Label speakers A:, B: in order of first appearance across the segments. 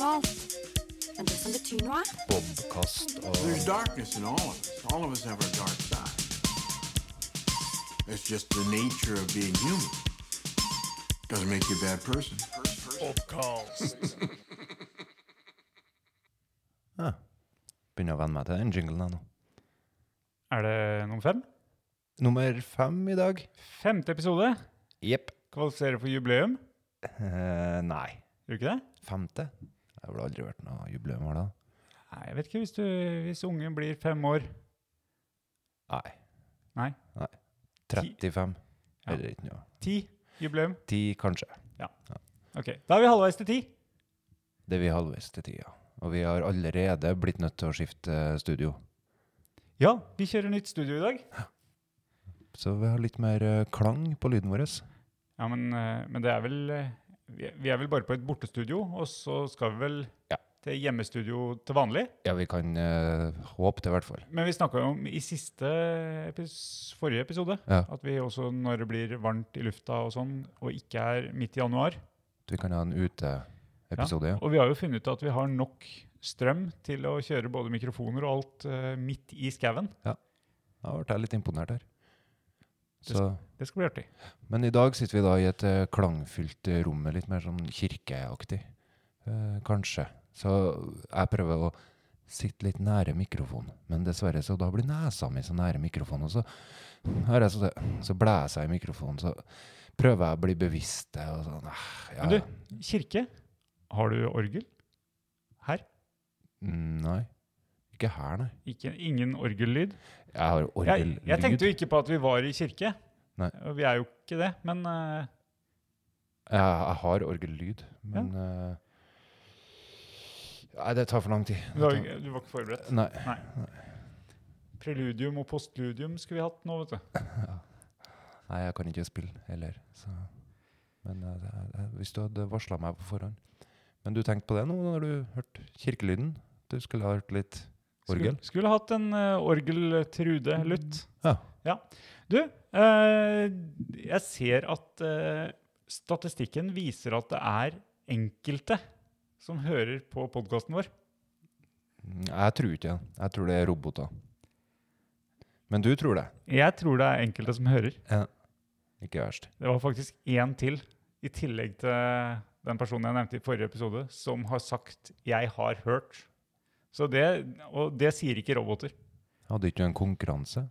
A: alt. Men det som betyr noe,
B: Bobkast og
C: There's darkness in all of us. All of us have our dark side. It's just the nature of being human. Doesn't make you a bad person.
B: begynner å venne meg til den jinglen her nå.
D: Er det nummer fem?
B: Nummer fem i dag.
D: Femte episode.
B: Jepp.
D: Kvalifiserer for jubileum.
B: Eh, nei.
D: Gjør du ikke det?
B: Femte. Det har vel aldri vært noe jubileum her da?
D: Nei, jeg vet ikke hvis, du, hvis ungen blir fem år.
B: Nei.
D: Nei,
B: 35.
D: Ja.
B: Eller ikke noe.
D: ti. Jubileum.
B: Ti, kanskje.
D: Ok, da er vi halvveis til ti.
B: Det er vi halvveis til tida. Og vi har allerede blitt nødt til å skifte eh, studio.
D: Ja, vi kjører nytt studio i dag.
B: Så vi har litt mer eh, klang på lyden vår.
D: Ja, men, eh, men det er vel eh, Vi er- vi er vel bare på et bortestudio, og så skal vi vel
B: Ja.
D: til hjemmestudio til vanlig.
B: Ja, vi kan eh, håpe det, i hvert fall.
D: Men vi snakka jo om i siste epis forrige episode
B: Ja.
D: at vi også, når det blir varmt i lufta og sånn, og ikke er midt i januar
B: At vi kan ha en uteepisode, ja.
D: Og vi har jo funnet ut at vi har nok strøm til å kjøre både mikrofoner og alt eh, midt i skauen.
B: Da ble jeg litt imponert her. Så,
D: Det skal bli artig.
B: men i dag sitter vi da i et eh, klangfylt eh, rom, med litt mer sånn kirkeaktig, eh, kanskje. Så jeg prøver å sitte litt nære mikrofonen, men dessverre så da blir nesa mi så nære mikrofonen, og så, har jeg så, så blæser jeg i mikrofonen, så prøver jeg å bli bevisst det, og sånn. eh, Ja,
D: Men du, kirke, har du orgel? Her?
B: Mm, Nei, ikke her, nei.
D: Ikke, ingen orgellyd?
B: Jeg har
D: Jeg,
B: orgellyd.
D: jeg tenkte jo ikke på at vi var i kirke.
B: Nei.
D: Og Vi er jo ikke det, men eh,
B: Jeg, jeg har orgellyd, men eh, Nei, det tar for lang tid.
D: du, har, du var ikke forberedt.
B: Nei.
D: Preludium og postludium skulle vi hatt nå, vet du.
B: Nei, jeg kan ikke spille heller. Så. Men eh, det, er- det, er- hvis du hadde varsla meg på forhånd Men du tenkte på det nå når du hørte kirkelyden? Du skulle ha hørt litt orgel?
D: Skulle, skulle hatt en eh, orgel-Trude-lutt.
B: Ja.
D: Du, eh, jeg ser at eh, statistikken viser at det er enkelte som hører på podkasten vår.
B: Mm, Jeg tror ikke det. Jeg tror det er roboter. Men du tror det.
D: Jeg tror det er enkelte som hører.
B: Ikke verst.
D: Det var faktisk én til, i tillegg til den personen jeg nevnte i forrige episode, som har sagt 'jeg har hørt'. Så det, Og det sier ikke roboter.
B: Hadde ikke du en konkurranse?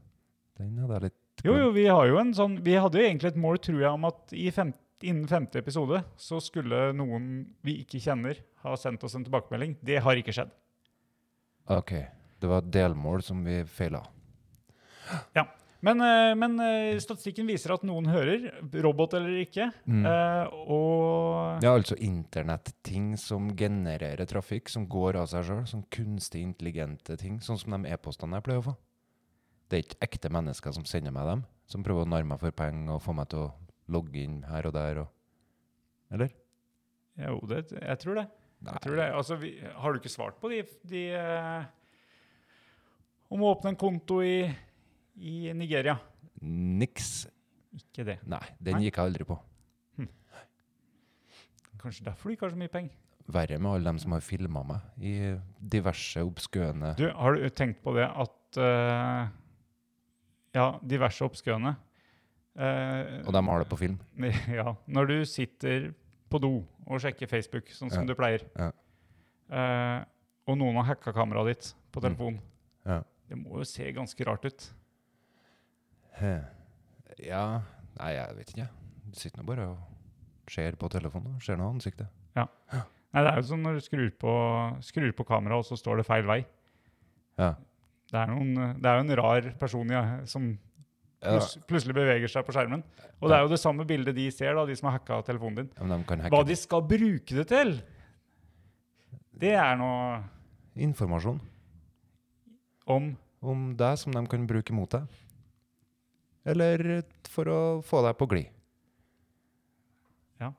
B: Den hadde jeg litt
D: Jo, jo, vi har jo en sånn Vi hadde jo egentlig et mål, tror jeg, om at i fem, innen femte episode så skulle noen vi ikke kjenner, ha sendt oss en tilbakemelding. Det har ikke skjedd.
B: OK. Det var et delmål som vi feila.
D: Men, eh, men eh, statistikken viser at noen hører, robot eller ikke.
B: Mm.
D: eh, Og
B: Ja, altså internetting som genererer trafikk, som går av seg sjøl. Sånn kunstig intelligente ting, sånn som de e-postene jeg pleier å få. Det er ikke ekte mennesker som sender meg dem, som prøver å narre meg for penger og få meg til å logge inn her og der og Eller?
D: Jo, det, jeg tror det. Jeg tror det. Altså, vi, har du ikke svart på de, de eh, om å åpne en konto i, i Nigeria?
B: Niks.
D: Ikke det.
B: Nei, den
D: Nei.
B: gikk jeg aldri på.
D: Kanskje derfor du ikke har så mye penger.
B: Verre med alle dem som har filma meg i diverse obskøne
D: Du, har du tenkt på det at eh, Ja, diverse oppskøene. Eh,
B: Og de har det på film.
D: Ja, når du sitter på do og sjekker Facebook, sånn som
B: Ja.
D: du pleier,
B: Ja.
D: eh, og noen har hacka kameraet ditt på
B: Mm.
D: telefonen,
B: Ja.
D: det må jo se ganske rart ut.
B: He. Ja Nei, jeg vet ikke. Du sitter nå bare og ser på telefonen. og Ser noe av ansiktet.
D: Nei, det er jo som når du skrur på, skrur på kameraet, og så står det feil vei.
B: Ja.
D: Det er, noen, det er jo en rar person ja, som
B: Ja.
D: plus, plutselig beveger seg på skjermen. Og det er jo det samme bildet de ser, da, de som har hacka telefonen din.
B: Ja, men de kan hacke
D: Hva de skal bruke det til, det er noe
B: informasjon
D: om
B: om deg som de kan bruke mot deg. Eller for å få deg på glid.
D: Ja.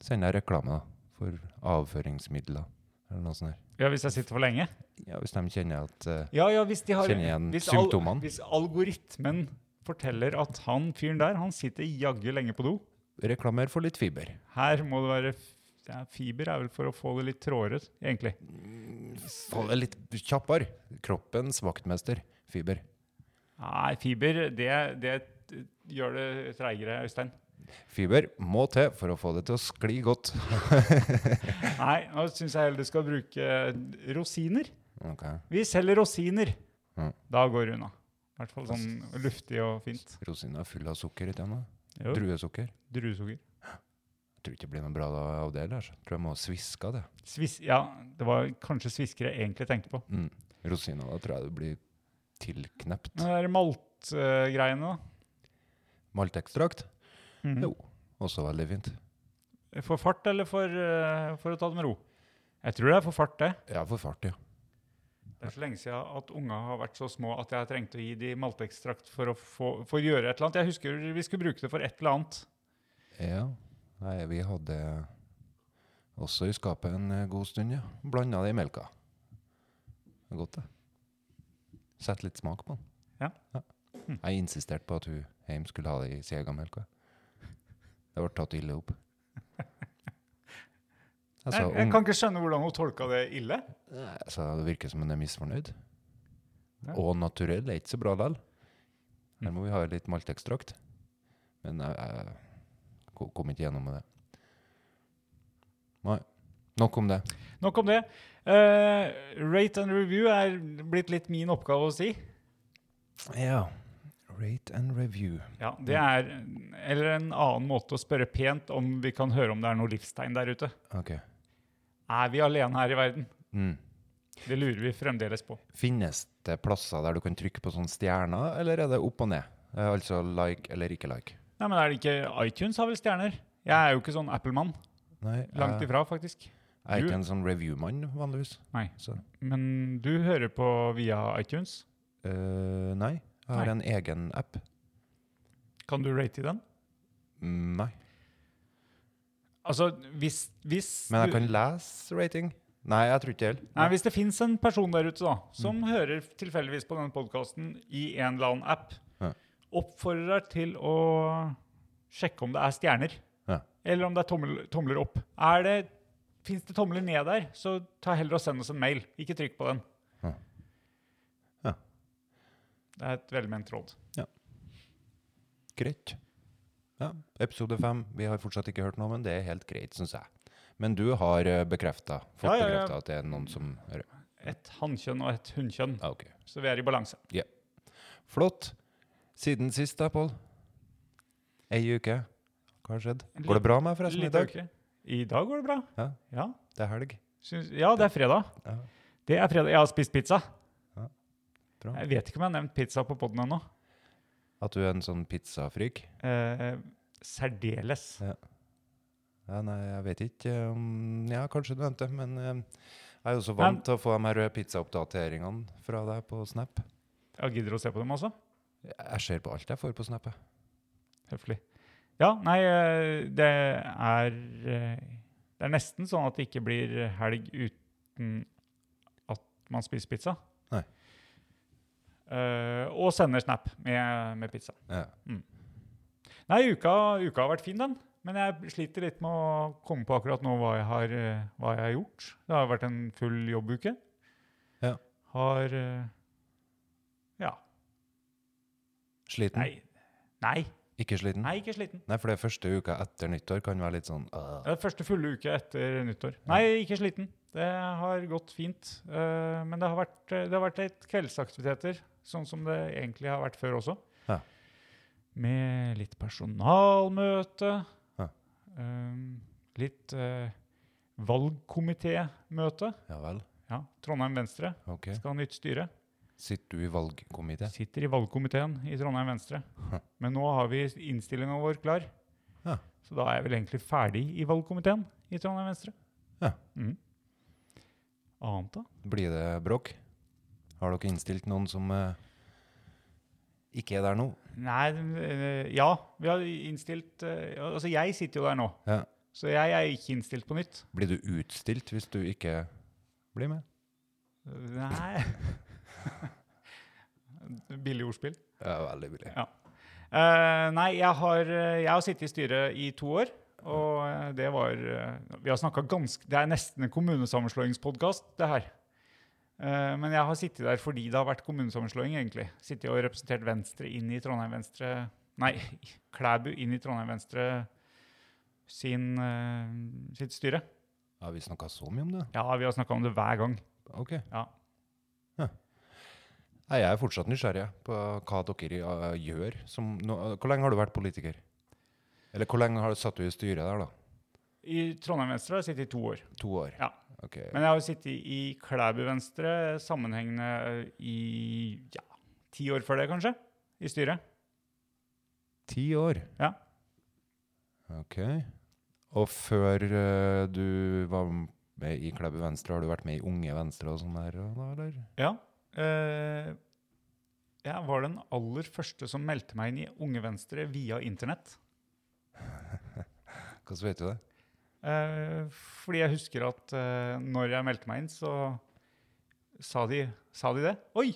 B: Send deg reklame da, for avføringsmidler eller noe sånt. her.
D: Ja, hvis jeg sitter for lenge.
B: Ja, hvis de kjenner at eh,
D: Ja, ja, hvis de har
B: Kjenner igjen
D: hvis
B: symptomene.
D: Al, hvis algoritmen forteller at han fyren der, han sitter jaggu lenge på do.
B: reklamer for litt fiber.
D: Her må det være f- ja, fiber er vel for å få det litt trådere, egentlig.
B: Få det litt kjappere. Kroppens vaktmester. Fiber.
D: Nei, fiber, det, det gjør det treigere, Øystein.
B: Fiber må til for å få det til å skli godt.
D: Nei, nå syns jeg heller du skal bruke rosiner.
B: Ok.
D: Vi selger rosiner.
B: Mm.
D: Da går det unna. I hvert fall sånn luftig og fint.
B: Rosinen er full av sukker i tennene.
D: Jo,
B: Druesukker.
D: Druesukker.
B: Jeg tror ikke det blir noe bra da av det. Lars. Jeg tror jeg må sviske av det.
D: Svis ja, det var kanskje sviskere jeg egentlig tenkte på.
B: Mm. Rosina, da tror jeg det blir tilknept.
D: Men det er maltgreiene, da.
B: Maltekstrakt?
D: Mhm.
B: Jo. Også veldig fint.
D: For fart eller for, eh, for å ta det med ro? Jeg tror det er for fart, det.
B: Ja, for fart, ja.
D: Det er så lenge siden at unga har vært så små at jeg trengte å gi de maltekstrakt for å få, for å gjøre et eller annet. Jeg husker vi skulle bruke det for et eller annet.
B: Ja. Nei, vi hadde også i skapet en eh, god stund, ja. Blanda det i melka. Det er godt, det. Sett litt smak på den.
D: Ja.
B: Jeg insisterte på at hun hjem skulle ha det i segamelka. Det ble tatt ille opp. Jeg sa,
D: jeg, jeg
B: ung-
D: kan ikke skjønne hvordan hun tolka det ille.
B: jeg sa det virker som hun er misfornøyd.
D: Ja.
B: Og naturell er ikke så bra likevel. Her må vi ha litt maltekstrakt. Men jeg, jeg ko- kom ikke gjennom med det. Nei. Nok om det.
D: Nok om det. Eh, rate and review er blitt litt min oppgave å si.
B: Ja. Rate and review.
D: Ja,
B: Mm.
D: Det er eller en annen måte å spørre pent om vi kan høre om det er noe livstegn der ute.
B: Ok.
D: Er vi alene her i verden?
B: Mm.
D: Det lurer vi fremdeles på.
B: Finnes det plasser der du kan trykke på sånne stjerner, eller er det opp og ned? Eh, Altså like eller ikke like?
D: Nei, men er det ikke iTunes har vel stjerner? Jeg er jo ikke sånn Apple-mann.
B: Nei,
D: Langt
B: jeg,
D: ifra, faktisk.
B: jeg er
D: Du-
B: ikke en sånn review-mann, vanligvis.
D: Nei.
B: Så,
D: Men du hører på via iTunes.
B: eh, nei. Jeg har
D: Nei.
B: en egen app.
D: Kan du rate i den?
B: Mm, Nei.
D: Altså, hvis, hvis
B: Men jeg
D: du-
B: kan lese rating. Nei, jeg tror ikke det heller.
D: Nei, Hvis det fins en person der ute da, som
B: Mm.
D: hører tilfeldigvis på denne podkasten i en eller annen app,
B: Ja.
D: oppfordrer deg til å sjekke om det er stjerner,
B: Ja.
D: eller om det er tommel, tomler opp. Er det, Fins det tomler ned der, så ta heller og send oss en mail. Ikke trykk på den.
B: Ja. Ja.
D: Det er et velment råd.
B: Greit. Ja, episode fem. Vi har fortsatt ikke hørt noe, men det er helt greit, syns jeg. Men du har bekrefta, fått
D: Ja, ja, ja.
B: bekrefta at det er noen som hører.
D: Et hannkjønn og et hunnkjønn,
B: Ja, ok.
D: så vi er i balanse.
B: Flott. Siden sist, da, Pål. Ei uke. Hva har skjedd? Går det bra med deg forresten i
D: Lite
B: dag?
D: øke. I dag går det bra.
B: Ja.
D: Ja,
B: Det er helg.
D: syns, ja det er fredag.
B: Ja.
D: Det er fredag. Jeg har spist pizza.
B: Bra.
D: Jeg vet ikke om jeg har nevnt pizza på poden ennå.
B: At du er en sånn pizzafrik?
D: Eh, særdeles.
B: Ja, nei, jeg vet ikke. um, Ja, kanskje du nevnte, men um, jeg er jo så vant til å få de her pizzaoppdateringene fra deg på Snap.
D: Jeg gidder å se på dem også.
B: Jeg ser på alt jeg får på Snap. jeg.
D: Høflig. Ja, nei, eh, det er eh, Det er nesten sånn at det ikke blir helg uten at man spiser pizza.
B: Nei.
D: Eh, og sender snap med, med pizza.
B: Ja.
D: Nei, uka, uka har vært fin, den. Men jeg sliter litt med å komme på akkurat nå hva jeg har, eh, hva jeg har gjort. Det har vært en full jobbuke.
B: Ja.
D: Har eh, Ja.
B: Sliten?
D: Nei. Nei,
B: Ikke sliten?
D: nei, ikke sliten.
B: Nei, for det første uka etter nyttår kan være litt sånn øh.
D: Det er første fulle uke etter nyttår. Nei, ikke sliten. Det har gått fint. eh, men det har vært, det har vært litt kveldsaktiviteter, sånn som det egentlig har vært før også.
B: Ja.
D: Med litt personalmøte.
B: Ja.
D: eh, litt uh, valgkomitémøte.
B: Ja vel,
D: Ja, Trondheim Venstre
B: ok.
D: skal ha nytt styre.
B: Sitter du i valgkomité?
D: Sitter i valgkomiteen i Trondheim Venstre.
B: Hm.
D: Men nå har vi innstillinga vår klar.
B: Ja.
D: Så da er jeg vel egentlig ferdig i valgkomiteen i Trondheim Venstre.
B: Ja.
D: Mhm. Annet, da?
B: Blir det bråk? Har dere innstilt noen som eh, ikke er der nå?
D: Nei, eh, ja. Vi har innstilt eh, Altså, jeg sitter jo der nå,
B: Ja.
D: så jeg er ikke innstilt på nytt.
B: Blir du utstilt hvis du ikke blir med?
D: Nei Billig ordspill.
B: Ja, veldig billig.
D: Eh, nei, jeg har, eh, jeg har sittet i styret i to år. Og eh, det var eh, Vi har snakka ganske Det er nesten en kommunesammenslåingspodkast, det her. Eh, Men jeg har sittet der fordi det har vært kommunesammenslåing, egentlig. Sittet og representert Venstre inn i Trondheim Venstre Nei, Klæbu inn i Trondheim Venstre sin, eh, sitt styre.
B: Har vi snakka så mye om det?
D: Ja, vi har snakka om det hver gang.
B: Ok.
D: Ja.
B: Nei, jeg er fortsatt nysgjerrig jeg, på hva dere eh, gjør. Som, nå, eh, hvor lenge har du vært politiker? Eller hvor lenge har du satt du i styret der, da?
D: I Trondheim Venstre har jeg sittet i to år.
B: To år?
D: Ja.
B: Ok.
D: Men jeg har jo sittet i Klæbu Venstre sammenhengende eh, i ja, ti år før det, kanskje, i styret.
B: Ti år?
D: Ja.
B: Ok. Og før eh, du var med i Klæbu Venstre, har du vært med i Unge Venstre og sånn der, og da, eller?
D: Ja. eh, jeg var den aller første som meldte meg inn i Unge Venstre via internett.
B: Hvordan vet du det?
D: Eh, fordi jeg husker at eh, når jeg meldte meg inn, så sa de, sa de det. Oi,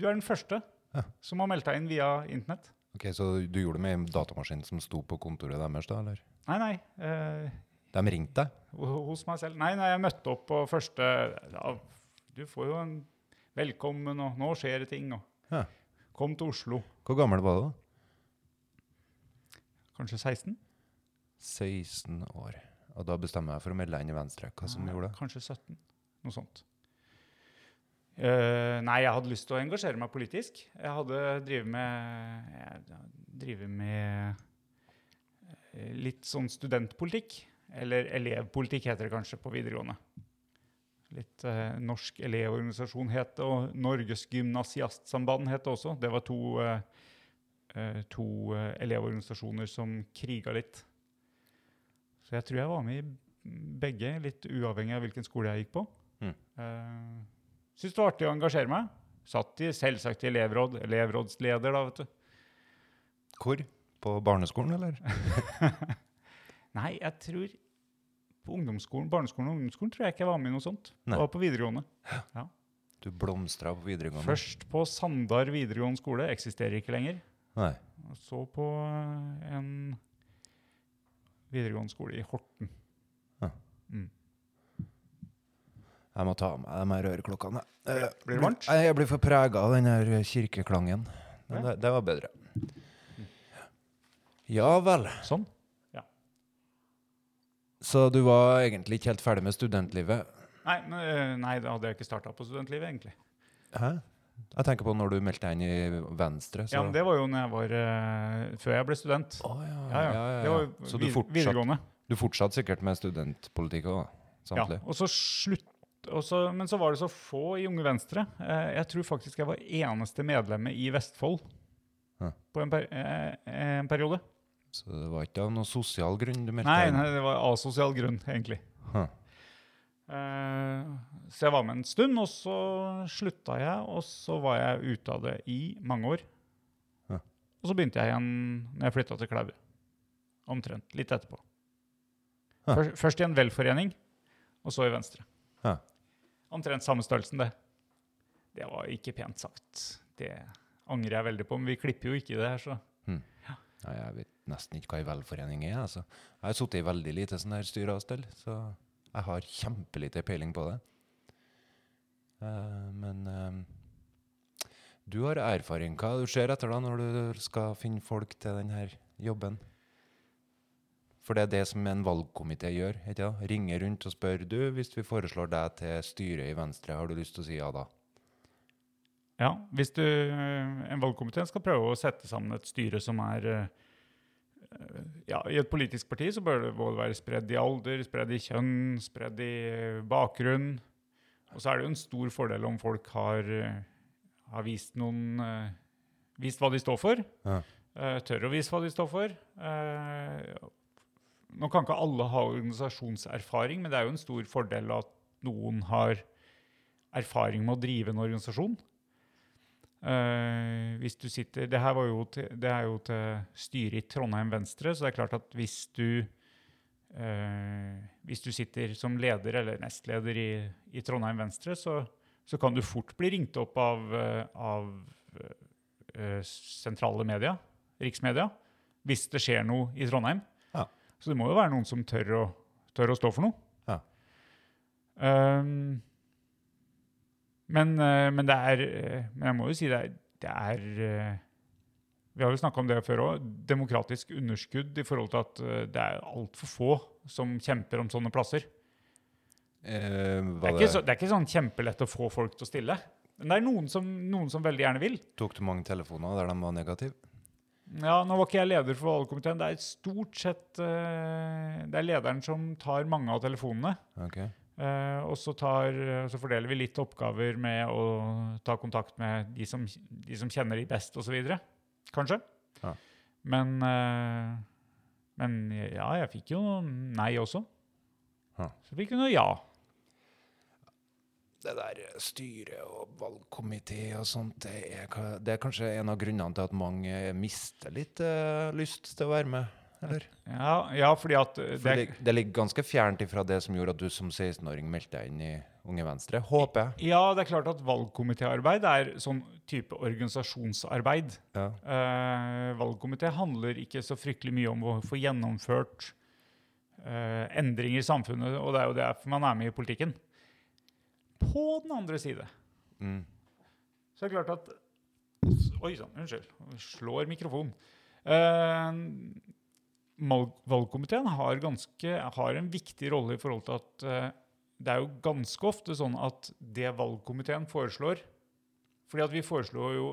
D: du er den første
B: Ja.
D: som har meldt deg inn via internett.
B: Ok, Så du gjorde det med en datamaskin som sto på kontoret deres, da? eller?
D: Nei, nei. eh,
B: De ringte deg?
D: ho- hos meg selv. Nei, nei, jeg møtte opp på første ja, Du får jo en velkommen, og nå skjer det ting, og
B: Ja.
D: Kom til Oslo.
B: Hvor gammel var du da?
D: Kanskje 16?
B: 16 år. Og da bestemmer jeg for å melde deg inn i Venstre. Hva som
D: Nei,
B: gjorde det?
D: Kanskje 17. Noe sånt. Eh, nei, jeg hadde lyst til å engasjere meg politisk. Jeg hadde drevet med, jeg driver med eh, litt sånn studentpolitikk. Eller elevpolitikk heter det kanskje på videregående. Litt eh, Norsk elevorganisasjon het det, og Norges gymnasiastsamband het det også. Det var to, eh, eh, to eh, elevorganisasjoner som kriga litt. Så jeg tror jeg var med i begge, litt uavhengig av hvilken skole jeg gikk på.
B: Mm.
D: Eh, Syntes det var artig å engasjere meg. Satt i, selvsagt i elevråd, elevrådsleder da, vet du.
B: Hvor? På barneskolen, eller?
D: Nei, jeg tror på ungdomsskolen, barneskolen og ungdomsskolen tror jeg ikke jeg var med i noe sånt.
B: Nei.
D: Det var på videregående.
B: Du blomstra på videregående?
D: Først på Sandar videregående skole, eksisterer ikke lenger.
B: Nei.
D: Og så på eh, en videregående skole i Horten.
B: Jeg må ta av meg de her øreklokkene. Eh,
D: Blir det varmt?
B: Nei, Jeg blir for prega av den her kirkeklangen. Men
D: Ja.
B: det, det var bedre. Ja vel.
D: Sånn.
B: Så du var egentlig ikke helt ferdig med studentlivet?
D: Nei, men, eh, nei, da hadde jeg ikke starta på studentlivet, egentlig.
B: Hæ? Jeg tenker på når du meldte deg inn i Venstre. Så.
D: Ja, men Det var jo når jeg var, eh, før jeg ble student.
B: Å, ja,
D: Ja, ja. Det var jo
B: Så du
D: vid-
B: fortsatte
D: videregående.
B: du fortsatt sikkert med studentpolitikk òg?
D: Ja,
B: Samtidig?
D: og så slutt, og så- men så var det så få i Unge Venstre. Eh, jeg tror faktisk jeg var eneste medlemmet i Vestfold
B: Ja.
D: på en, per, eh, en periode.
B: Så det var ikke av noen sosial grunn du meldte
D: Nei,
B: deg inn?
D: nei, det var asosial grunn, egentlig.
B: Huh.
D: Eh, så jeg var med en stund, og så slutta jeg, og så var jeg ute av det i mange år.
B: Ja.
D: Og så begynte jeg igjen når jeg flytta til Klæbu. Omtrent. Litt etterpå.
B: Ja.
D: Først, først i en velforening, og så i Venstre.
B: Ja.
D: Omtrent samme størrelsen, det. Det var ikke pent sagt. Det angrer jeg veldig på, men vi klipper jo ikke det her, så
B: Nei, jeg vet nesten ikke hva en velforening er. Altså. Jeg har sittet i veldig lite sånn her styre og stell, så jeg har kjempelite peiling på det. Eh, men eh, du har erfaring. Hva er det du ser etter da når du skal finne folk til denne jobben? For det er det som en valgkomité gjør. Ikke det? Ringer rundt og spør du, hvis vi foreslår deg til styret i Venstre, har du lyst til å si ja da?
D: Ja, hvis du, eh, en valgkomité skal prøve å sette sammen et styre som er eh, ja, I et politisk parti så bør det både være spredd i alder, spredd i kjønn, spredd i eh, bakgrunn. Og så er det jo en stor fordel om folk har, eh, har vist noen eh, Vist hva de står for.
B: Ja.
D: eh, tør å vise hva de står for. Eh, nå kan ikke alle ha organisasjonserfaring, men det er jo en stor fordel at noen har erfaring med å drive en organisasjon. Eh, hvis du sitter, det her var jo til, det er jo til styret i Trondheim Venstre, så det er klart at hvis du, eh, hvis du sitter som leder eller nestleder i, i Trondheim Venstre, så, så kan du fort bli ringt opp av, eh, av eh, sentrale media, riksmedia, hvis det skjer noe i Trondheim.
B: Ja.
D: Så det må jo være noen som tør å, tør å stå for noe.
B: Ja.
D: Ehm, men, eh, men det er eh, Men jeg må jo si det er, det er eh, Vi har jo snakka om det før òg. Demokratisk underskudd i forhold til at eh, det er altfor få som kjemper om sånne plasser.
B: Eh,
D: Det
B: var
D: er,
B: det,
D: ikke så, det er ikke sånn kjempelett å få folk til å stille. Men det er noen som, noen som veldig gjerne vil.
B: Tok du mange telefoner der de var negative?
D: Ja, Nå var ikke jeg leder for valgkomiteen. Det er stort sett eh, det er lederen som tar mange av telefonene.
B: Ok.
D: eh, og så, tar, eh, så fordeler vi litt oppgaver med å ta kontakt med de som, de som kjenner de best, osv. Kanskje.
B: Ja.
D: Men, eh, men ja, jeg fikk jo noe nei også.
B: Ja.
D: Så fikk vi noe ja.
B: det der styret og valgkomité og sånt, det er, ka- det er kanskje en av grunnene til at mange mister litt eh, lyst til å være med? Eller?
D: Ja, ja fordi at eh,
B: For det, det ligger ganske fjernt ifra det som gjorde at du som 16-åring meldte deg inn i Unge Venstre, håper jeg.
D: Ja, det er klart at valgkomitéarbeid er sånn type organisasjonsarbeid.
B: Ja.
D: Eh, valgkomité handler ikke så fryktelig mye om å få gjennomført eh, endringer i samfunnet, og det er jo derfor man er med i politikken. På den andre side
B: Mm.
D: så er det klart at Oi sann, unnskyld. Slår mikrofonen. Eh, mal- valgkomiteen har, ganske, har en viktig rolle i forhold til at eh, det er jo ganske ofte sånn at det valgkomiteen foreslår Fordi at vi foreslår jo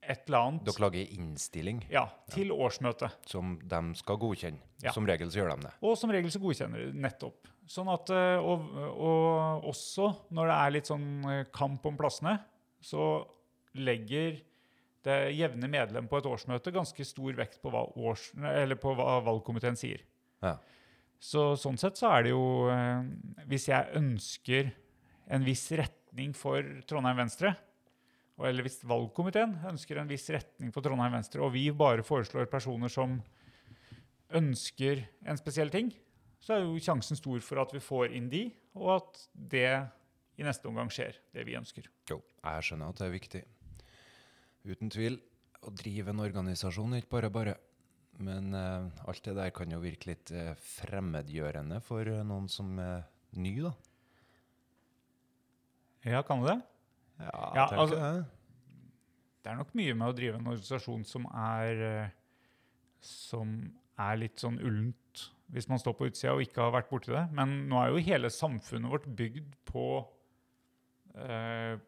D: et eller annet
B: Dere lager innstilling
D: ja, til årsmøtet.
B: som de skal godkjenne.
D: Ja.
B: Som regel så gjør de det.
D: Og som regel så godkjenner de nettopp. Sånn at, eh, og, og også når det er litt sånn eh, kamp om plassene, så legger det jevne medlem på et årsmøte ganske stor vekt på hva, års, eller på hva valgkomiteen sier.
B: Ja.
D: Så sånn sett så er det jo eh, Hvis jeg ønsker en viss retning for Trondheim Venstre, og- eller hvis valgkomiteen ønsker en viss retning for Trondheim Venstre, og vi bare foreslår personer som ønsker en spesiell ting, så er jo sjansen stor for at vi får inn de, og at det i neste omgang skjer, det vi ønsker.
B: Jo, jeg skjønner at det er viktig. Uten tvil. Å drive en organisasjon er ikke bare bare. Men eh, alt det der kan jo virke litt eh, fremmedgjørende for eh, noen som er ny, da.
D: Ja, kan du det?
B: Ja,
D: Ja,
B: tenker
D: altså-
B: jeg.
D: Det er nok mye med å drive en organisasjon som er eh, som er litt sånn ullent hvis man står på utsida og ikke har vært borti det. Men nå er jo hele samfunnet vårt bygd på eh,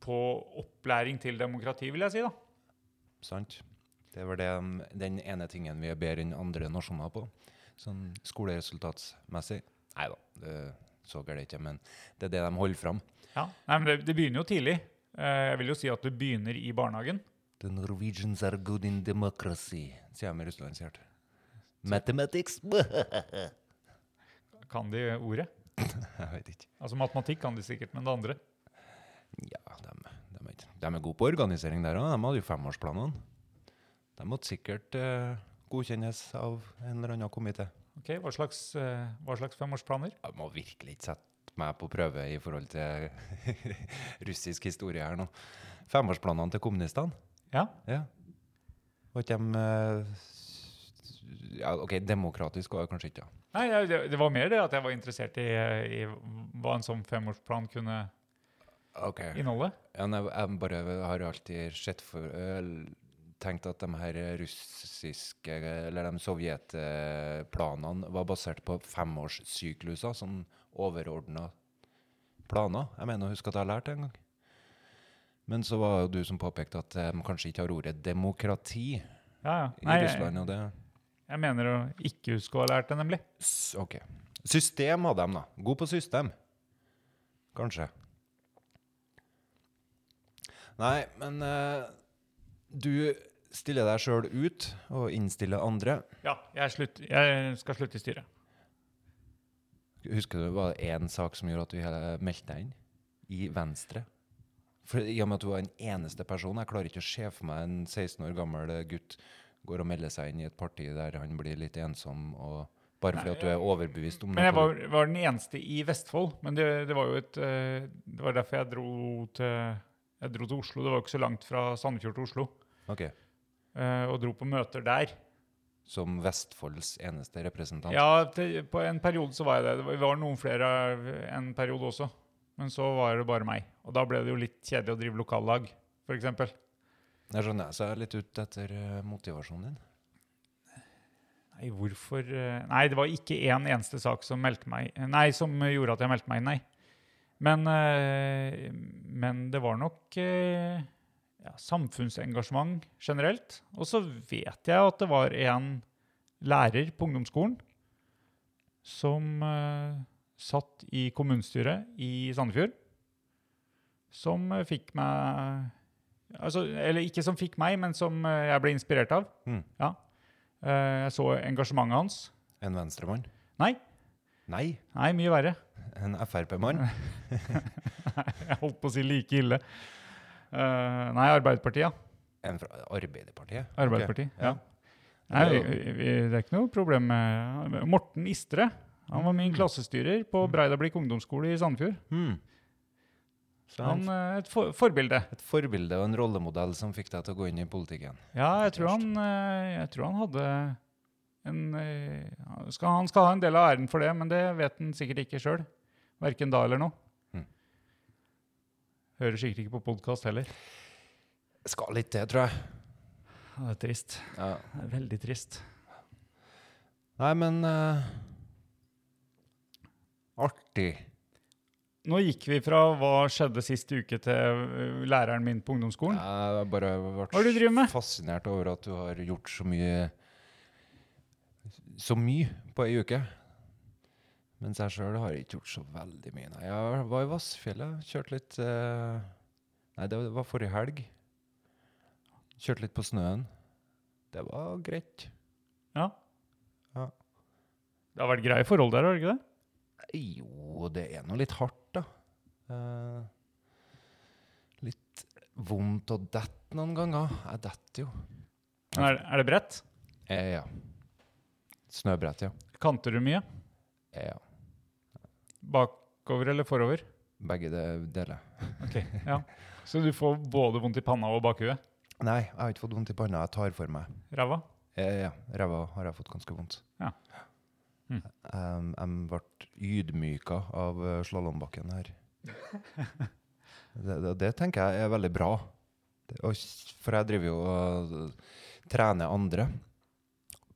D: på opplæring til demokrati, vil jeg si. da.
B: Sant. Det var det, mm, den ene tingen vi er bedre enn andre nasjoner på. Sånn skoleresultatsmessig. Nei da, det, så galt ikke, men det er det de holder fram.
D: Ja. Nei, men det, det begynner jo tidlig. Eh, jeg vil jo si at det begynner i barnehagen.
B: The Norwegians are good in democracy, sier jeg med russlandshjerte. Mathematics? jeg
D: Kan de ordet?
B: vet ikke.
D: Altså matematikk kan de sikkert, men det andre
B: Ja, de, de, er, ikke- de er gode på organisering der òg. De hadde jo femårsplanene. De måtte sikkert eh, godkjennes av en eller annen komité.
D: Ok, Hva slags, eh, hva slags femårsplaner?
B: Jeg må virkelig ikke sette meg på prøve i forhold til russisk historie her nå. Femårsplanene til kommunistene,
D: Ja,
B: ja. Var ikke de eh, s- ja, OK, demokratisk var det kanskje ikke, ja.
D: Nei, jeg, det, det var mer det at jeg var interessert i, i hva en sånn femårsplan kunne
B: OK.
D: inneholde.
B: Ja, nei, jeg bare har alltid sett for øl- tenkt at de her russiske, eller de sovjetplanene var basert på femårssykluser, sånn overordna planer. Jeg mener å huske at jeg har lært det en gang. Men så var jo du som påpekte at de kanskje ikke har ordet demokrati i
D: Ja, ja. Nei, jeg,
B: Russland, og det
D: jeg mener å ikke huske å ha lært det, nemlig.
B: S- OK. System hadde de, da. God på system. Kanskje. Nei, men eh, du stiller deg sjøl ut og innstiller andre.
D: Ja, jeg, slutt, jeg skal slutte i styret.
B: Husker du var det én sak som gjorde at du hele- meldte deg inn? I Venstre. For I og med at du var den eneste personen Jeg klarer ikke å se for meg en 16 år gammel gutt går og melder seg inn i et parti der han blir litt ensom, og bare fordi at du er overbevist om
D: Men jeg
B: noe.
D: var, var den eneste i Vestfold. Men det, det var jo et eh, Det var derfor jeg dro til, jeg dro til Oslo. Det var jo ikke så langt fra Sandefjord til Oslo.
B: Ok.
D: eh, Og dro på møter der.
B: som Vestfolds eneste representant.
D: Ja, til, på en periode så var jeg det. Det var- vi var noen flere av- en periode også. Men så var det bare meg. Og da ble det jo litt kjedelig å drive lokallag, f.eks.
B: Jeg skjønner, så jeg er litt ute etter eh, motivasjonen din.
D: Nei, hvorfor eh, Nei, det var ikke én eneste sak som meldte meg Nei, som gjorde at jeg meldte meg, nei. Men, eh, men det var nok eh, ja, samfunnsengasjement generelt. Og så vet jeg at det var en lærer på ungdomsskolen som eh, satt i kommunestyret i Sandefjord, som eh, fikk meg altså, Eller ikke som fikk meg, men som eh, jeg ble inspirert av.
B: Mm.
D: Ja. Eh, jeg så engasjementet hans.
B: En venstremann?
D: Nei,
B: Nei,
D: nei, mye verre.
B: en Frp-mann.
D: Jeg holdt på å si like ille. Eh, nei, Arbeiderpartiet, ja.
B: En fra Arbeiderpartiet.
D: Arbeiderpartiet,
B: ja.
D: ja. Nei, vi, vi, det er ikke noe problem med Morten Istre. Han var
B: Mm.
D: min klassestyrer på Breidablikk ungdomsskole i Sandefjord.
B: Hmm. Så
D: Han
B: han,
D: eh, et for, forbilde.
B: et forbilde og en rollemodell som fikk deg til å gå inn i politikken.
D: Ja, jeg tror han, eh, jeg tror han hadde en eh, han skal, Han skal ha en del av æren for det, men det vet han sikkert ikke sjøl. Verken da eller nå.
B: Mm.
D: Hører sikkert ikke på podkast heller.
B: Skal litt til, tror jeg.
D: Ja, Det er trist.
B: Ja.
D: Det er veldig trist.
B: Nei, men eh, Artig.
D: Nå gikk vi fra hva skjedde sist uke til øh, læreren min på ungdomsskolen.
B: Jeg bare
D: Hva er det du driver
B: ble
D: med?
B: fascinert over at du har gjort så mye Så mye på ei uke. Mens jeg sjøl har ikke gjort så veldig mye. Nei, jeg var i Vassfjellet. Kjørte litt eh, Nei, det var forrige helg. Kjørte litt på snøen. Det var greit.
D: Ja.
B: Ja.
D: Det har vært greie forhold der, har det ikke det?
B: Jo, det er nå litt hardt, da. Eh, litt vondt å dette noen ganger. Jeg detter jo.
D: Men er, er det bredt?
B: Eh, ja. Snøbrett, ja.
D: Kanter du mye?
B: Eh, ja.
D: Bakover eller forover?
B: Begge de- deler.
D: Ok, ja. Så du får både vondt i panna og bakhuet?
B: Nei, jeg har ikke fått vondt i panna. Jeg tar for meg.
D: Ræva?
B: Eh, ja. Ræva har jeg fått ganske vondt.
D: Ja. Hm.
B: Em, jeg ble ydmyka av eh, slalåmbakken her. det, det, det tenker jeg er veldig bra. Det, og, s- for jeg driver jo og eh, trener andre.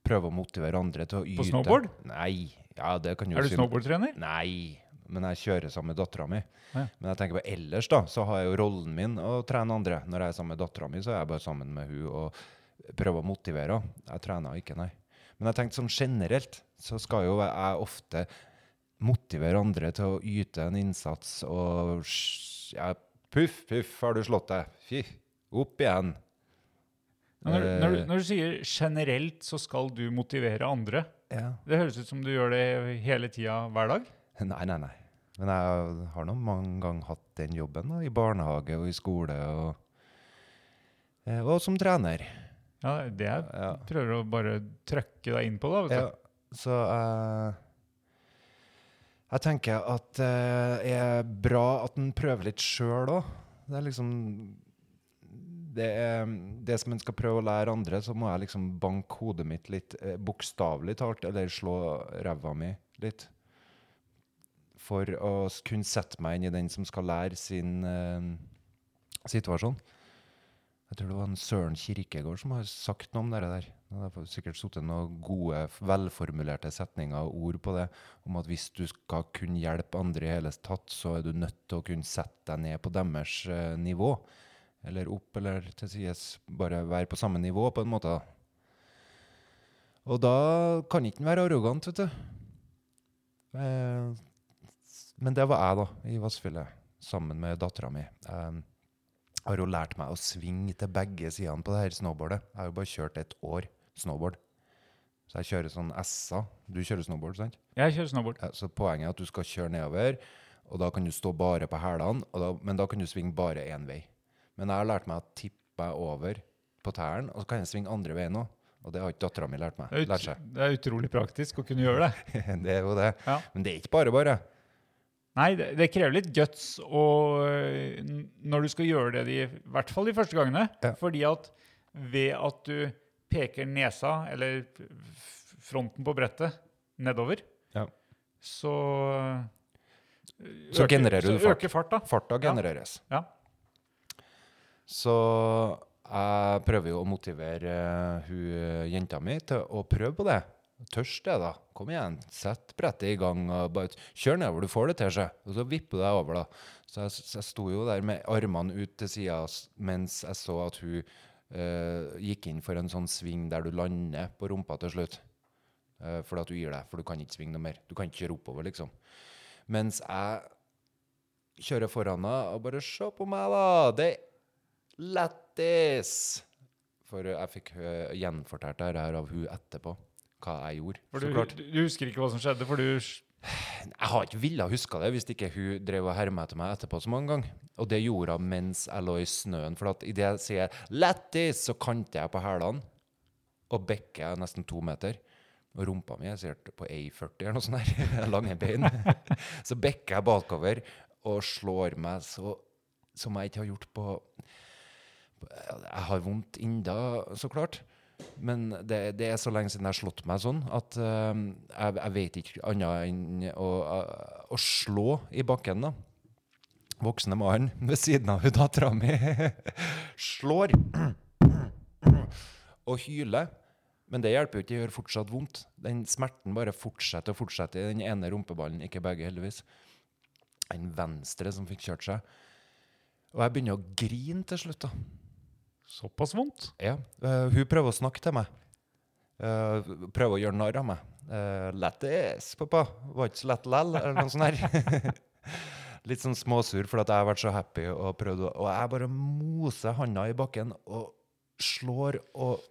B: Prøver å motivere andre til å yte.
D: På snowboard?
B: Nei. Ja, det kan jo
D: Er du
B: si-
D: snowboardtrener?
B: Nei, men jeg kjører sammen med dattera mi.
D: Ja.
B: Men jeg tenker på ellers da, så har jeg jo rollen min å trene andre. Når jeg er sammen med dattera mi, så er jeg bare sammen med hun og prøver å motivere henne. Jeg trener ikke, nei. Men jeg tenkte sånn generelt, så skal jo jeg ofte motivere andre til å yte en innsats og sj- ja, Puff, puff, har du slått deg? Fy, opp igjen.
D: Når, du- når, du-
B: Eh,
D: når du sier generelt så skal du motivere andre,
B: Eh, ja.
D: det høres ut som du gjør det hele tida hver dag?
B: Nei, nei, nei. Men jeg har nå mange ganger hatt den jobben, da, i barnehage og i skole, og, eh, og som trener.
D: Ja, det er
B: Ja.
D: Prøver å bare trøkke deg inn på det. vet du.
B: Ja, så eh, jeg tenker at eh, det er bra at en prøver litt sjøl òg. Det er liksom det, er, det som en skal prøve å lære andre, så må jeg liksom banke hodet mitt litt eh, bokstavelig talt, eller slå ræva mi litt. For å s- kunne sette meg inn i den som skal lære sin eh, situasjon. Jeg tror det var en Søren Kirkegård som har sagt noe om det der. Det har derfor sikkert sittet noen gode, f- velformulerte setninger og ord på det, om at hvis du skal kunne hjelpe andre i hele tatt, så er du nødt til å kunne sette deg ned på deres eh, nivå. Eller opp, eller til sides bare være på samme nivå, på en måte. da. Og da kan ikke en være arrogant, vet du. Eh, s- men det var jeg, da, i Vassfjellet, sammen med dattera mi. Eh, har jo lært meg å svinge til begge sidene på det her snowboardet. Jeg har jo bare kjørt et år snowboard. Så jeg kjører sånn S-er. Du kjører snowboard, sant?
D: Jeg kjører snowboard.
B: Ja, Så poenget er at du skal kjøre nedover, og da kan du stå bare på hælene, og da, men da kan du svinge bare én vei. Men jeg har lært meg å tippe meg over på tærne, og så kan jeg svinge andre veien òg. Og det har ikke dattera mi lært meg.
D: Det er,
B: Lært
D: ut, det er utrolig praktisk å kunne gjøre det.
B: seg. det er jo det.
D: Ja.
B: Men det er ikke bare bare.
D: Nei, det, det krever litt guts og, øh, n- når du skal gjøre det, de, i hvert fall de første gangene.
B: Ja.
D: Fordi at ved at du peker nesa, eller f- f- fronten på brettet, nedover,
B: Ja.
D: så
B: Så genererer du
D: så
B: fart.
D: øker fart, da.
B: Farta genereres.
D: Ja.
B: Så jeg prøver jo å motivere eh, hun eh, jenta mi til å prøve på det. Tørs det, da. Kom igjen, sett brettet i gang. og bare Kjør nedover, du får det til seg. Og så vipper det over, da. Så jeg, så jeg sto jo der med armene ut til sida mens jeg så at hun eh, gikk inn for en sånn sving der du lander på rumpa til slutt. Eh, fordi at du gir deg, for du kan ikke svinge noe mer. Du kan ikke kjøre oppover, liksom. Mens jeg kjører foran henne og bare 'Se på meg, da! Det er lættis!' For jeg fikk eh, gjenfortalt det her av hun etterpå, hva jeg gjorde.
D: For
B: så
D: du,
B: klart.
D: du husker ikke hva som skjedde, for du
B: Jeg har ikke villet huske det hvis ikke hun drev og hermet etter meg etterpå så mange ganger. Og det gjorde hun mens jeg lå i snøen. For at idet jeg sier 'lættis', så kanter jeg på hælene. Og bekket er nesten to meter. Og rumpa mi er sikkert på A40 eller noe sånt. her, Lange bein. Så bekker jeg bakover og slår meg så som jeg ikke har gjort på Jeg har vondt enda, så klart. Men det, det er så lenge siden jeg har slått meg sånn at eh, jeg, jeg vet ikke annet enn å, eh, å slå i bakken, da. Voksne mannen ved siden av hun dattera mi slår og hyler. Men det hjelper jo ikke, det gjør fortsatt vondt. Den smerten bare fortsetter og fortsetter i den ene rumpeballen, ikke begge, heldigvis. Den venstre som fikk kjørt seg. Og jeg begynner å grine til slutt, da.
D: Såpass vondt?
B: Ja, eh, hun prøver å snakke til meg. Eh, prøver å gjøre narr av meg. Uh, Lættis, pappa. Var ikke så lett lell, eller noe sånt her. Litt sånn småsur for at jeg har vært så happy og prøvd å Og jeg bare moser handa i bakken og slår og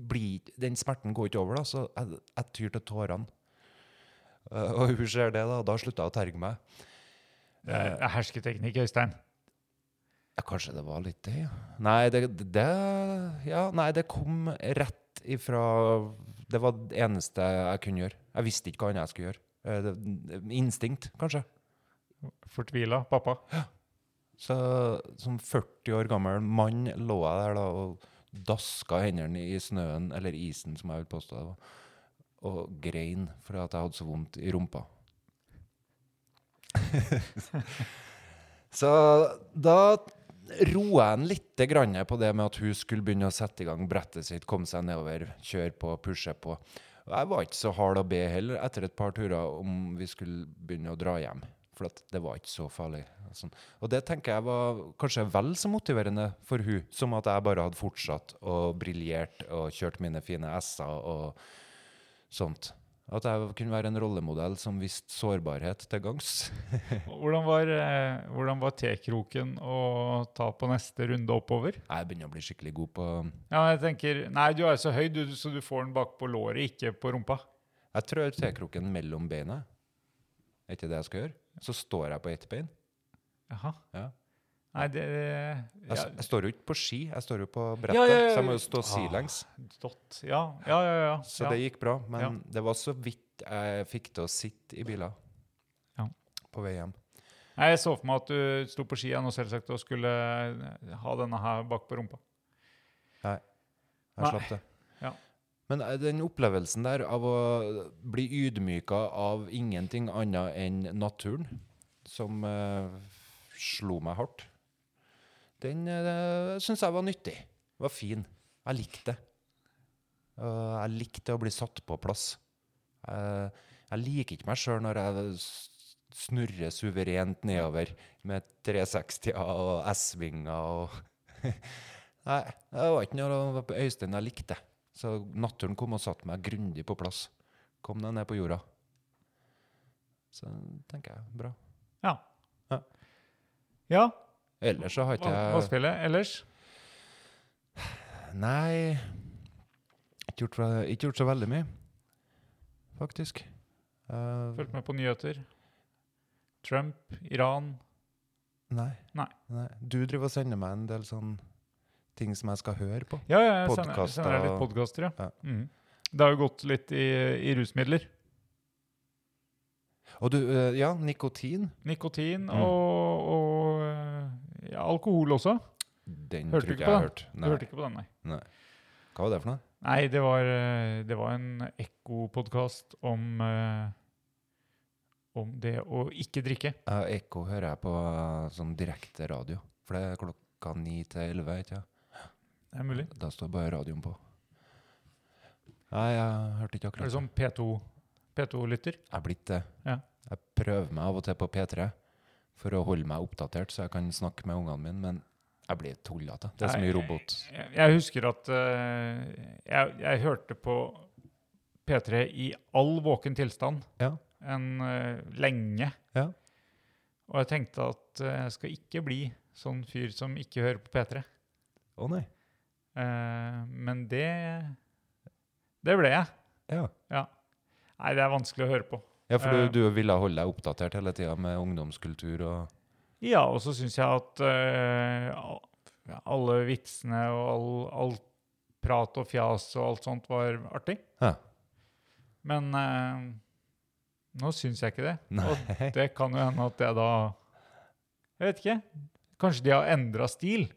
B: blir Den smerten går ikke over, da, så jeg, jeg tyr til tårene. Eh, og hun ser det, da, og da slutter jeg å terge meg.
D: Det er det er hersketeknikk, Øystein.
B: Ja, kanskje det var litt det, ja. Nei, det, det, ja, nei, det kom rett ifra Det var det eneste jeg kunne gjøre. Jeg visste ikke hva annet jeg skulle gjøre. Eh, Det, instinkt, kanskje.
D: Fortvila pappa.
B: Så som 40 år gammel mann lå jeg der da og daska hendene i snøen, eller isen, som jeg vil påstå det var, og grein fordi at jeg hadde så vondt i rumpa. så da roa jeg en lite grann på det med at hun skulle begynne å sette i gang brettet sitt, komme seg nedover, kjøre på, pushe på. Og jeg var ikke så hard å be heller etter et par turer om vi skulle begynne å dra hjem. For at det var ikke så farlig. Sånn. Og det tenker jeg var kanskje vel så motiverende for hun, som at jeg bare hadde fortsatt og briljert og kjørt mine fine S-er og sånt. At jeg kunne være en rollemodell som viste sårbarhet til gangs.
D: Hvordan var, eh, hvordan var tekroken å ta på neste runde oppover?
B: Jeg begynner å bli skikkelig god på
D: Ja, jeg tenker, Nei, du er så høy, du, så du får den bakpå låret, ikke på rumpa.
B: Jeg trør tekroken mellom beina. Er ikke det jeg skal gjøre? Så står jeg på ett bein.
D: Jaha.
B: Ja. Altså,
D: Nei, det
B: Jeg,
D: ja,
B: s- jeg står jo ikke på ski, jeg står jo på brettet,
D: Ja, ja, ja,
B: så jeg må
D: ja.
B: jo stå sidelengs.
D: Dott. Ja, ja, ja. ja,
B: Så
D: ja.
B: det gikk bra, men
D: Ja.
B: det var så vidt jeg fikk til å sitte i biler
D: Ja.
B: på vei hjem.
D: Nei, Jeg så for meg at du sto på skia nå selvsagt og skulle eh, ha denne her bak på rumpa.
B: Jeg
D: Nei.
B: slapp det.
D: Ja.
B: Men eh, den opplevelsen der av å bli ydmyka av ingenting annet enn naturen, som eh, slo meg hardt, den uh, syns jeg var nyttig. Var fin. Jeg likte det. Og jeg likte å bli satt på plass. Jeg- jeg liker ikke meg sjøl når jeg s- snurrer suverent nedover med 360-er og S-vinger og Nei, det var ikke noe det var på Øystein jeg likte. Så naturen kom og satte meg grundig på plass. Kom deg ned på jorda. Så tenker jeg, bra.
D: Ja.
B: Ja.
D: Ja,
B: Ellers så har
D: hva,
B: ikke
D: hva
B: jeg
D: spiller ellers?
B: Nei, ikke gjort, fra- ikke gjort så veldig mye, faktisk. Eh,
D: Fulgt med på nyheter. Trump, Iran.
B: nei.
D: Nei.
B: Du driver og sender meg en del sånn ting som jeg skal høre på.
D: Ja, ja, jeg sender,
B: Podkaster
D: sender deg litt
B: og-
D: podkaster, ja.
B: Ja.
D: Mhm. Det har jo gått litt i, i rusmidler.
B: Og du, eh, ja, nikotin.
D: Nikotin
B: Mm.
D: og, og eh, ja, alkohol også.
B: Den
D: Hørte
B: tror
D: du
B: ikke
D: ikke
B: jeg har
D: på
B: hørt.
D: Du hørte ikke på den, nei.
B: Hva var det for noe?
D: Nei, det var, eh, det var en ekkopodkast om eh, om det å ikke drikke.
B: Ja, Ekko hører jeg på eh, sånn direkte radio. For det er klokka ni til elleve, ikke sant?
D: Det er mulig.
B: Da står bare radioen på. Nei, jeg hørte ikke
D: Er
B: akkurat
D: det sånn P2 P2-lytter?
B: Jeg er blitt det.
D: Ja.
B: Jeg prøver meg av og til på P3 for å holde meg oppdatert, så jeg kan snakke med ungene mine, men jeg blir tullete. Det er så
D: Nei,
B: mye robot.
D: Jeg, jeg husker at eh, jeg, jeg hørte på P3 i all våken tilstand
B: Ja.
D: en, eh, lenge.
B: Ja.
D: Og jeg tenkte at eh, jeg skal ikke bli sånn fyr som ikke hører på P3.
B: Å nei.
D: Eh, men det Det ble jeg.
B: Ja.
D: Nei, det er vanskelig å høre på.
B: ja, for du,
D: Eh.
B: du ville holde deg oppdatert hele tida med ungdomskultur og
D: Ja, og så syns jeg at eh, al- ja, alle vitsene og all, alt prat og fjas og alt sånt var artig.
B: Ja.
D: Men eh, nå syns jeg ikke det. Og
B: Nei.
D: det kan jo hende at jeg da Jeg vet ikke. Kanskje de har endra stil?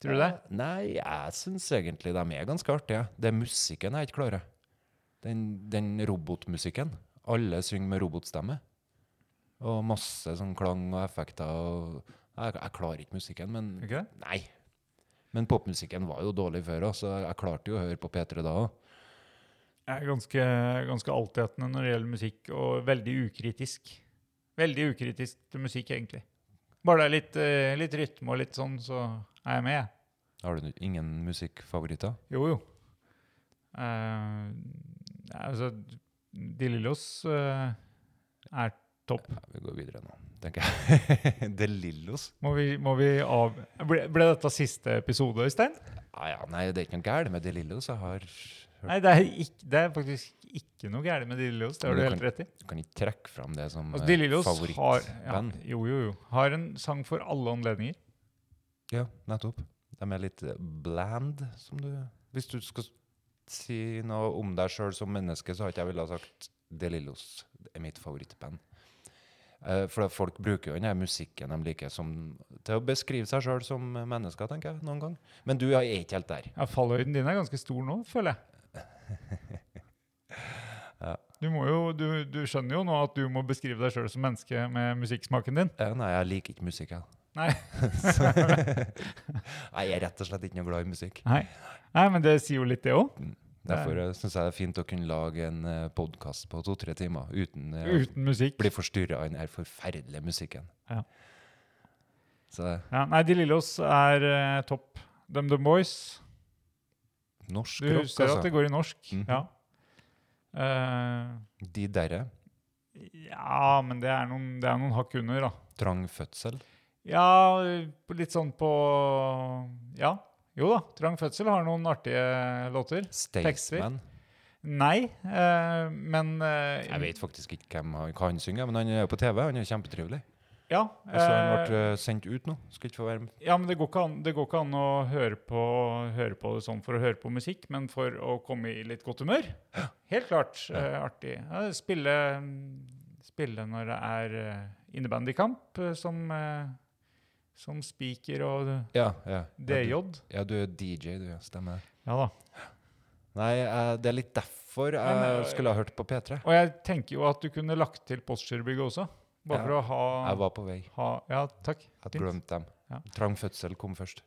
D: Tror du det?
B: Ja, Nei, jeg syns egentlig de er ganske artige. Det er musikken jeg ikke klarer. Den, den robotmusikken. Alle synger med robotstemme. Og masse sånn klang og effekter. Og jeg, jeg klarer ikke musikken, men
D: Ikke det?
B: Nei. Men popmusikken var jo dårlig før òg, så jeg klarte jo å høre på P3 da òg.
D: Jeg er ganske, ganske altetende når det gjelder musikk, og veldig ukritisk. Veldig ukritisk til musikk, egentlig. Bare det er litt, eh, litt rytme og litt sånn, så er jeg med, jeg.
B: Har du ingen musikkfavoritter?
D: Jo, jo. Eh, nei, altså, De Lillos eh, er topp.
B: Ja, vi går videre nå, tenker jeg. De Lillos?
D: Må vi, må vi av... Ble, ble dette siste episode, Øystein?
B: Ah, ja, nei, det er ikke noe galt med De Lillos. Jeg har hørt
D: Nei, det er, ikk- det er faktisk ikke noe gærent med De Lillos. Det har
B: Men
D: du
B: du
D: helt rett i.
B: Du kan ikke trekke fram det som
D: Altså,
B: eh,
D: de Lillos har, ja,
B: favorittband.
D: jo, jo, jo, har en sang for alle anledninger.
B: Ja, nettopp. De er litt eh, bland, som du Hvis du skal si noe om deg sjøl som menneske, så har ikke jeg ville ha sagt De Lillos er mitt favorittband. Eh, For at folk bruker jo den her musikken de liker, som, til å beskrive seg sjøl som mennesker, tenker jeg noen gang. Men du er ikke helt der.
D: Ja, Fallhøyden din er ganske stor nå, føler jeg. Du, må jo, du, du skjønner jo nå at du må beskrive deg sjøl som menneske med musikksmaken din.
B: Eh, Nei, jeg liker ikke musikk, jeg.
D: Nei.
B: Så- Nei, jeg er rett og slett ikke noe glad i musikk.
D: Nei, Nei men det sier jo litt, det òg.
B: Derfor syns jeg det er fint å kunne lage en podkast på to-tre timer uten eh, å
D: Uten musikk.
B: bli forstyrra av den her forferdelige musikken.
D: Ja.
B: Så
D: Ja, nei, De Lillos er eh, topp. DumDum Boys.
B: norsk
D: Du
B: rock,
D: ser at det
B: altså.
D: går i norsk.
B: Mhm.
D: Ja. Eh,
B: De derre.
D: ja, men det er, noen, det er noen hakk under, da.
B: Trang fødsel.
D: Ja, litt sånn på Ja. Jo da, Trang fødsel har noen artige låter.
B: Staysman.
D: Nei, eh, men eh,
B: Jeg vet faktisk ikke hvem han, hva han synger, men han er jo på TV. Han er kjempetrivelig.
D: Ja,
B: Og så har han
D: eh,
B: ble sendt ut nå. Skal ikke få være med.
D: ja men det går, ikke an, det går ikke an å høre på, høre på det sånn for å høre på musikk, men for å komme i litt godt humør. Helt klart eh, artig. Ja, spille, spille når det er eh, innebandykamp eh, som, eh, som speaker og
B: Ja, ja.
D: DJ.
B: Ja, du, ja, du er DJ, du. ja, Stemmer.
D: Ja da.
B: Nei, eh, det er litt derfor jeg
D: Men, eh,
B: skulle ha hørt på P3.
D: Og jeg tenker jo at du kunne lagt til Postgirobygget også,
B: Ja.
D: bare for å ha,
B: Jeg var på vei.
D: ha Ja, takk.
B: Jeg
D: Fint.
B: glemte dem.
D: Ja.
B: Trang fødsel kom først.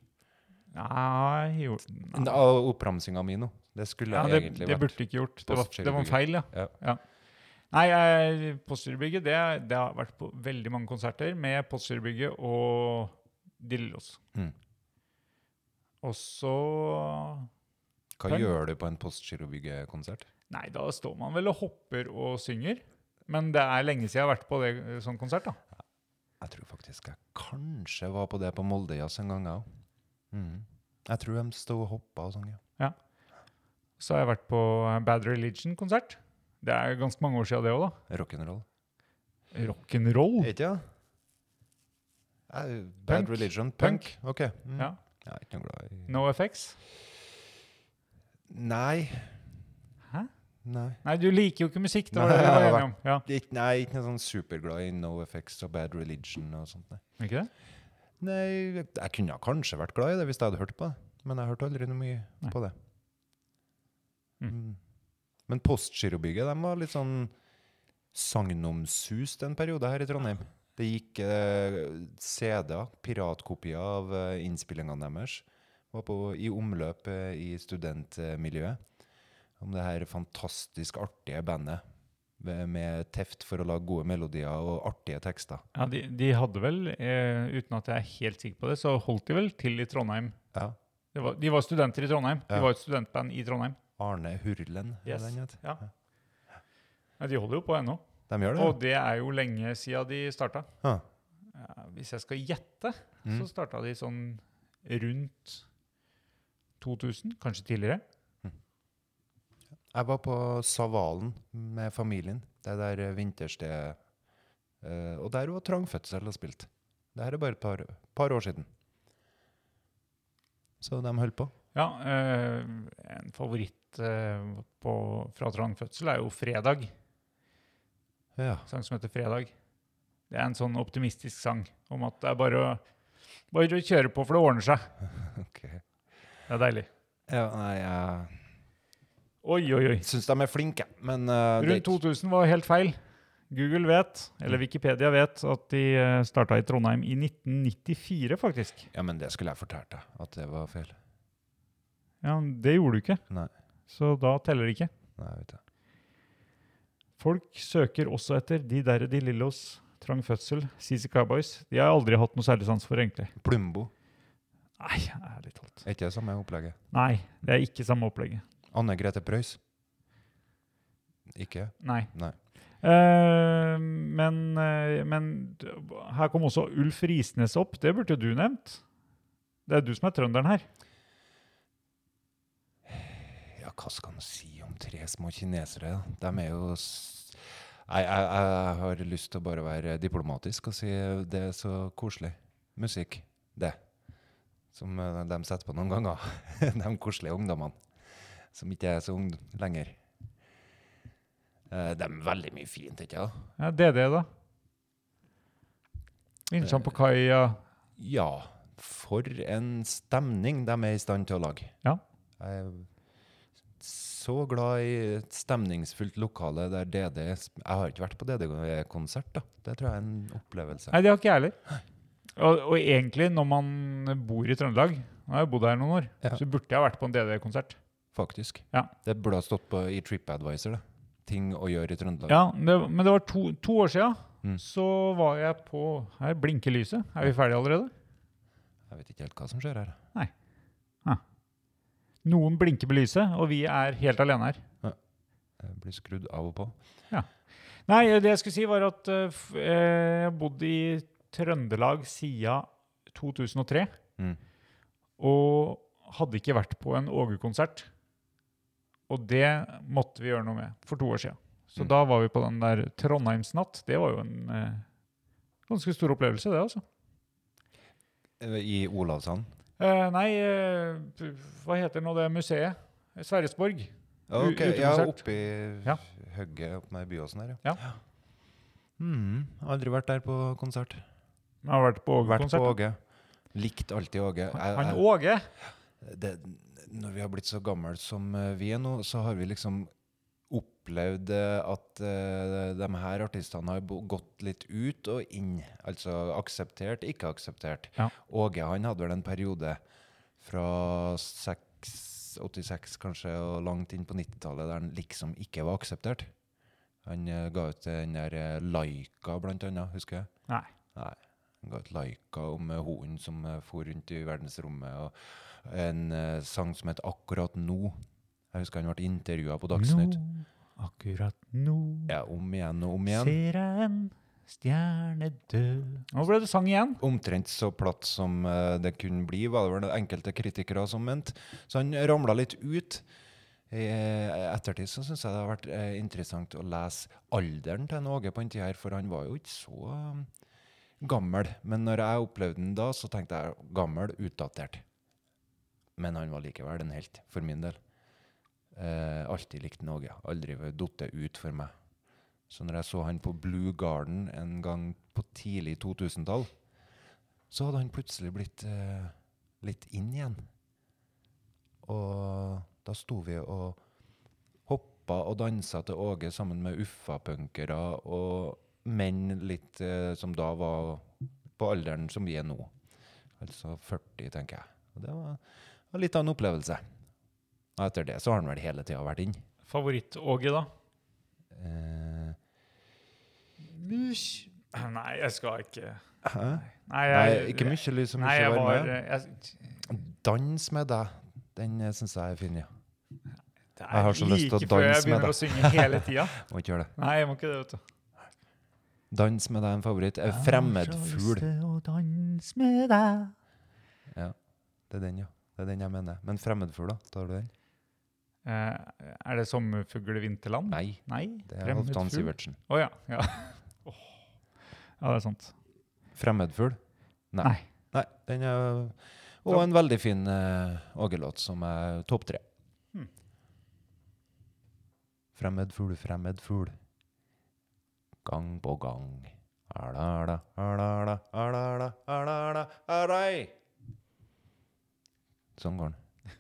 D: Nei, jo, nei.
B: Nei, og Oppramsinga mi nå. Det skulle
D: Ja,
B: jeg
D: det,
B: egentlig
D: det
B: vært.
D: burde du ikke gjort. Det var, det var en
B: Postgirobygget.
D: feil, ja.
B: Ja.
D: ja. Nei, jeg- Postgirobygget det, det har vært på veldig mange konserter med Postgirobygget og Dillos.
B: Mm.
D: Og så
B: Hva
D: Kan-
B: gjør du på en postgirobygge-konsert?
D: Nei, da står man vel og hopper og synger. Men det er lenge siden jeg har vært på det, sånn konsert. da.
B: Jeg tror faktisk jeg kanskje var på det på Moldejazz en gang, jeg òg. Mhm. Jeg tror de sto og hoppa og sang, ja.
D: Så har jeg vært på Bad Religion-konsert. Det er ganske mange år siden det òg, da.
B: Rock'n'roll.
D: Rock'n'roll.
B: Ikke det? Bad
D: Oh. Punk.
B: religion. Punk.
D: Punk.
B: OK. Mm.
D: Ja.
B: Jeg er ikke noe glad i
D: No effects.
B: Nei.
D: Hæ?
B: Nei.
D: Nei, du liker jo ikke musikk. Det var
B: Nei,
D: det vi var
B: jeg har
D: enige om. Ja.
B: Ikke, nei, ikke noe sånn superglad i No Effects og Bad Religion og sånt. Nei.
D: Ikke det?
B: Nei, jeg- jeg kunne ha kanskje vært glad i det hvis jeg hadde hørt på det. Men jeg hørte aldri noe mye
D: Nei.
B: på det.
D: Mm.
B: Mm. Men Postgirobygget de var litt sånn sagnomsust en periode her i Trondheim. Det gikk eh, CD-er, piratkopier av eh, innspillingene deres, var på, i omløp eh, i studentmiljøet. Om det her fantastisk artige bandet med, med teft for å lage gode melodier og artige tekster.
D: Ja, de, de hadde vel, eh, uten at jeg er helt sikker på det, så holdt de vel til i Trondheim.
B: Ja.
D: Det var, de var studenter i Trondheim.
B: Ja.
D: De var et studentband i Trondheim.
B: Arne Hurlen, er
D: Yes.
B: det den heter?
D: Ja. Ja, de holder jo på ennå.
B: De gjør det?
D: Og det er jo lenge siden de starta.
B: Ja.
D: Ja, hvis jeg skal gjette,
B: Mm.
D: så starta de sånn rundt 2000, kanskje tidligere.
B: Jeg var på Savalen med familien. Det der eh, vinterstedet. Eh, og der var Trangfødsel og spilt. Det her er bare et par, par år siden. Så de holdt på.
D: Ja, eh, en favoritt eh, på, fra Trangfødsel er jo Fredag.
B: Ja.
D: En sang som heter Fredag. Det er en sånn optimistisk sang om at det er bare å, bare å kjøre på, for det ordner seg.
B: ok.
D: Det er deilig.
B: Ja, nei, jeg
D: Oi, oi, oi.
B: syns de er flinke, men eh, det er
D: Rundt
B: ikke-
D: 2000 var helt feil. Google vet, eller Wikipedia vet, at de starta i Trondheim i 1994, faktisk.
B: Ja, men det skulle jeg fortalt deg, at det var feil.
D: Ja, men Det gjorde du ikke,
B: Nei.
D: så da teller det ikke.
B: Nei, jeg vet det.
D: Folk søker også etter De Derre De Lillos, Trang Fødsel, CC Cowboys. De har jeg aldri hatt noe særlig sans for, egentlig.
B: Plumbo.
D: Nei, ærlig talt.
B: Er ikke det samme opplegget?
D: Nei, det er ikke samme opplegget.
B: Anne Grete Preus? Ikke?
D: Nei.
B: Nei.
D: Eh, men, eh, men d- her kom også Ulf Risnes opp. Det burde jo du nevnt. Det er du som er trønderen her.
B: Ja, hva skal man si om tre små kinesere? da? De er jo s- Nei, jeg, jeg har lyst til å bare være diplomatisk og si det er så koselig. Musikk. Det. Som eh, de setter på noen ganger. de koselige ungdommene. Som ikke er så ung lenger. Eh, Det er veldig mye fint, ikke sant?
D: Ja, DD, da. Vinsjan på kaia.
B: Ja, for en stemning de er i stand til å lage.
D: Ja.
B: Jeg er så glad i et stemningsfullt lokale der DD sp- Jeg har ikke vært på DD-konsert, da. Det tror jeg er en opplevelse.
D: Nei, det har ikke jeg heller. Og, og egentlig, når man bor i Trøndelag Nå har jeg bodd her noen år,
B: Ja.
D: så burde jeg vært på en DD-konsert.
B: Faktisk.
D: Ja.
B: Det burde ha stått på i TripAdvisor, det. Ting å gjøre i Trøndelag.
D: Ja, men det, men det var to, to år siden.
B: Mm.
D: Så var jeg på Her blinker lyset. Er vi ferdige allerede?
B: Jeg vet ikke helt hva som skjer her.
D: Noen blinker med lyset, og vi er helt alene her.
B: Jeg blir skrudd av og på.
D: Nei, det jeg skulle si var at eh, f- eh, jeg bodde i Trøndelag siden 2003,
B: Mm.
D: og hadde ikke vært på en Åge-konsert. Og det måtte vi gjøre noe med for to år siden. Så
B: Mm.
D: da var vi på den der Trondheimsnatt. Det var jo en eh, ganske stor opplevelse, det altså.
B: Eh, I Olavshallen.
D: Eh, nei, eh, p- hva heter nå det museet? Sverresborg.
B: Ja,
D: U-
B: ok. Ja,
D: utekonsert.
B: oppi
D: Ja.
B: høgget oppe med Byåsen her,
D: Ja.
B: Mm, aldri vært der på konsert.
D: Jeg har vært på
B: Vært på
D: Åge-konsert.
B: Åge. Likt alltid Åge. Jeg-
D: Han
B: jeg-
D: Åge?
B: det, når vi har blitt så gamle som eh, vi er nå, så har vi liksom opplevd eh, at eh, de her artistene har bo- gått litt ut og inn. Altså akseptert, ikke akseptert.
D: Ja.
B: Åge han hadde vel en periode fra 6, 86 kanskje og langt inn på 90-tallet der han liksom ikke var akseptert. Han eh, ga ut den der eh, Laika, blant annet, husker jeg.
D: Nei.
B: Nei. Han ga ut Laika om eh, hunden som eh, for rundt i verdensrommet, og en eh, sang som het Akkurat nå. Jeg husker han ble intervjua på Dagsnytt.
D: Nå, akkurat nå,
B: Ja, om igjen og om igjen.
D: ser jeg en stjerne dø. Nå ble det sang igjen.
B: Omtrent så platt som eh, det kunne bli, var det vel enkelte kritikere som mente. Så han ramla litt ut. I eh, ettertid så syns jeg det har vært eh, interessant å lese alderen til en Åge på den tida her, for han var jo ikke så eh, gammel. Men når jeg opplevde den da, så tenkte jeg gammel, utdatert. Men han var likevel en helt, for min del. Eh, alltid likte han Åge. Aldri datt ut for meg. Så når jeg så han på Blue Garden en gang på tidlig 2000-tall, så hadde han plutselig blitt eh, litt inn igjen. Og da sto vi og hoppa og dansa til Åge sammen med Uffa-punkere og menn litt eh, som da var på alderen som vi er nå. Altså 40, tenker jeg. Og det var, var litt av en opplevelse. Og etter det så har han vel hele tida vært inn.
D: Favoritt-Åge, da?
B: Eh,
D: Nei, jeg skal ikke
B: hæ?
D: Nei,
B: Nei, ikke mye lys og
D: Nei,
B: mye
D: jeg var eh,
B: varme.
D: jeg,
B: Dans med deg, den syns jeg er fin, ja.
D: Det
B: Jeg har så lyst til å
D: like før
B: danse
D: jeg
B: med
D: begynner
B: deg.
D: å synge hele tida.
B: Må ikke gjøre det.
D: Nei, jeg må ikke det, vet du.
B: Dans med deg er en favoritt. Eh, Fremmedfugl. Ja, det er den, ja. Det er den jeg mener. Men fremmedfugl, da? Tar du den?
D: Eh, er det sommerfugl i vinterland?
B: Nei.
D: Nei?
B: Det er Halvdan
D: Mm. fremmedfugl?
B: Sivertsen.
D: Å ja. Ja. Åh. ja, det er sant.
B: Fremmedfugl? Nei.
D: Nei.
B: Nei, den er Og en veldig fin eh, Åge-låt som er topp tre.
D: Hmm.
B: Fremmed fugl, fremmed fugl. Gang på gang. Ala-ala, ala-ala, ala-ala, ala-ala, alai. Sånn går den.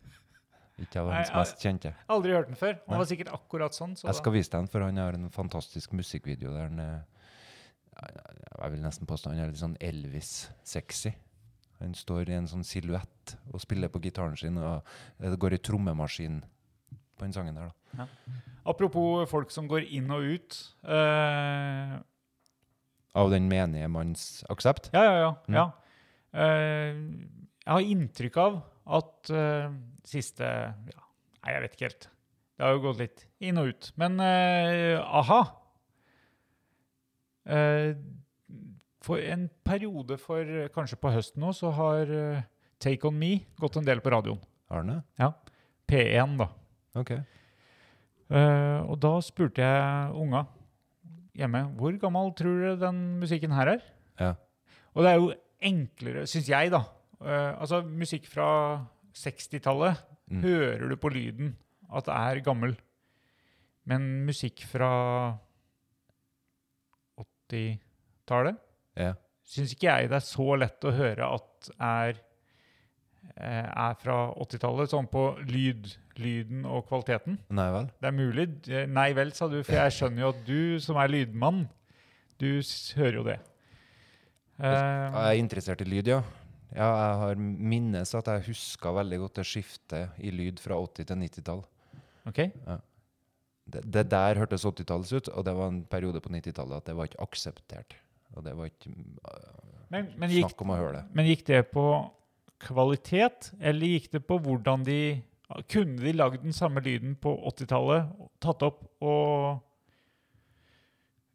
B: Ikke av
D: Nei,
B: hans
D: jeg-
B: mest kjente.
D: Aldri hørt den før.
B: Nei.
D: Han var sikkert akkurat sånn. Så
B: Jeg skal vise deg den, for han har en fantastisk musikkvideo der han eh, Jeg vil nesten påstå han er litt sånn Elvis-sexy. Han står i en sånn silhuett og spiller på gitaren sin, og eh, det går i trommemaskin på den sangen der, da.
D: Apropos folk som går inn og ut. Eh,
B: Av den menige manns aksept.
D: Ja, ja, ja.
B: Mm.
D: ja. Eh, jeg har inntrykk av at eh, siste ja, Nei, jeg vet ikke helt. Det har jo gått litt inn og ut. Men eh, a-ha Eh, For en periode for eh, kanskje på høsten nå, så har eh, Take On Me gått en del på radioen.
B: Arne?
D: P1, da.
B: OK.
D: Eh, og da spurte jeg unga hjemme hvor gammel tror dere den musikken her er?
B: Ja.
D: Og det er jo enklere, syns jeg, da. Eh, altså, musikk fra 60-tallet
B: Mm.
D: hører du på lyden at det er gammel. Men musikk fra 80-tallet
B: Ja.
D: syns ikke jeg det er så lett å høre at er eh, er fra 80-tallet, sånn på lyd, lyden og kvaliteten.
B: Nei vel?
D: Det er mulig. Eh, Nei vel, sa du, for jeg skjønner jo at du som er lydmann, du s- hører jo det.
B: Jeg
D: Eh,
B: er interessert i lyd, ja. Ja, jeg har minnes at jeg huska veldig godt det skiftet i lyd fra 80- til 90-tall.
D: ok.
B: det, det der hørtes 80-tallet ut, og det var en periode på 90-tallet at det var ikke akseptert. Og det var ikke øh,
D: Men, men, gikk,
B: snakk om å høre det.
D: men gikk det på kvalitet, eller gikk det på hvordan de Kunne de lagd den samme lyden på 80-tallet, tatt opp og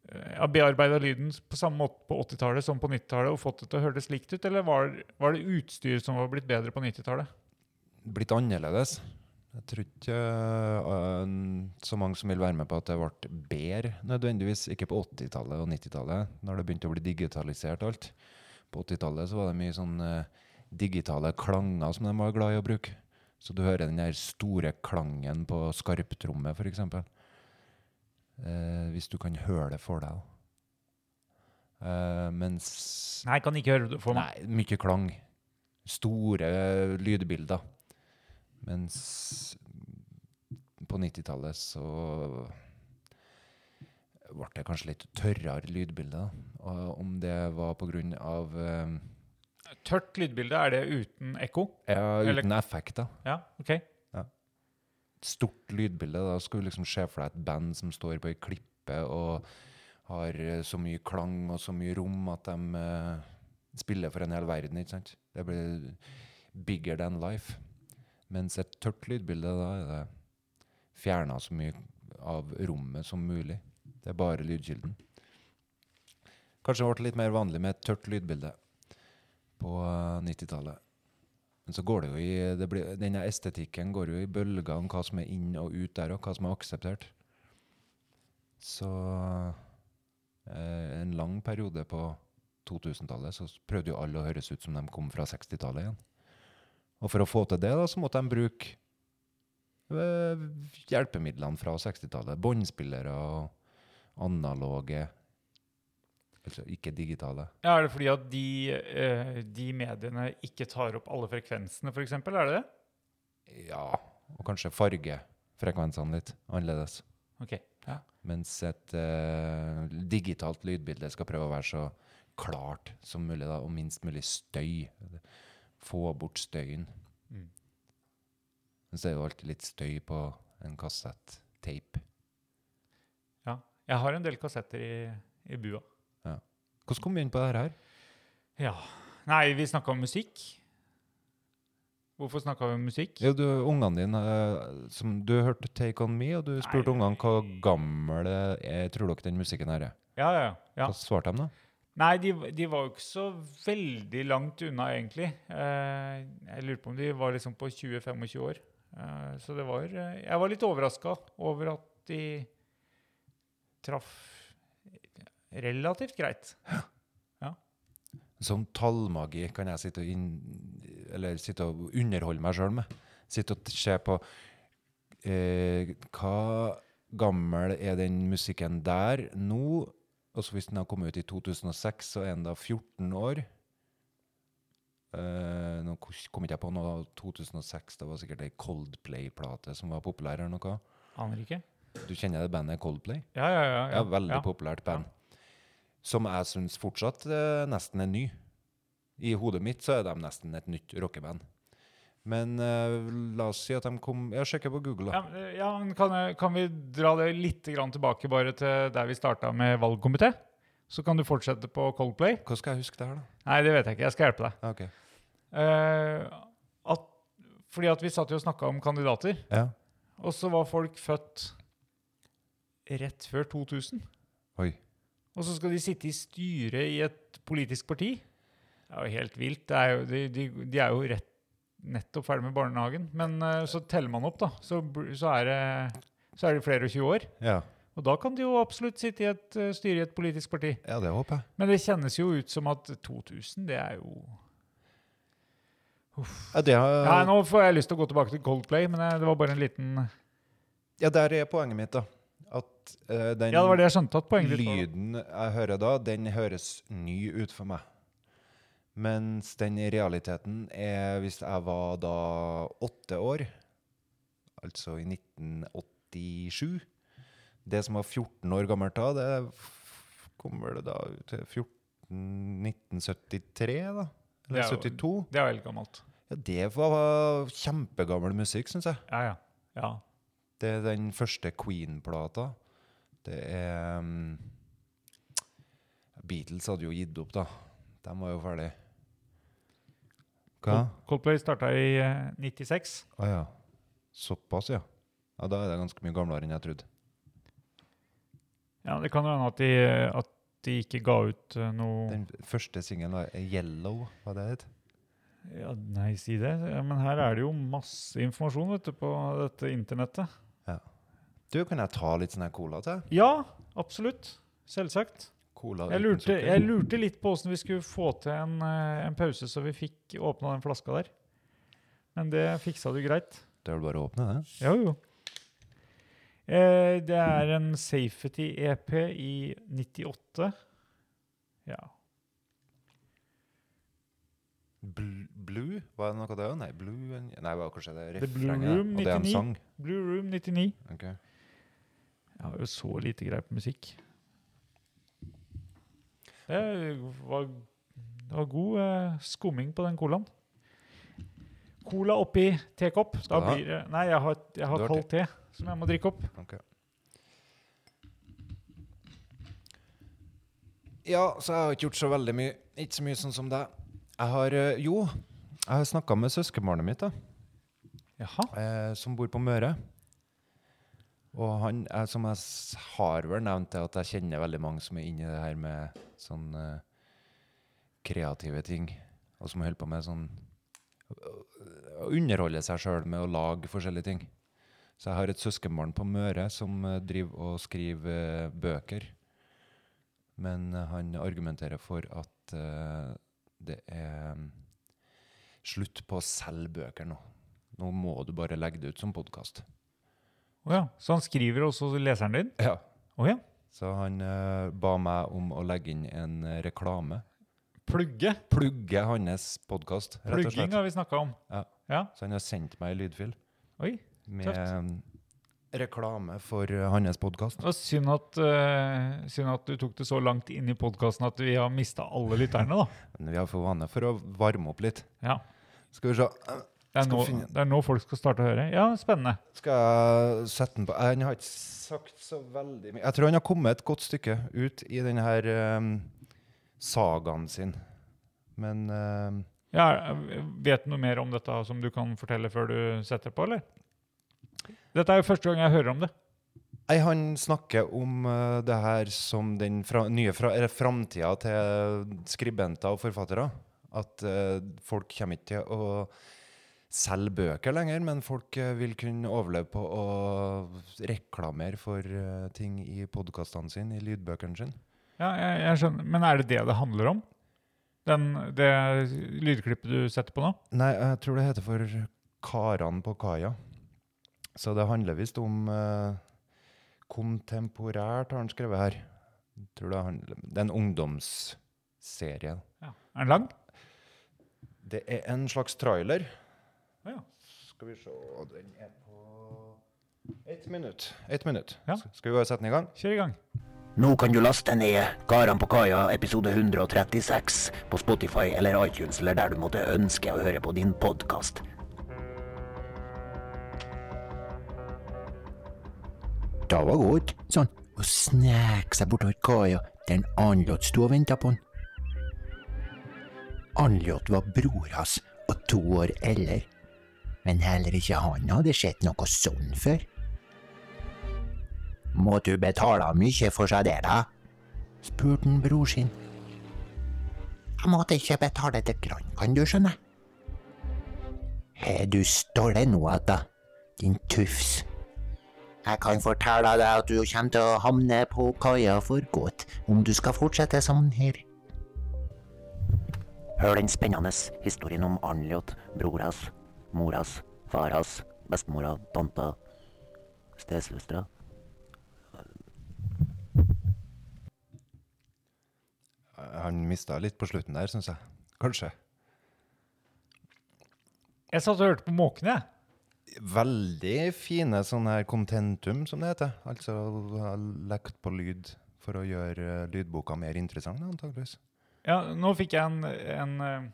D: eh, ja, bearbeida lyden på samme måte på 80-tallet som på 90-tallet og fått det til å høres likt ut, eller var, var det utstyr som var blitt bedre på 90-tallet?
B: Blitt annerledes. Jeg tror ikke øh, så mange som vil være med på at det ble bedre nødvendigvis. Ikke på 80-tallet og 90-tallet, når det begynte å bli digitalisert alt. På 80-tallet så var det mye sånn øh, digitale klanger som de var glad i å bruke. Så du hører den der store klangen på skarptrommet, f.eks. Eh, hvis du kan høre det for deg. da. Eh, mens
D: Nei, kan ikke høre det for meg.
B: Nei, mye klang. Store eh, lydbilder. Mens på 90-tallet så ble det kanskje litt tørrere lydbilder. da. Og om det var pga. eh,
D: Tørt lydbilde, er det uten ekko?
B: Ja,
D: Eller-
B: uten effekter.
D: Ja, ok.
B: Stort lydbilde. Da skal du liksom se for deg et band som står på ei klippe og har eh, så mye klang og så mye rom at de eh, spiller for en hel verden, ikke sant? Det blir bigger than life. Mens et tørt lydbilde, da er det fjerna så mye av rommet som mulig. Det er bare lydkilden. Kanskje det ble litt mer vanlig med et tørt lydbilde på eh, 90-tallet. Men så går det jo i det blir, Denne estetikken går jo i bølger om hva som er inn og ut der, og hva som er akseptert. Så eh, en lang periode på 2000-tallet så prøvde jo alle å høres ut som de kom fra 60-tallet igjen. Og for å få til det, da, så måtte de bruke eh, hjelpemidlene fra 60-tallet. Båndspillere og analoge Altså ikke digitale.
D: Ja, Er det fordi at de, eh, de mediene ikke tar opp alle frekvensene, f.eks.? Er det det?
B: Ja, og kanskje fargefrekvensene litt annerledes.
D: Ok.
B: Mens et eh, digitalt lydbilde skal prøve å være så klart som mulig, da, og minst mulig støy. Få bort støyen.
D: Mm.
B: Men så er det jo alltid litt støy på en kassett-tape.
D: Ja. Jeg har en del kassetter i, i bua.
B: Hvordan kom vi inn på det her?
D: Ja. Nei, vi snakka om musikk. Hvorfor snakka vi om musikk?
B: Ja, du, ungene dine, eh, som du hørte 'Take On Me', og du spurte
D: Nei.
B: ungene hva gamle er, tror dere den musikken her er.
D: Ja, ja, ja.
B: Hva svarte de da?
D: Nei, de, de var jo ikke så veldig langt unna, egentlig. Eh, jeg lurer på om de var liksom på 20-25 år. Eh, så det var eh, Jeg var litt overraska over at de traff relativt greit.
B: Sånn tallmagi kan jeg sitte og, inn, eller sitte og underholde meg sjøl med. Sitte og t- se på eh, Hva gammel er den musikken der nå? Og så hvis den har kommet ut i 2006, så er den da 14 år. Eh, nå kos- kom ikke jeg på noe. 2006 det var sikkert ei Coldplay-plate som var populær. eller noe.
D: Aner ikke.
B: Du kjenner det bandet Coldplay?
D: Ja, ja, ja.
B: Ja, veldig
D: ja.
B: populært band. Som jeg syns fortsatt eh, nesten er ny. I hodet mitt så er de nesten et nytt rockeband. Men eh, la oss si at de kom Jeg sjekker på Google,
D: Ja,
B: da.
D: men, eh, ja, men kan, jeg- kan vi dra det litt grann tilbake bare til der vi starta med valgkomité? Så kan du fortsette på Coldplay.
B: Hva skal jeg huske det her, da?
D: Nei, det vet jeg ikke. Jeg skal hjelpe deg.
B: Ja, ok.
D: Eh, at, fordi at vi satt jo og snakka om kandidater,
B: Ja.
D: og så var folk født rett før 2000.
B: Oi.
D: Og så skal de sitte i styret i et politisk parti. Det er jo helt vilt. Det er jo, de, de, de er jo rett, nettopp ferdig med barnehagen. Men eh, så teller man opp, da. Så, bl- så, er, det, så er de flere og 20 år.
B: Ja.
D: Og da kan de jo absolutt sitte i et eh, styre i et politisk parti.
B: ja, det håper jeg.
D: Men det kjennes jo ut som at 2000, det er jo
B: Ja, det har,
D: Ja, nå får jeg lyst til å gå tilbake til Coldplay, men eh, det var bare en liten
B: ja, der er poenget mitt, da. At eh, den
D: Ja, det var det jeg skjønte at poenget ditt var.
B: lyden jeg hører da, den høres ny ut for meg. Mens den i realiteten er hvis jeg var da åtte år, altså i 1987 Det som var 14 år gammelt da, det f- kommer det da ut til 14, 1973, da?
D: Det
B: Eller
D: er jo-
B: 72?
D: Det er jo helt gammelt.
B: Ja, det var kjempegammel musikk, syns jeg.
D: Ja, ja. ja.
B: Det er den første Queen-plata. Det er mm, Beatles hadde jo gitt opp, da. De var jo ferdig. Hva?
D: Cold- Coldplay starta i eh, 96.
B: Å ja. Såpass, ja. Ja, Da er det ganske mye gamlere enn jeg trodde.
D: Ja, det kan jo hende at de, at de ikke ga ut eh, noe
B: Den første singelen var 'Yellow'. Hva det het
D: ja, Nei, si det. Ja, Men her er det jo masse informasjon vet du, på dette internettet.
B: Du, kan jeg ta litt sånn her cola til?
D: Ja, absolutt. Selvsagt.
B: Cola
D: Jeg
B: uten
D: lurte,
B: sukker.
D: jeg lurte litt på åssen vi skulle få til en, eh, en pause, så vi fikk åpna den flaska der. Men det fiksa du greit.
B: Det er vel bare å åpne, det?
D: Jo, jo. Eh, det er en Safety-EP i 98. Ja.
B: Bl blue? Var det noe av det òg? Nei, Blue and- Nei, det var kanskje det
D: The Blue
B: refrenget,
D: Room,
B: Og det er en
D: 99.
B: sang.
D: Blue Room 99.
B: Ok.
D: Jeg har jo så lite greie på musikk. Det var, det var god eh, skumming på den colaen. Cola oppi tekopp. Da
B: Skal du ha?
D: blir det Nei, jeg har, jeg
B: Du
D: har
B: har
D: kald te som jeg må drikke opp.
B: Ja, så jeg har ikke gjort så veldig mye. Ikke så mye sånn som deg. Jeg har eh, Jo, jeg har snakka med søskenbarnet mitt, da,
D: Jaha.
B: eh, som bor på Møre. Og han er, som jeg s- har vel nevnt, det at jeg kjenner veldig mange som er inni det her med sånn eh, kreative ting, og som holder på med sånn Å underholde seg sjøl med å lage forskjellige ting. Så jeg har et søskenbarn på Møre som eh, driver og skriver eh, bøker. Men eh, han argumenterer for at eh, det er mm, slutt på å selge bøker nå. Nå må du bare legge det ut som podkast.
D: Å ja. Så han skriver også leseren din?
B: Ja.
D: Å ja.
B: Så han eh, ba meg om å legge inn en eh, reklame.
D: Plugge.
B: Plugge hans podkast, rett og
D: Plugging
B: slett.
D: har vi snakka om.
B: Ja.
D: ja.
B: Så han har sendt meg en lydfil
D: Oi.
B: med reklame for eh, hans podkast.
D: Det var synd at, eh, synd at du tok det så langt inn i podkasten at vi har mista alle lytterne, da.
B: Vi har for vane for å varme opp litt.
D: Ja.
B: Skal vi se
D: Det er,
B: Skal
D: nå,
B: finne-
D: det er nå folk skal starte å høre. Ja, spennende.
B: Skal jeg sette den på Eh, Han har ikke sagt så veldig mye. Jeg tror han har kommet et godt stykke ut i denne her eh, sagaen sin. Men eh,
D: Ja, er- vet du noe mer om dette som du kan fortelle før du setter på, eller? Dette er jo første gang jeg hører om det.
B: Nei, han snakker om eh, det her som den fra, nye fra, eller framtida til skribenter og forfattere. At eh, folk kommer ikke til å selge bøker lenger, men folk eh, vil kunne overleve på å reklamere for eh, ting i podkastene sine, i lydbøkene sine.
D: Ja, jeg, jeg skjønner. Men er det det det handler om? Den, det lydklippet du setter på nå?
B: Nei, jeg tror det heter for Karan på kaia. Så det handler visst om eh, Kontemporært har han skrevet her. Jeg Tror det, handler, det er en ungdomsserie.
D: Ja. Er den lang?
B: Det er en slags trailer.
D: Å ja.
B: Skal vi se Den er på ett minutt. Ett minutt.
D: Ja.
B: S- Skal vi bare sette den i gang?
D: Kjør i gang.
E: Nå kan du laste ned Karan på kaia episode 136 på Spotify eller iTunes eller der du måtte ønske å høre på din podkast. Det var godt, sånn, å sneke seg bortover kaia der en annen lott sto og venta på han. Anlot var bror hans og to år eldre, men heller ikke han hadde sett noe sånn før. Må du betale mye for seg det, da? spurte han bror sin. Jeg måtte ikke betale til grann, kan du skjønne. Har du stålet noe, da, din tufs? Jeg kan fortelle deg at du kommer til å havne på kaia for godt om du skal fortsette sånn her. Hør den spennende historien om Arnljot, bror hans, mor hans, far hans, bestemora, tanta, stesøstera.
B: Han mista litt på slutten der, syns jeg. Kanskje.
D: Jeg satt og hørte på måkene, jeg.
B: Veldig fine sånne her contentum, som det heter. Altså ha lekt på lyd for å gjøre eh, lydboka mer interessant, antakeligvis.
D: Ja, nå fikk jeg en, en eh,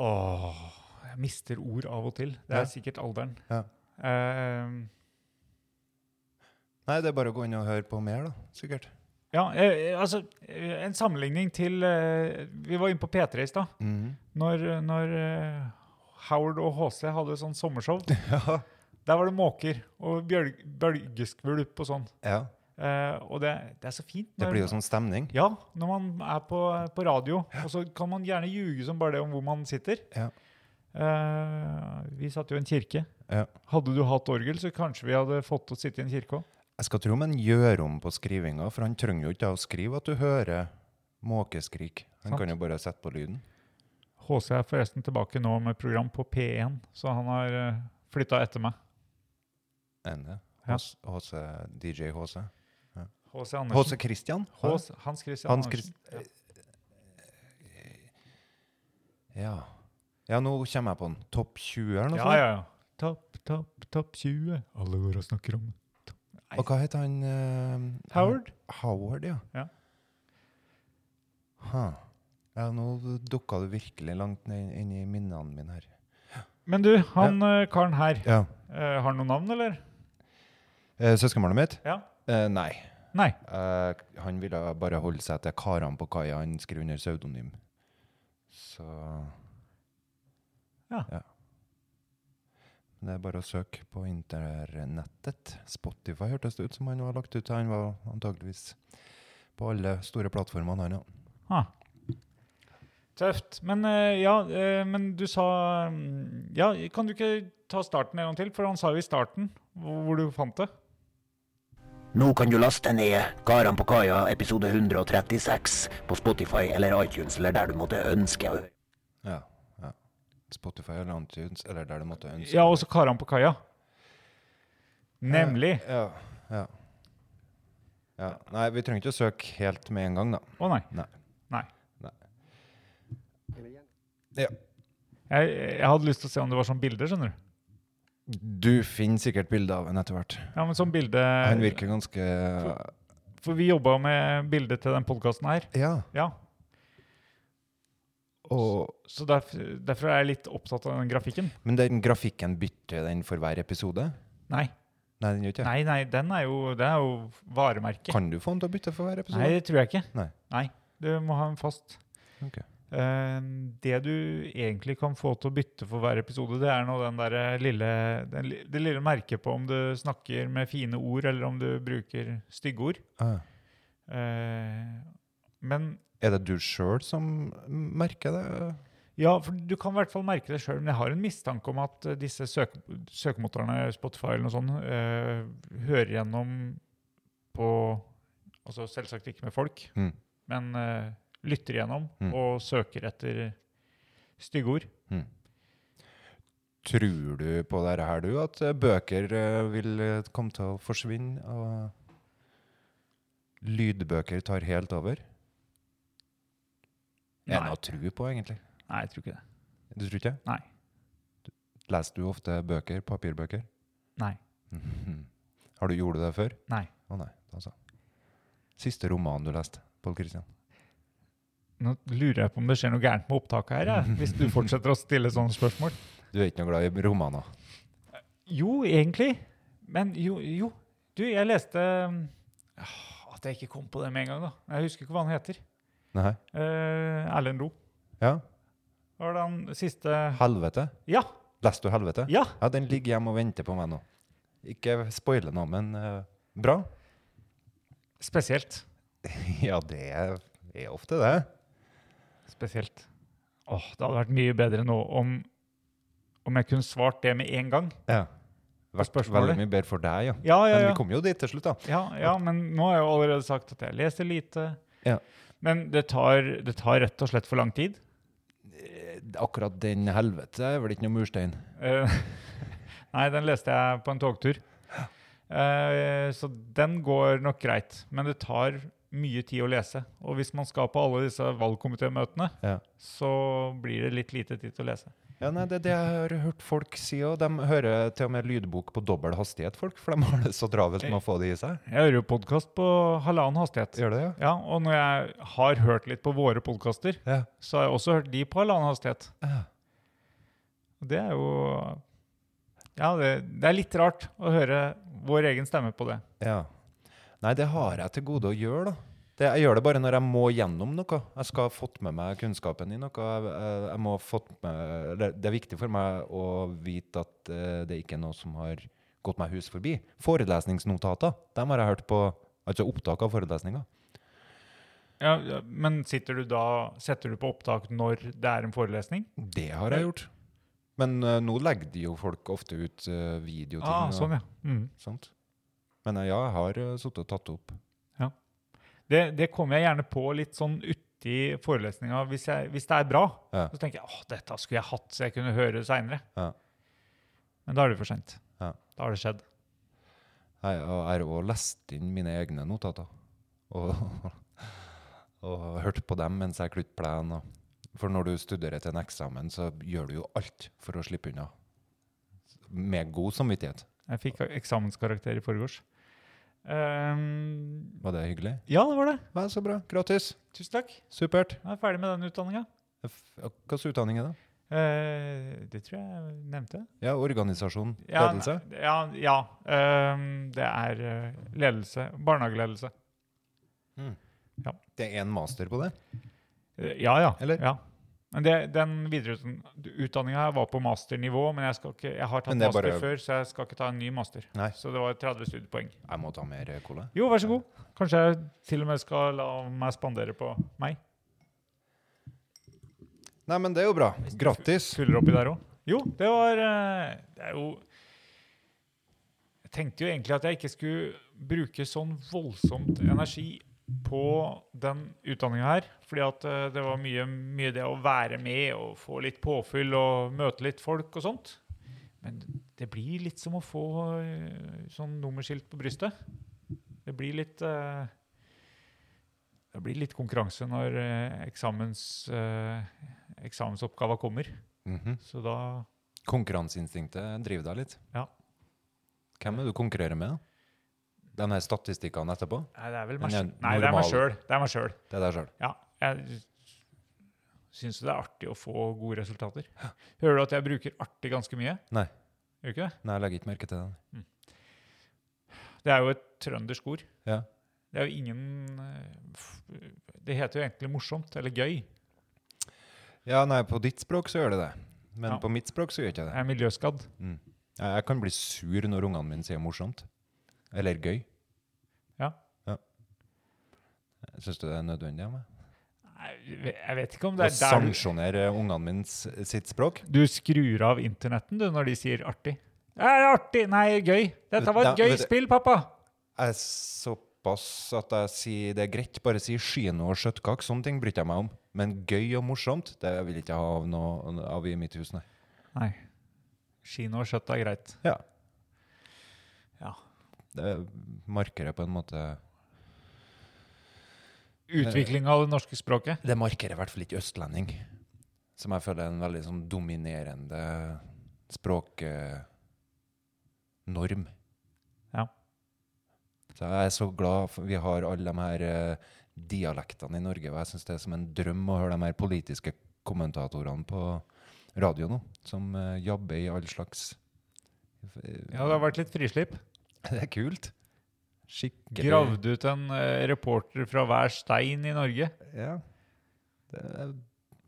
D: Åh, jeg mister ord av og til. Det
B: Ja.
D: er sikkert alderen.
B: Ja.
D: Eh,
B: Nei, det er bare å gå inn og høre på mer, da. Sikkert.
D: ja, eh, altså, eh, en sammenligning til eh, Vi var inne på P3 i stad. Når, når eh, Howard og HC hadde sånn sommershow.
B: Ja.
D: Der var det måker og bjølg, bølgeskvulp og sånn.
B: ja.
D: Eh, og det, det er så fint.
B: Det
D: når-
B: blir jo sånn stemning.
D: Ja, når man er på, på radio. Og så kan man gjerne ljuge som bare det om hvor man sitter.
B: Ja.
D: Eh, vi satt jo i en kirke.
B: Ja.
D: Hadde du hatt orgel, så kanskje vi hadde fått til å sitte i en kirke òg.
B: Jeg skal tro om han gjør om på skrivinga, for han trenger jo ikke å skrive at du hører måkeskrik. Han
D: Sant.
B: kan jo bare sette på lyden.
D: HC er forresten tilbake nå med program på P1, så han har uh, flytta etter meg.
B: Enn det.
D: Ja.
B: Hos- HC, DJ HC.
D: HC Andersen.
B: HC Christian?
D: H.C. Hans Christian
B: Hans
D: Andersen.
B: Ja. ja, nå kommer jeg på den. Topp 20 eller noe
D: Ja, ja, ja. Topp, topp, topp 20. Alle går og snakker om det. Nei.
B: Og hva heter han? eh,
D: Howard?
B: Howard, ja.
D: Ja.
B: Ha. Ja, nå dukka du virkelig langt ned inn i minnene mine her.
D: Men du, han eh, karen her,
B: Ja.
D: eh, har han noe navn, eller?
B: Eh, Søskenbarnet mitt?
D: Ja.
B: Eh, nei.
D: Nei.
B: Eh, han ville bare holde seg til karene på kaia han skriver under pseudonym. Så
D: Ja.
B: Det er bare å søke på internettet. Spotify hørtes det ut som han var lagt ut til. Han var antageligvis på alle store plattformene, han, ja.
D: Ah. Tøft. Men eh, ja, eh, men du sa mm, Ja, kan du ikke ta starten en gang til? For han sa jo i starten hvor, hvor du fant det.
E: Nå kan du laste ned Karan på kaia episode 136 på Spotify eller iTunes eller der du måtte ønske. å-
B: ja, ja. Spotify eller iTunes, eller der du måtte ønske.
D: Ja, også Karan på kaia. Nemlig.
B: Ja, ja. ja. Nei, vi trenger ikke å søke helt med en gang, da.
D: Å nei.
B: Eh, Nei.
D: Nei.
B: Ja.
D: Jeg, jeg hadde lyst til å se om det var sånne bilder, sånn skjønner du.
B: Du finner sikkert bilde av henne etter hvert.
D: Ja, men sånn bilde
B: Han virker ganske
D: For vi jobba med bilde til den podkasten her.
B: Ja.
D: Ja.
B: Og,
D: Så derfor, derfor er jeg litt opptatt av den grafikken.
B: men den grafikken bytter den for hver episode?
D: Nei,
B: Nei, den gjør ikke det.
D: nei, nei den er jo, det er jo varemerket.
B: Kan du få den til å bytte for hver episode?
D: Nei, det tror jeg ikke.
B: Nei.
D: Du må ha en fast.
B: Ok.
D: Eh, det du egentlig kan få til å bytte for hver episode, det er nå den der eh, lille, den, li- det lille merket på om du snakker med fine ord, eller om du bruker stygge ord.
B: Ah.
D: Eh, men
B: Er det du sjøl som merker det?
D: Ja, for du kan i hvert fall merke det sjøl, men jeg har en mistanke om at eh, disse søk søkemotorene, Spotify eller noe sånt, eh, hører gjennom på Altså selvsagt ikke med folk,
B: Mm.
D: men eh, lytter gjennom
B: Mm.
D: og søker etter stygge ord.
B: Tror du på dette her, du, at eh, bøker eh, vil eh, komme til å forsvinne? Og lydbøker tar helt over? Er det
D: Nei.
B: noe å tro på, egentlig?
D: Nei, jeg tror ikke det.
B: Du tror ikke?
D: Nei.
B: Leser du ofte bøker? Papirbøker?
D: Nei.
B: Har du gjort det før?
D: Nei.
B: Å nei, altså. Siste roman du leste, Pål Kristian?
D: Nå lurer jeg på om det skjer noe gærent med opptaket her, jeg, hvis du fortsetter å stille sånne spørsmål.
B: Du er ikke noe glad i romaner?
D: Jo, egentlig. Men jo, jo. Du, jeg leste eh, Åh, At jeg ikke kom på det med en gang, da. Jeg husker ikke hva han heter.
B: Nei?
D: Eh, Erlend Lo.
B: Ja?
D: Var det han siste
B: Helvete?
D: Ja!
B: Leste du Helvete?
D: Ja!
B: Ja, den ligger hjemme og venter på meg nå. Ikke spoile noe, men eh, bra.
D: Spesielt.
B: ja, det er er ofte det.
D: Spesielt. Åh, det hadde vært mye bedre nå om, om jeg kunne svart det med en gang.
B: Ja. Vært
D: Spørsmålet?
B: veldig mye bedre for deg, ja.
D: Ja, ja,
B: Men vi
D: ja.
B: kom jo dit til slutt, da.
D: ja, ja men nå har jeg jo allerede sagt at jeg leser lite.
B: Ja.
D: Men det tar, det tar rett og slett for lang tid.
B: Akkurat den helvete er vel ikke noe murstein.
D: Eh, Nei, den leste jeg på en togtur. Eh, Så den går nok greit. Men det tar mye tid å lese. Og hvis man skal på alle disse valgkomitémøtene,
B: Ja.
D: så blir det litt lite tid til å lese.
B: Ja, nei, Det er det jeg har hørt folk si òg. De hører til og med lydbok på dobbel hastighet, folk. For de har det så travelt med å få det i seg.
D: Jeg hører jo podkast på halvannen hastighet.
B: Gjør det, ja?
D: Ja, Og når jeg har hørt litt på våre podkaster,
B: Ja.
D: så har jeg også hørt de på halvannen hastighet.
B: Ja.
D: Og Det er jo Ja, det, det er litt rart å høre vår egen stemme på det.
B: Ja. Nei, det har jeg til gode å gjøre, da. Det, jeg gjør det bare når jeg må gjennom noe. Jeg skal ha fått med meg kunnskapen i noe. Jeg, jeg, jeg må ha fått med, eller det er viktig for meg å vite at eh, det ikke er noe som har gått meg hus forbi. Forelesningsnotater, dem har jeg hørt på. Altså opptak av forelesninger.
D: Ja, ja, men sitter du da, setter du på opptak når det er en forelesning?
B: Det har jeg gjort. Men eh, nå legger de jo folk ofte ut eh, videoting.
D: Ah,
B: og
D: sånn, ja. Mm.
B: sånt. Men eh, ja, jeg har uh, sittet og tatt opp.
D: Det, det kommer jeg gjerne på litt sånn uti forelesninga hvis, jeg- hvis det er bra.
B: Ja.
D: Så tenker jeg åh, dette skulle jeg hatt, så jeg kunne høre det seinere.
B: Ja.
D: Men da er det for seint.
B: Ja.
D: Da har det skjedd.
B: Nei, og jeg har også lest inn mine egne notater. Og, og hørt på dem mens jeg kludde plenen. og- For når du studerer til en eksamen, så gjør du jo alt for å slippe unna. Med god samvittighet.
D: Jeg fikk eksamenskarakter i forgårs. Ehm,
B: Var det hyggelig?
D: ja, det var det.
B: Ja, så bra. Gratis.
D: Tusen takk.
B: Supert.
D: Jeg er ferdig med den utdanninga. Eh,
B: F- Hva slags utdanning er det?
D: det tror jeg jeg nevnte.
B: Ja, organisasjon.
D: Ja,
B: Ledelse.
D: nei, Ja. ja ehm, det er eh, ledelse. Barnehageledelse.
B: Det er en master på det?
D: Eh, Ja, ja.
B: Eller?
D: ja. Men det, den videreutdanninga her var på masternivå, men jeg, skal ikke, jeg har tatt
B: Men det er
D: master
B: bare-
D: før, så jeg skal ikke ta en ny master.
B: Nei.
D: Så det var 30 studiepoeng.
B: Jeg må ta mer eh, cola.
D: Jo, vær så god. Kanskje jeg til og med skal la meg spandere på meg.
B: Nei, men det er jo bra. Grattis.
D: Tuller oppi der òg. Jo, det var eh, Det er jo Jeg tenkte jo egentlig at jeg ikke skulle bruke sånn voldsomt energi på den utdanninga her. Fordi at eh, det var mye, mye det å være med og få litt påfyll og møte litt folk og sånt. Men det blir litt som å få eh, sånn nummerskilt på brystet. Det blir litt eh, Det blir litt konkurranse når eh, eksamens, eh, eksamensoppgava kommer.
B: Mhm.
D: Så da
B: Konkurranseinstinktet driver deg litt.
D: Ja.
B: Hvem er det du konkurrerer med? da? De her statistikkene etterpå?
D: Nei, det er vel
B: Men
D: meg
B: jeg er
D: sjøl. Nei, det er meg
B: normal.
D: sjøl. Det er meg selv.
B: Det er deg sjøl.
D: Ja. Jeg syns jo det er artig å få gode resultater. Hører du at jeg bruker artig ganske mye?
B: Nei.
D: Gjør du ikke det?
B: Nei, jeg legger ikke merke til den.
D: Det er jo et trøndersk ord.
B: Ja.
D: Det er jo ingen eh, f- Det heter jo egentlig morsomt eller gøy.
B: ja, nei, på ditt språk så gjør det det. Men
D: Ja.
B: på mitt språk så gjør ikke det.
D: Jeg er miljøskadd.
B: Mm. Ja, Jeg kan bli sur når ungene mine sier morsomt. Eller gøy.
D: Ja.
B: ja. Syns du det er nødvendig av meg?
D: Nei, Jeg vet ikke om
B: Å
D: det er der du-
B: sanksjonere ungene mine s- sitt språk?
D: Du skrur av internetten du, når de sier artig. Det er artig! Nei, gøy! Dette var
B: Da-
D: et gøy
B: vet du-
D: spill, pappa!
B: Jeg er såpass at jeg sier det er greit, bare si skino og kjøttkake. Sånne ting bryr jeg meg om. Men gøy og morsomt, det vil jeg ikke ha av, noe, av i mitt hus, nei.
D: Nei. Kino og kjøtt er greit.
B: Ja.
D: Ja.
B: Det markerer på en måte
D: Utvikling av det norske språket.
B: Det markerer i hvert fall ikke østlending, som jeg føler er en veldig sånn dominerende språknorm.
D: Ja.
B: Så jeg er så glad for vi har alle de her eh, dialektene i Norge, og jeg syns det er som en drøm å høre de her politiske kommentatorene på radio nå, som eh, jabber i all slags
D: Ja, det har vært litt frislipp.
B: Det er kult. Skikkelig
D: Gravd ut en eh, reporter fra hver stein i Norge.
B: Ja. Det er,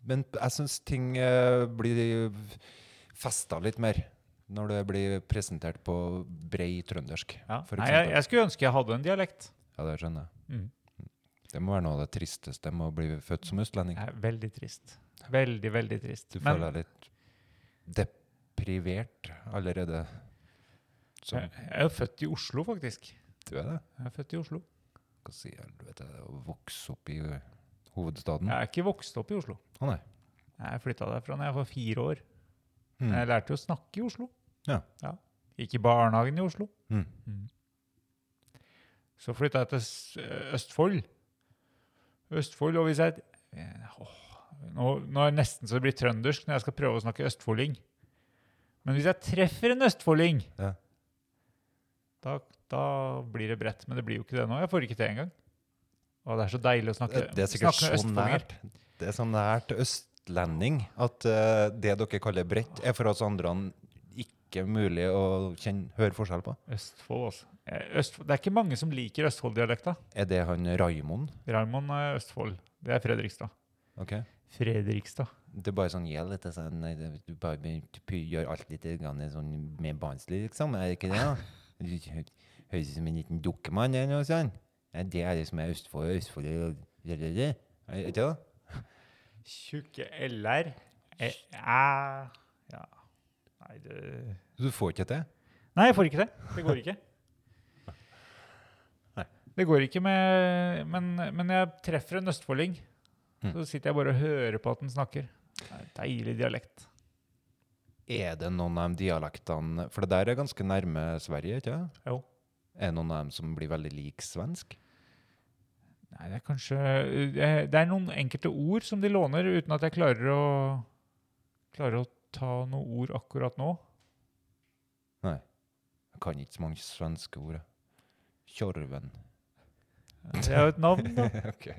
B: men jeg syns ting eh, blir festa litt mer når det blir presentert på brei trøndersk,
D: Ja.
B: for
D: Nei, jeg,
B: eksempel.
D: jeg skulle ønske jeg hadde en dialekt.
B: Ja, det skjønner jeg.
D: Mm.
B: Det må være noe av det tristeste med å bli født som østlending.
D: Det er veldig trist. Veldig, veldig trist.
B: Du
D: Men
B: føler deg litt deprivert allerede. Som
D: jeg jeg er født i Oslo, faktisk.
B: du er det?
D: Jeg er født i Oslo.
B: Hva sier jeg? Du vet det, å vokse opp i hovedstaden?
D: Jeg
B: Å
D: er ikke vokst opp i Oslo.
B: nei.
D: Jeg flytta derfra da jeg var fire år.
B: Mm.
D: Jeg lærte jo å snakke i Oslo.
B: Ja.
D: Gikk i barnehagen i Oslo.
B: Mm.
D: Så flytta jeg til S- eh, Østfold. Østfold, og hvis jeg eh, åh, nå, nå er det nesten så det blir trøndersk når jeg skal prøve å snakke østfolding. Men hvis jeg treffer en østfolding,
B: Ja.
D: da, da blir det bredt. Men det blir jo ikke det nå. Jeg får ikke til engang. Og det er så deilig å snakke,
B: Det, eh, det er sikkert
D: snakke med
B: så
D: østfoldinger.
B: nært. Det er så nært østlending at eh, det dere kaller bredt, er for oss andre ikke mulig å kjenne, høre forskjell på.
D: Østfold, altså. Eh, Østfold. Det er ikke mange som liker Østfold-dialekta.
B: Er det han Raimond?
D: Raymond er Østfold. Det er Fredrikstad.
B: Ok.
D: Fredrikstad.
B: Det er bare sånn gjeld litt sånn, nei, det- Du bare begynner å py- gjør alt litt grann sånn mer barnslig, liksom. Er det ikke det? da? Du hø- Høres ut som en liten dukkemann eller noe sånt. Ja, det er det som er Østfold og Østfold og Er det ikke det?
D: Tjukke LR. Æ Ja. Nei, det
B: Du får ikke til?
D: Nei, jeg får ikke det. Det går ikke. Det går ikke med Men, men jeg treffer en østfolding. Så sitter jeg bare og hører på at den snakker. Det er en Deilig dialekt.
B: Er det noen av de dialektene For det der er ganske nærme Sverige, ikke det?
D: Jo.
B: Er det noen av dem som blir veldig lik svensk?
D: Nei, det er kanskje eh, Det er noen enkelte ord som de låner, uten at jeg klarer å Klarer å ta noe ord akkurat nå.
B: Nei. Jeg kan ikke så mange svenske ord. jeg. Tjorven.
D: Det er jo et navn, da.
B: ok.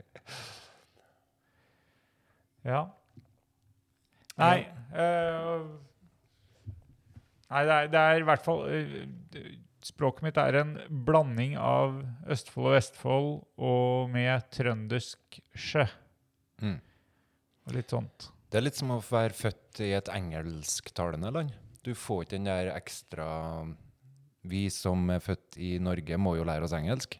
D: Ja. Nei øh, Nei, det er, det er i hvert fall øh, d- Språket mitt er en blanding av Østfold og Vestfold og med trøndersk sjø.
B: Mm.
D: Og litt sånt.
B: Det er litt som å være født i et engelsktalende land. Du får ikke den der ekstra Vi som er født i Norge, må jo lære oss engelsk.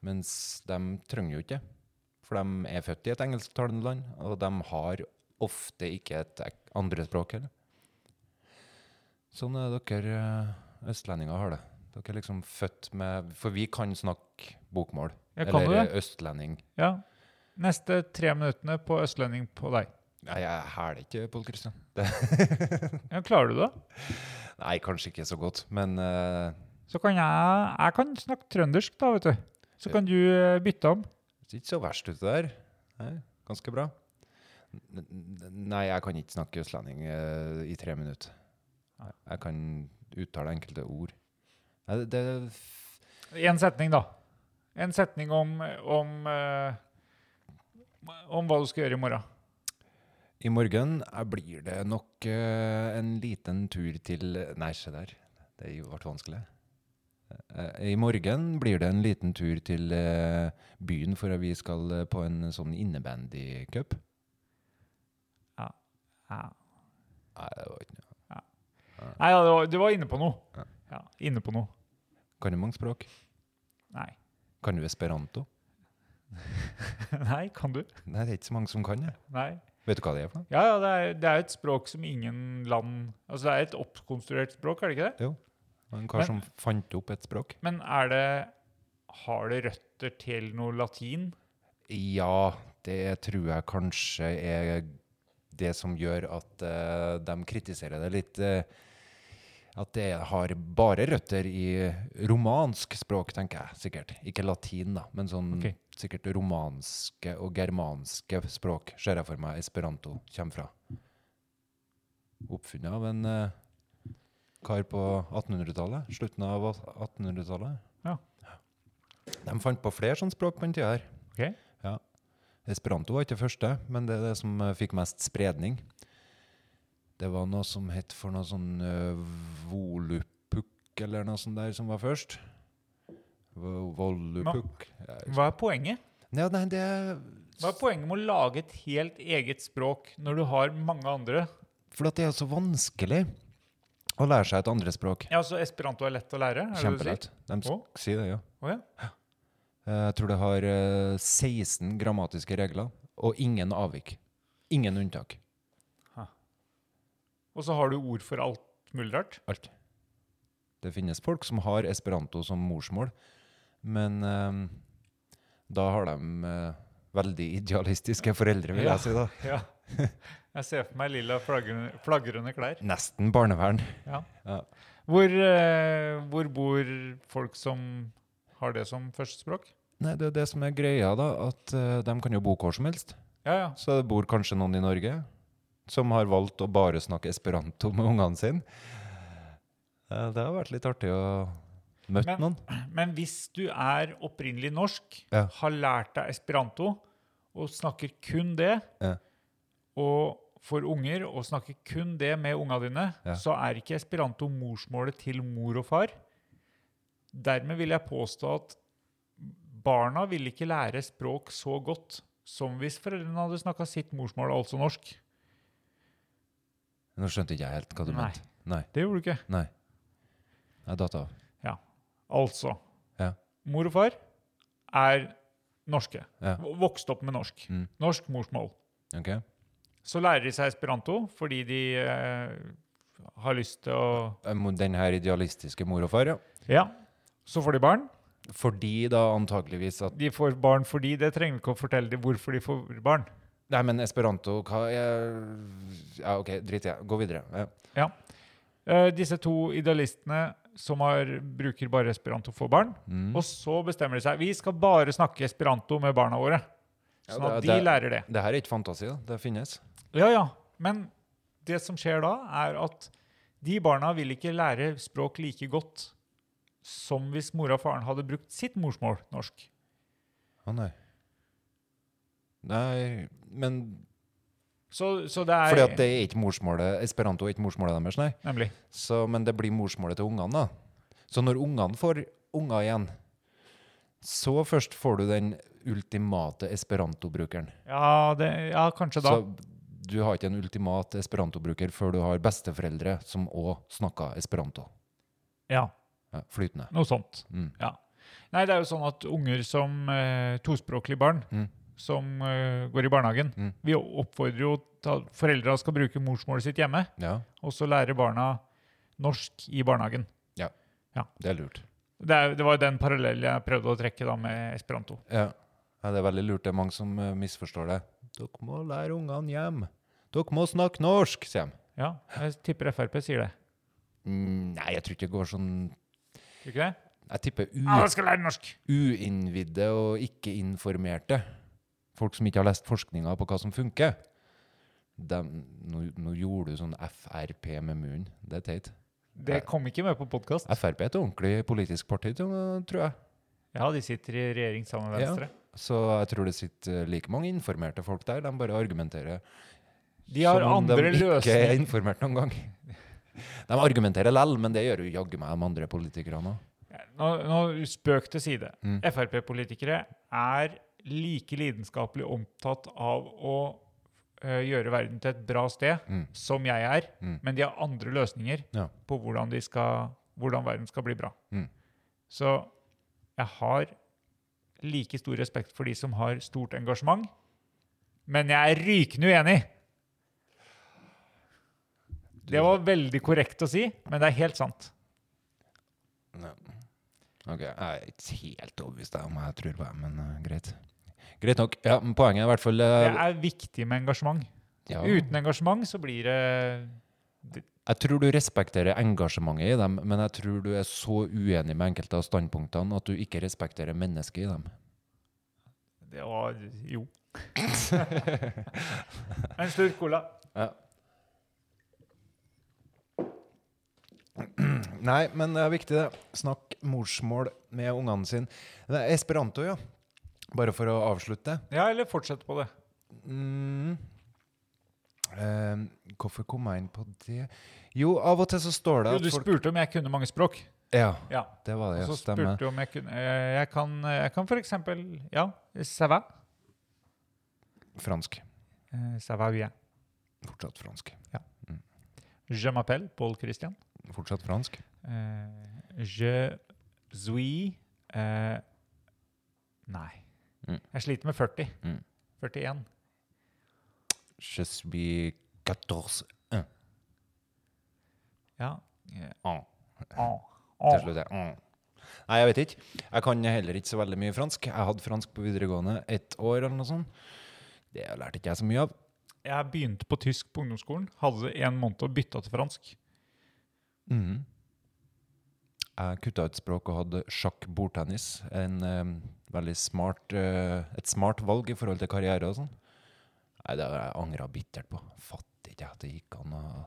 B: Mens de trenger jo ikke det. For de er født i et engelsktalende land, og de har ofte ikke et ek- andre språk heller. Sånn er dere eh, østlendinger har det. Dere er liksom født med For vi kan snakke bokmål.
D: Ja, kan du
B: eller eh,
D: det?
B: østlending.
D: Ja. Neste tre minuttene på østlending på deg.
B: Nei, jeg hæler ikke, Pål Kristian.
D: Ja, klarer du det?
B: Nei, kanskje ikke så godt, men eh,
D: Så kan jeg Jeg kan snakke trøndersk, da, vet du. Så kan du øh, bytte om.
B: Det ser ikke så verst ut det der. Nei, ganske bra. N- n- Nei, jeg kan ikke snakke østlending eh, i tre minutter. Jeg kan uttale enkelte ord. Nei, det, det f-
D: En setning, da. En setning om, om, eh, om hva du skal gjøre i morgen.
B: I morgen eh, blir det nok eh, en liten tur til Nei, se der. Det ble vanskelig. Eh, I morgen blir det en liten tur til eh, byen, for at vi skal eh, på en sånn innebandycup.
D: Ja.
B: Nei, det var ikke noe.
D: Nei, ja, du var, du var inne på noe. Ja, inne på noe.
B: Kan du mange språk?
D: Nei.
B: Kan du esperanto?
D: Nei, kan du?
B: Nei, det er ikke så mange som kan det.
D: Nei.
B: Vet du hva det er for noe?
D: Ja, ja, det er, det er et språk som ingen land Altså, det er et oppkonstruert språk, er det ikke det?
B: Jo. Det var En kar som
D: Men-
B: fant opp et språk.
D: Men er det Har det røtter til noe latin?
B: Ja, det tror jeg kanskje er det som gjør at eh, de kritiserer det litt. eh, at det har bare røtter i romansk språk, tenker jeg sikkert. Ikke latin, da, men sånn
D: Ok.
B: sikkert romanske og germanske språk ser jeg for meg esperanto kommer fra. Oppfunnet av en eh, kar på 1800-tallet. Slutten av 1800-tallet.
D: Ja.
B: De fant på flere sånne språk på den tida her.
D: Ok.
B: Ja. Esperanto var ikke det første, men det er det som eh, fikk mest spredning. Det var noe som het for noe sånn uh, volupuk eller noe sånt der som var først. Vo- Volupuk. Ja,
D: Hva er poenget?
B: ja, nei, det er-
D: Hva er poenget med å lage et helt eget språk når du har mange andre?
B: For at det er jo så vanskelig å lære seg et andre språk.
D: Ja, så esperanto er lett å lære? er det det du sier?
B: Kjempelett. De s-
D: Å?
B: sier det, ja.
D: Å ja.
B: Eh, Jeg tror det har eh, 16 grammatiske regler, og ingen avvik. Ingen unntak.
D: Og så har du ord for alt mulig rart?
B: Alt. Det finnes folk som har esperanto som morsmål, men eh, da har de eh, veldig idealistiske foreldre, vil
D: Ja.
B: jeg si da.
D: Ja. Jeg ser for meg lilla flagrende, flagrende klær.
B: Nesten barnevern.
D: Ja.
B: Ja.
D: Hvor, eh, hvor bor folk som har det som førstespråk?
B: Nei, det er det som er greia da, at eh, de kan jo bo hvor som helst.
D: Ja, ja.
B: Så det bor kanskje noen i Norge som har valgt å bare snakke esperanto med ungene sine. Eh, Det har vært litt artig å møte
D: Men-
B: noen.
D: Men hvis du er opprinnelig norsk,
B: Ja.
D: har lært deg esperanto og snakker kun det,
B: Ja.
D: og for unger og snakker kun det med unga dine,
B: Ja.
D: så er ikke esperanto morsmålet til mor og far. Dermed vil jeg påstå at barna vil ikke lære språk så godt som hvis foreldrene hadde snakka sitt morsmål, altså norsk.
B: Nå skjønte ikke jeg helt hva du
D: Nei.
B: mente. Nei.
D: Det gjorde du ikke.
B: Nei. Jeg datt av.
D: Ja. Altså,
B: Ja.
D: mor og far er norske.
B: Ja.
D: V- Vokst opp med norsk.
B: Mm.
D: Norsk morsmål.
B: Ok.
D: Så lærer de seg esperanto fordi de eh, har lyst til å
B: Eh, mo- Den her idealistiske mor og far, ja.
D: Ja. Så får de barn.
B: Fordi da antakeligvis at
D: De får barn fordi Det trenger vi ikke å fortelle dem hvorfor de får barn.
B: Nei, men esperanto, hva er Ja, OK, drit i det. Gå videre. Ja.
D: Ja. Eh, disse to idealistene som har, bruker bare esperanto for barn.
B: Mm.
D: Og så bestemmer de seg. Vi skal bare snakke esperanto med barna våre. Sånn
B: Ja,
D: at
B: det-
D: de
B: det-
D: lærer det.
B: Det her er ikke fantasi, da. Det finnes.
D: Ja, ja. Men det som skjer da, er at de barna vil ikke lære språk like godt som hvis mora og faren hadde brukt sitt morsmål norsk.
B: Å nei. Nei, men
D: Så, så det er
B: Fordi at det er ikke morsmålet Esperanto er ikke morsmålet deres, nei.
D: Nemlig.
B: Så, men det blir morsmålet til ungene, da. Så når ungene får unger igjen, så først får du den ultimate esperanto-brukeren.
D: Ja, det, ja kanskje da.
B: Så du har ikke en ultimat esperanto-bruker før du har besteforeldre som òg snakker esperanto.
D: Ja,
B: Ja, flytende.
D: noe sånt.
B: Mm.
D: Ja. Nei, det er jo sånn at unger som eh, tospråklige barn
B: Mm.
D: som eh, går i barnehagen
B: Mm.
D: Vi oppfordrer jo til at foreldra skal bruke morsmålet sitt hjemme,
B: Ja,
D: og så lære barna norsk i barnehagen.
B: det er lurt.
D: Det, er, det var jo den parallellen jeg prøvde å trekke da med esperanto.
B: Ja. ja, det er veldig lurt. Det er mange som eh, misforstår det. Dere må lære ungene hjem. Dere må snakke norsk, sier de.
D: Ja, jeg tipper Frp sier det.
B: Mm, nei, jeg tror ikke det går sånn
D: Tror du ikke det?
B: Jeg tipper u...
D: Alle skal lære norsk!
B: uinnvidde og ikke-informerte. Folk som ikke har lest forskninga på hva som funker. dem- nå, nå gjorde du sånn FRP med munnen. Det er teit.
D: Det kom ikke med på podkast.
B: Frp er et ordentlig politisk parti, tror tror jeg.
D: Ja, de sitter i regjering sammen med Venstre.
B: Så jeg tror det sitter eh, like mange informerte folk der. De bare argumenterer
D: De har
B: som om
D: andre
B: de ikke er
D: løsninger.
B: informert noen gang. De argumenterer lell, men det gjør jo jaggu meg de andre politikerne òg.
D: Nå, nå spøk til side. Frp-politikere er like lidenskapelig omtatt av å eh, gjøre verden til et bra sted
B: Mm.
D: som jeg er, men de har andre løsninger
B: Ja.
D: på hvordan, de skal, hvordan verden skal bli bra.
B: Mm.
D: Så jeg har like stor respekt for de som har stort engasjement, men jeg er rykende uenig. Det var veldig korrekt å si, men det er helt sant.
B: Ok, Jeg er ikke helt overbevist om jeg tror på dem, men eh, greit. Greit nok. Ja, men Poenget er i hvert fall
D: Det
B: eh,
D: er viktig med engasjement.
B: ja,
D: Uten engasjement så blir det
B: Jeg tror du respekterer engasjementet i dem, men jeg tror du er så uenig med enkelte av standpunktene at du ikke respekterer mennesket i dem.
D: Det var Jo. en slurk cola.
B: Nei, men det er viktig, det. Snakk morsmål med ungene sine. Det er Esperanto, ja. Bare for å avslutte.
D: Ja, eller fortsett på det.
B: Mm. Eh, hvorfor kom jeg inn på det Jo, av og til så står det
D: Jo,
B: at
D: du
B: folk
D: spurte om jeg kunne mange språk.
B: Ja,
D: Ja.
B: det var det. ja,
D: Og så
B: stemmer.
D: spurte du om jeg kunne eh, Jeg kan, jeg kan for eksempel Ja, ça va?
B: Fransk.
D: Eh, Ça va bien.
B: Fortsatt fransk.
D: Je m'appelle Paul Christian.
B: Fortsatt fransk.
D: Eh, Je suis eh, Nei.
B: Mm.
D: Jeg sliter med 40.
B: Mm.
D: 41.
B: Je suis 14
D: Ja. Eh,
B: ans.
D: ah,
B: Til
D: ah.
B: slutt, ja. Mm. Nei, jeg vet ikke. Jeg kan heller ikke så veldig mye fransk. Jeg hadde fransk på videregående ett år eller noe sånt. Det lærte ikke jeg så mye av.
D: Jeg begynte på tysk på ungdomsskolen, hadde en måned og bytta til fransk.
B: Mhm. Jeg kutta ut språk og hadde sjakk bordtennis. En, eh, veldig smart, eh, et smart valg i forhold til karriere og sånn. Nei, det har jeg angra bittert på. Fatter ikke at det gikk an å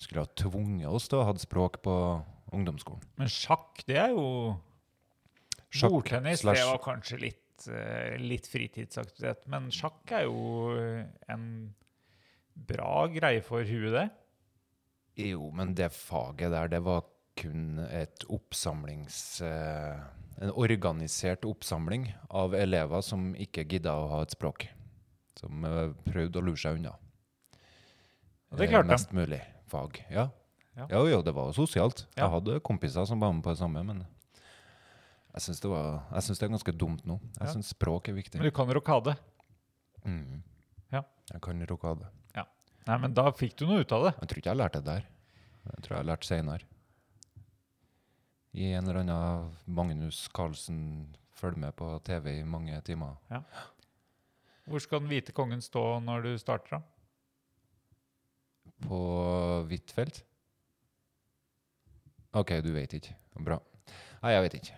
B: Skulle ha tvunget oss til å ha hatt språk på ungdomsskolen.
D: Men sjakk, det er jo
B: Sjakk
D: Bordtennis det
B: slash-
D: var kanskje litt, eh, litt fritidsaktivitet, men sjakk er jo eh, en bra greie for huet, det.
B: Jo, men det faget der, det var kun et oppsamlings... eh, en organisert oppsamling av elever som ikke gidda å ha et språk. Som eh, prøvde å lure seg unna.
D: Og det
B: eh,
D: klarte de.
B: Mest mulig fag. Ja.
D: Ja.
B: Jo, jo, det var jo sosialt.
D: Ja.
B: Jeg hadde kompiser som var med på det samme, men jeg syns det, var- jeg syns det er ganske dumt nå. Jeg
D: Ja.
B: syns språk er viktig.
D: Men du kan rokade.
B: Mhm.
D: Ja.
B: Jeg kan rokade.
D: Nei, men da fikk du noe ut av det.
B: Jeg tror ikke jeg lærte det der. Jeg tror jeg lærte senere. I en eller annen Magnus Carlsen følger med på TV i mange timer.
D: Hvor skal den hvite kongen stå når du starter, da?
B: På hvitt felt? OK, du vet ikke. Bra. Nei, jeg vet ikke.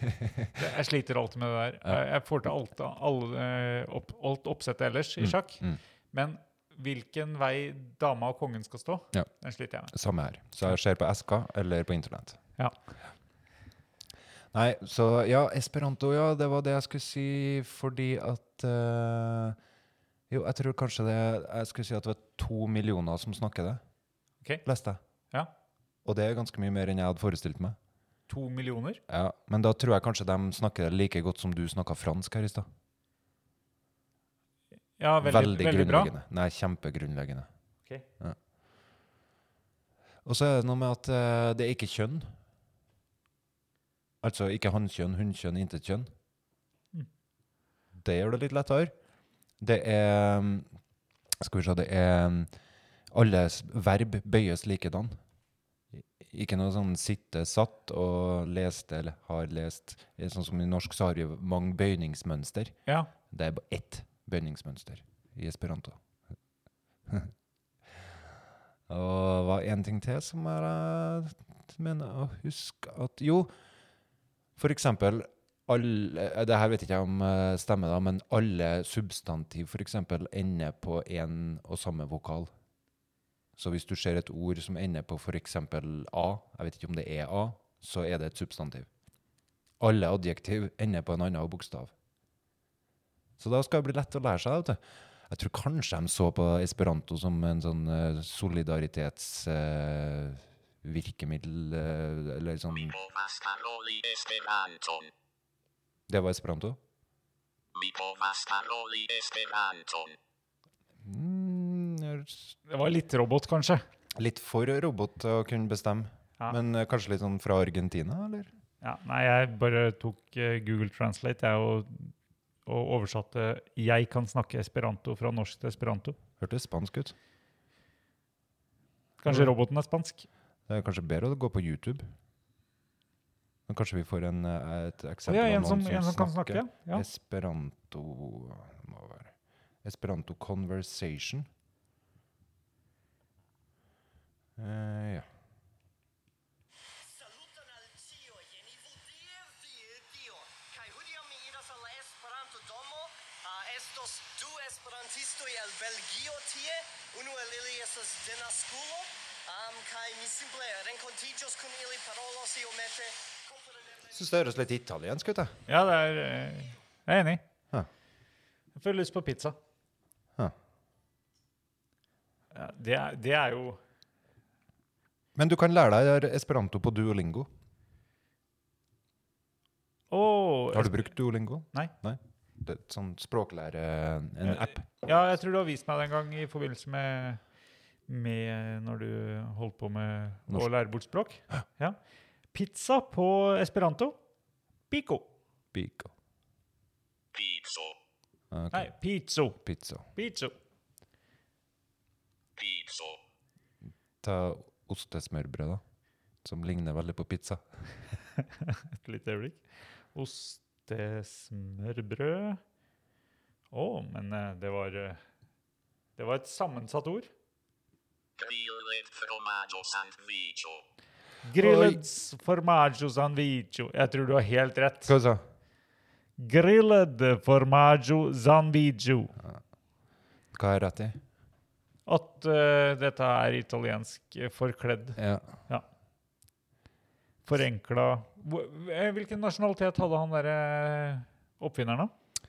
D: Det- Jeg sliter alltid med det der. Jeg- Jeg får til alt, all, eh, opp, alt oppsettet ellers i sjakk.
B: mm.
D: Men hvilken vei dama og kongen skal stå,
B: Ja.
D: den sliter jeg med.
B: Samme her. Så jeg ser på SK eller på internett.
D: Ja.
B: Nei, så ja, esperanto, ja, det var det jeg skulle si, fordi at eh, Jo, jeg tror kanskje det Jeg skulle si at det var to millioner som snakker det,
D: Ok.
B: leste jeg.
D: Ja.
B: Og det er ganske mye mer enn jeg hadde forestilt meg.
D: To millioner?
B: Ja, Men da tror jeg kanskje de snakker det like godt som du snakka fransk her i stad.
D: Ja, veldig, veldig, bra.
B: grunnleggende. Nei, kjempegrunnleggende.
D: Ok.
B: Ja. Og så er det noe med at eh, det er ikke kjønn. Altså ikke hannkjønn, hunnkjønn, intet kjønn. Det gjør det litt lettere. Det er mm, Skal vi se, det er mm, Alle s- verb bøyes likedan. I- Ikke noe sånn sitte, satt og leste eller har lest. Eh, Sånn som i norsk så har vi jo mange bøyningsmønster.
D: Ja.
B: Det er bare ett bøyningsmønster i esperanto. Og det var en ting til som jeg eh, mener å huske at Jo, for eksempel alle, eh, det her vet ikke jeg om eh, stemmer, da, men alle substantiv f.eks. ender på én og samme vokal. Så hvis du ser et ord som ender på f.eks. A, jeg vet ikke om det er A, så er det et substantiv. Alle adjektiv ender på en annen bokstav. Så da skal det bli lett å lære seg. Vet du. Jeg tror kanskje de så på esperanto som en sånn solidaritetsvirkemiddel Eller sånn
F: Mi povas paroli Esperanton.
B: Det var esperanto?
F: Mi povas paroli Esperanton.
D: Det var litt robot, kanskje.
B: Mm, Litt for robot til å kunne bestemme.
D: Ja.
B: Men eh, kanskje litt sånn fra Argentina, eller?
D: Ja, nei, jeg bare tok eh, Google Translate jeg, og, og oversatte 'jeg kan snakke esperanto' fra norsk til esperanto.
B: Hørtes spansk ut.
D: Kanskje roboten er spansk?
B: Det er kanskje bedre å gå på YouTube. Men kanskje vi får en, eh, et
D: Å
B: eksempel
D: ja,
B: av
D: en
B: noen
D: som, en som kan snakke. Ja.
B: Esperanto må være. Esperanto conversation. Eh, ja.
G: Saluton al ĉio, jen Ivo Dio, Dio. Kaj hodiaŭ mi iras al la Esperanto-domo. Ah, estos du esperantistoj el Belgio tie. Unu el ili estas denaskulo. Um, kaj mi simple renkontiĝos kun ili, parolos iomete.
B: Syns det høres litt italiensk ut, jeg.
D: ja, det er eh, Jeg er enig.
B: Ja.
D: Jeg får lyst på pizza.
B: Ja.
D: Ja, det, er, det er jo
B: Men du kan lære deg esperanto på duolingo.
D: Å!
B: Har du brukt duolingo?
D: Nei. Eh,
B: Nei. Det er et sånn språklære... En app.
D: Ja, jeg tror du har vist meg det en gang i forbindelse med, med når du holdt på med
B: Norsk.
D: å lære bort språk. Ja. Pizza på esperanto. Pico.
B: Pico.
F: Pizzo.
B: Ok.
D: Nei, pizzo.
B: Pizza.
D: Pizzo.
F: Pizzo.
B: Ta ostesmørbrød, da. Som ligner veldig på pizza.
D: Et lite øyeblikk. Ostesmørbrød. Å, men eh, det var eh, Det var et sammensatt ord.
F: Grilled formaggio sandwicho.
D: Grilled formaggio sanvicio. Jeg tror du har helt rett.
B: Hva sa
D: Grilled formaggio sanvicio.
B: Hva har jeg rett i?
D: At eh, dette er italiensk eh, forkledd.
B: Ja.
D: Forenkla Hvor- eh, Hvilken nasjonalitet hadde han derre oppfinneren, da?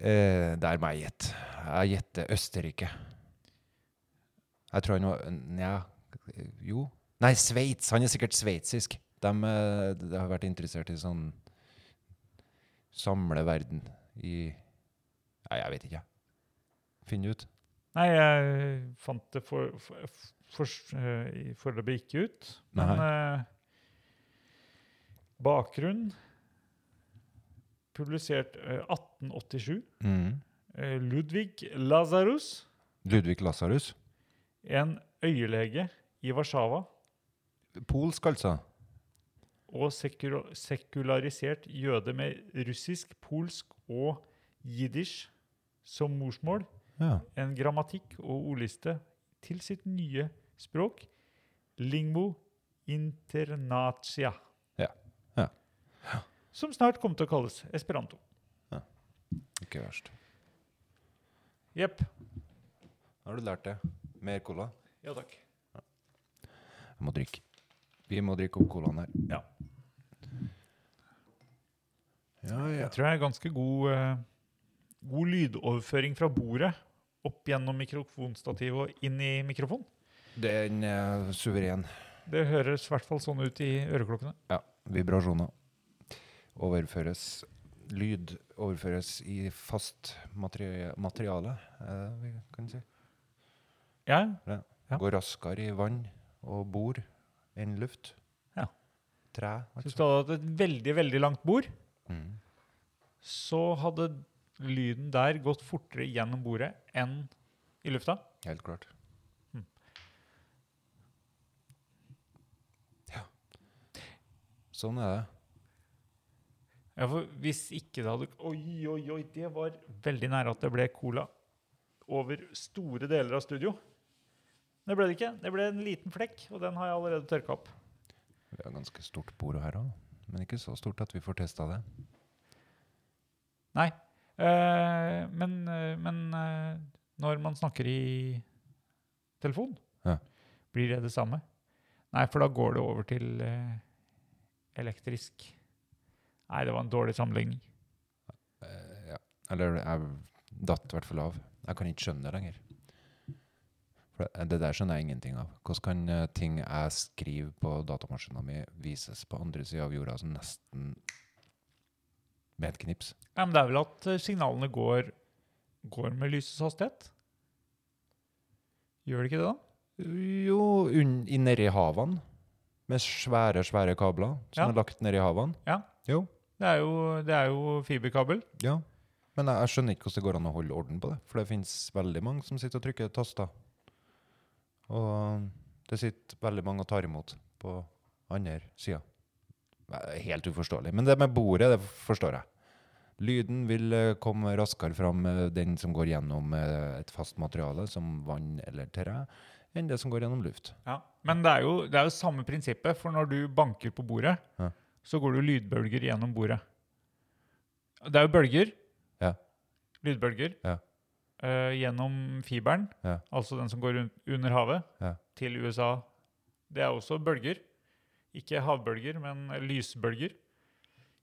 B: Eh, det er meg gjett. Jeg gjetter Østerrike. Jeg tror han var Nja, jo Nei, Sveits! Han er sikkert sveitsisk. De, eh, de har vært interessert i sånn Samle verden i Nei, jeg vet ikke. Finn ut.
D: Nei, jeg fant det for, for, for, eh, i- foreløpig ikke ut. Men eh, bakgrunn Publisert eh, 1887. Eh, Ludvig Lazarus,
B: Ludvig Lasarus.
D: en øyelege i Warszawa
B: Polsk, altså.
D: og sekula sekularisert jøde med russisk, polsk og jiddisch som morsmål,
B: Ja.
D: en grammatikk og ordliste til sitt nye språk, lingvo internatia,
B: Ja. ja.
D: som snart kom til å kalles esperanto.
B: Ikke verst.
D: Jepp.
B: Har du lært det? Mer cola?
D: Ja takk.
B: Jeg må drikke. Vi må drikke opp colaen her.
D: Ja.
B: Ja, ja.
D: Jeg tror jeg er ganske god, eh, god lydoverføring fra bordet opp gjennom mikrofonstativet og inn i mikrofonen.
B: Den eh, er suveren.
D: Det høres i hvert fall sånn ut i øreklokkene.
B: Ja. Vibrasjoner. Overføres. Lyd overføres i fast materi materiale, er det vi kan si.
D: Ja,
B: Ja.
D: Ja.
B: Går raskere i vann og bord enn luft.
D: Ja.
B: Tre.
D: Hvis
B: Altså. Mm,
D: du hadde hatt et veldig, veldig langt bord, så hadde lyden der gått fortere gjennom bordet enn i lufta.
B: Helt klart.
D: Mm.
B: Ja. Sånn er det.
D: Ja, for hvis ikke det hadde Oi, oi, oi, det var veldig nære at det ble cola over store deler av studio. Det ble det ikke. Det ble en liten flekk, og den har jeg allerede tørka opp.
B: Vi har ganske stort bord her òg. men ikke så stort at vi får testa det.
D: Nei. Eh, men eh, men eh, når man snakker i telefon,
B: Ja.
D: blir det det samme? Nei, for da går det over til eh, elektrisk. Nei, det var en dårlig sammenligning.
B: Eh, ja. Eller jeg datt i hvert fall av. Jeg kan ikke skjønne det lenger. For det- det der skjønner jeg ingenting av. Hvordan kan eh, ting jeg skriver på datamaskinen min, vises på andre sida av jorda som nesten med et knips?
D: Ja, men det er vel at eh, signalene går, går med lysets hastighet? Gjør det ikke det, da?
B: Jo, un i nedi havene. Med svære, svære kabler som
D: Ja.
B: er lagt nedi havene.
D: Ja.
B: Jo.
D: Det er jo, det er jo fiberkabel.
B: Ja. Men jeg, jeg skjønner ikke hvordan det går an å holde orden på det. For det finnes veldig mange som sitter og trykker taster. Og det sitter veldig mange og tar imot på andre sida. Helt uforståelig. Men det med bordet, det forstår jeg. Lyden vil eh, komme raskere fram, eh, den som går gjennom eh, et fast materiale, som vann eller terre, enn det som går gjennom luft.
D: Ja. Men det er, jo, det er jo samme prinsippet, for når du banker på bordet,
B: Ja.
D: så går det jo lydbølger gjennom bordet. Det er jo bølger,
B: Ja.
D: lydbølger,
B: Ja.
D: eh, gjennom fiberen,
B: Ja.
D: altså den som går un under havet,
B: Ja.
D: til USA. Det er også bølger. Ikke havbølger, men lysbølger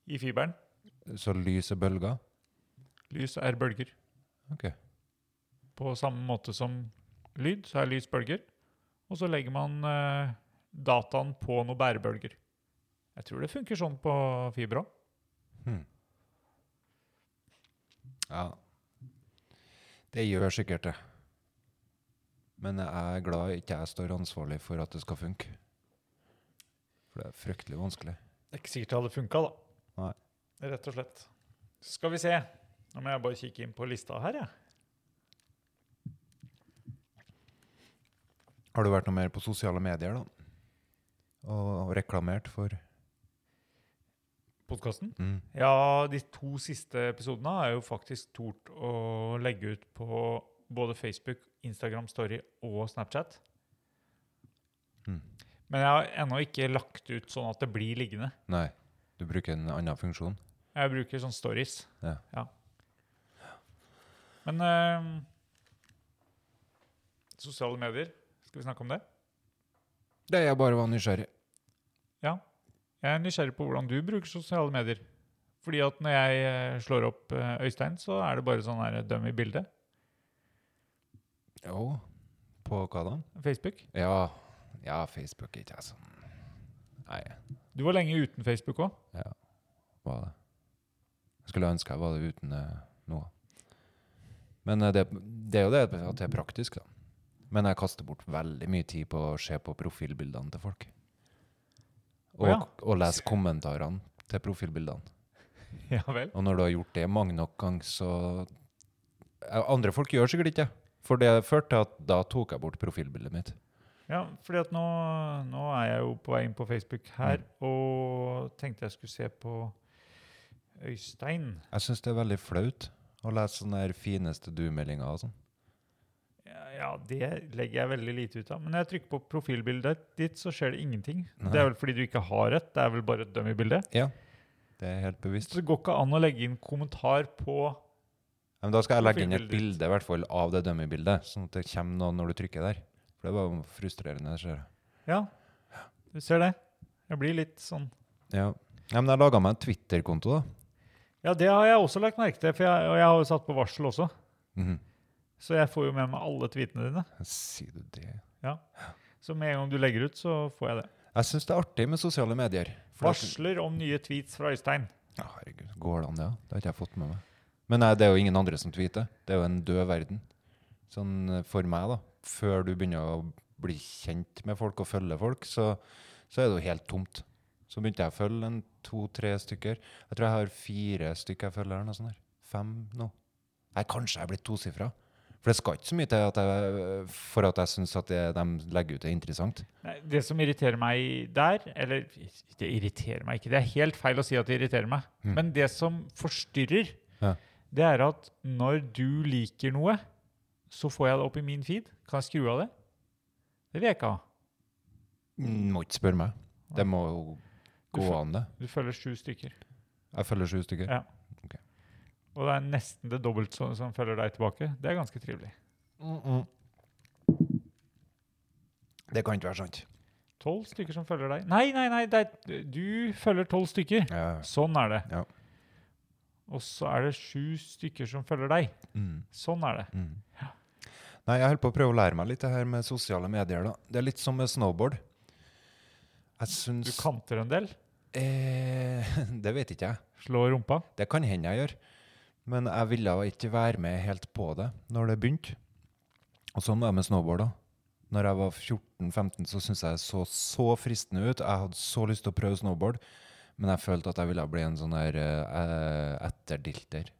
D: i fiberen.
B: Så lys og bølger.
D: Lys er bølger.
B: Ok.
D: På samme måte som lyd, så er lys bølger. Og så legger man eh, dataen på noen bærebølger. Jeg tror det funker sånn på fiber òg.
B: Ja. Det gjør sikkert det. Men jeg er glad ikke jeg står ansvarlig for at det skal funke. For det er fryktelig vanskelig.
D: Det er ikke sikkert det hadde funka, da.
B: Nei.
D: Rett og slett. Skal vi se. Nå må jeg bare kikke inn på lista her, jeg.
B: Har du vært noe mer på sosiale medier, da? Og, og reklamert for
D: Podkasten.
B: mm.
D: Ja, de to siste episodene har jeg jo faktisk tort å legge ut på både Facebook, Instagram Story og Snapchat.
B: Mm.
D: Men jeg har ennå ikke lagt ut sånn at det blir liggende.
B: Nei, du bruker en annen funksjon.
D: Jeg bruker sånn stories.
B: Ja.
D: Men eh, sosiale medier, skal vi snakke om det?
B: Det jeg bare var nysgjerrig.
D: Ja. Jeg er nysgjerrig på hvordan du bruker sosiale medier. Fordi at når jeg eh, slår opp eh, Øystein, så er det bare sånn her dummy bilde.
B: Jo, på hva da?
D: Facebook.
B: Ja, ja Facebook er ikke jeg sånn Nei,
D: Du var lenge uten Facebook òg.
B: var det. Jeg skulle ønske jeg var det uten eh, noe. Men eh, det, det er jo det at det er praktisk, da. Men jeg kaster bort veldig mye tid på å se på profilbildene til folk. Og,
D: Å ja.
B: og lese kommentarene til profilbildene.
D: Ja vel.
B: Og når du har gjort det mange nok ganger, så Eh, Andre folk gjør sikkert ikke det. For det førte til at da tok jeg bort profilbildet mitt.
D: Ja, fordi at nå, nå er jeg jo på vei inn på Facebook her, og tenkte jeg skulle se på Øystein.
B: Jeg syns det er veldig flaut å lese sånne her fineste du-meldinger og sånn.
D: Ja, ja, det legger jeg veldig lite ut av. Men når jeg trykker på profilbildet ditt, så skjer det ingenting. Det er vel fordi du ikke har et, det er vel bare et dummy-bilde.
B: Ja, det er helt bevisst.
D: Så det går ikke an å legge inn kommentar på
B: Ja, Men da skal jeg legge inn et
D: Profilbildet ditt.
B: bilde i hvert fall av det dummy-bildet, sånn at det kommer noe når du trykker der. For det var jo frustrerende. det Ser jeg.
D: Ja, du ser det. Jeg blir litt sånn
B: Ja. ja, men jeg laga meg en Twitter-konto, da.
D: Ja, det har jeg også lagt merke til, for jeg, og jeg har jo satt på varsel også.
B: Mhm.
D: Så jeg får jo med meg alle tweetene dine.
B: Sier du det?
D: Så med en gang du legger ut, så får jeg det.
B: Jeg syns det er artig med sosiale medier. For det er-
D: Varsler om nye tweets fra Øystein.
B: Ja, herregud, går det an, det? Ja? Det har ikke jeg fått med meg. Men nei, det er jo ingen andre som tweeter. Det er jo en død verden. Sånn eh, for meg, da. Før du begynner å bli kjent med folk og følge folk, så, så er det jo helt tomt. Så begynte jeg å følge en to-tre stykker. Jeg tror jeg har fire stykker jeg følger. eller noe sånt der. Fem nå. Nei, kanskje jeg er blitt tosifra. For det skal ikke så mye til at jeg, for at jeg syns at det de legger ut, er interessant.
D: Nei, Det som irriterer meg der Eller det irriterer meg ikke. Det er helt feil å si at det irriterer meg. Men det som forstyrrer,
B: Mm. Ja.
D: det er at når du liker noe, så får jeg det opp i min feed. Kan jeg skru av det? Det vil jeg ikke ha.
B: Mm, Må ikke spørre meg. Det må jo gående.
D: Du følger sju stykker.
B: Jeg følger sju stykker.
D: Ja.
B: Ok.
D: Og det er nesten det dobbelt som, som følger deg tilbake. Det er ganske trivelig.
B: Det kan ikke være sant.
D: Tolv stykker som følger deg. Nei, nei, nei, det er, du følger tolv stykker.
B: Ja.
D: Sånn er det.
B: Ja.
D: Og så er det sju stykker som følger deg.
B: Mm.
D: Sånn er det.
B: Nei, jeg holder på å prøve å lære meg litt det her med sosiale medier. da. Det er litt som med snowboard. Jeg
D: Du
B: syns
D: kanter en del.
B: eh, Det vet ikke jeg.
D: Slår rumpa.
B: Det kan hende jeg gjør. Men jeg ville jo ikke være med helt på det når det begynte. Og sånn var det med snowboard. da. Når jeg var 14-15, så syntes jeg det så så fristende ut. Jeg hadde så lyst til å prøve snowboard, men jeg følte at jeg ville bli en sånn her eh, etterdilter.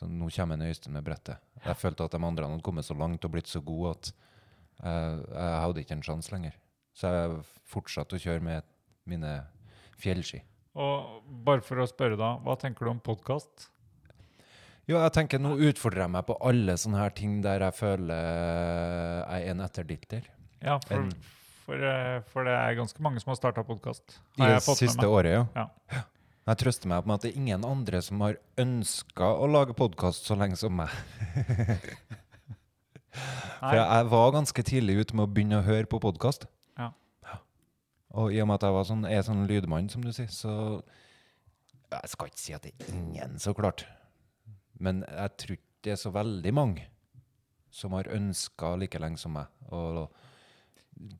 B: Så nå kommer en Øystein med brettet. Jeg følte at de andre hadde kommet så langt og blitt så gode at jeg, jeg hadde ikke en sjanse lenger. Så jeg fortsatte å kjøre med mine fjellski.
D: Og bare for å spørre da, hva tenker du om podkast?
B: Jo, jeg tenker nå utfordrer jeg meg på alle sånne her ting der jeg føler eh, jeg er en etterdilter.
D: Ja, for,
B: En-
D: for, eh, for det er ganske mange som har starta podkast.
B: I det siste året, ja.
D: Ja.
B: Jeg trøster meg med at det er ingen andre som har ønska å lage podkast så lenge som meg. For jeg, jeg var ganske tidlig ute med å begynne å høre på podkast.
D: Ja.
B: Og i og med at jeg var sånn, er sånn lydmann, som du sier, så Jeg skal ikke si at det er ingen, så klart. Men jeg tror ikke det er så veldig mange som har ønska like lenge som meg å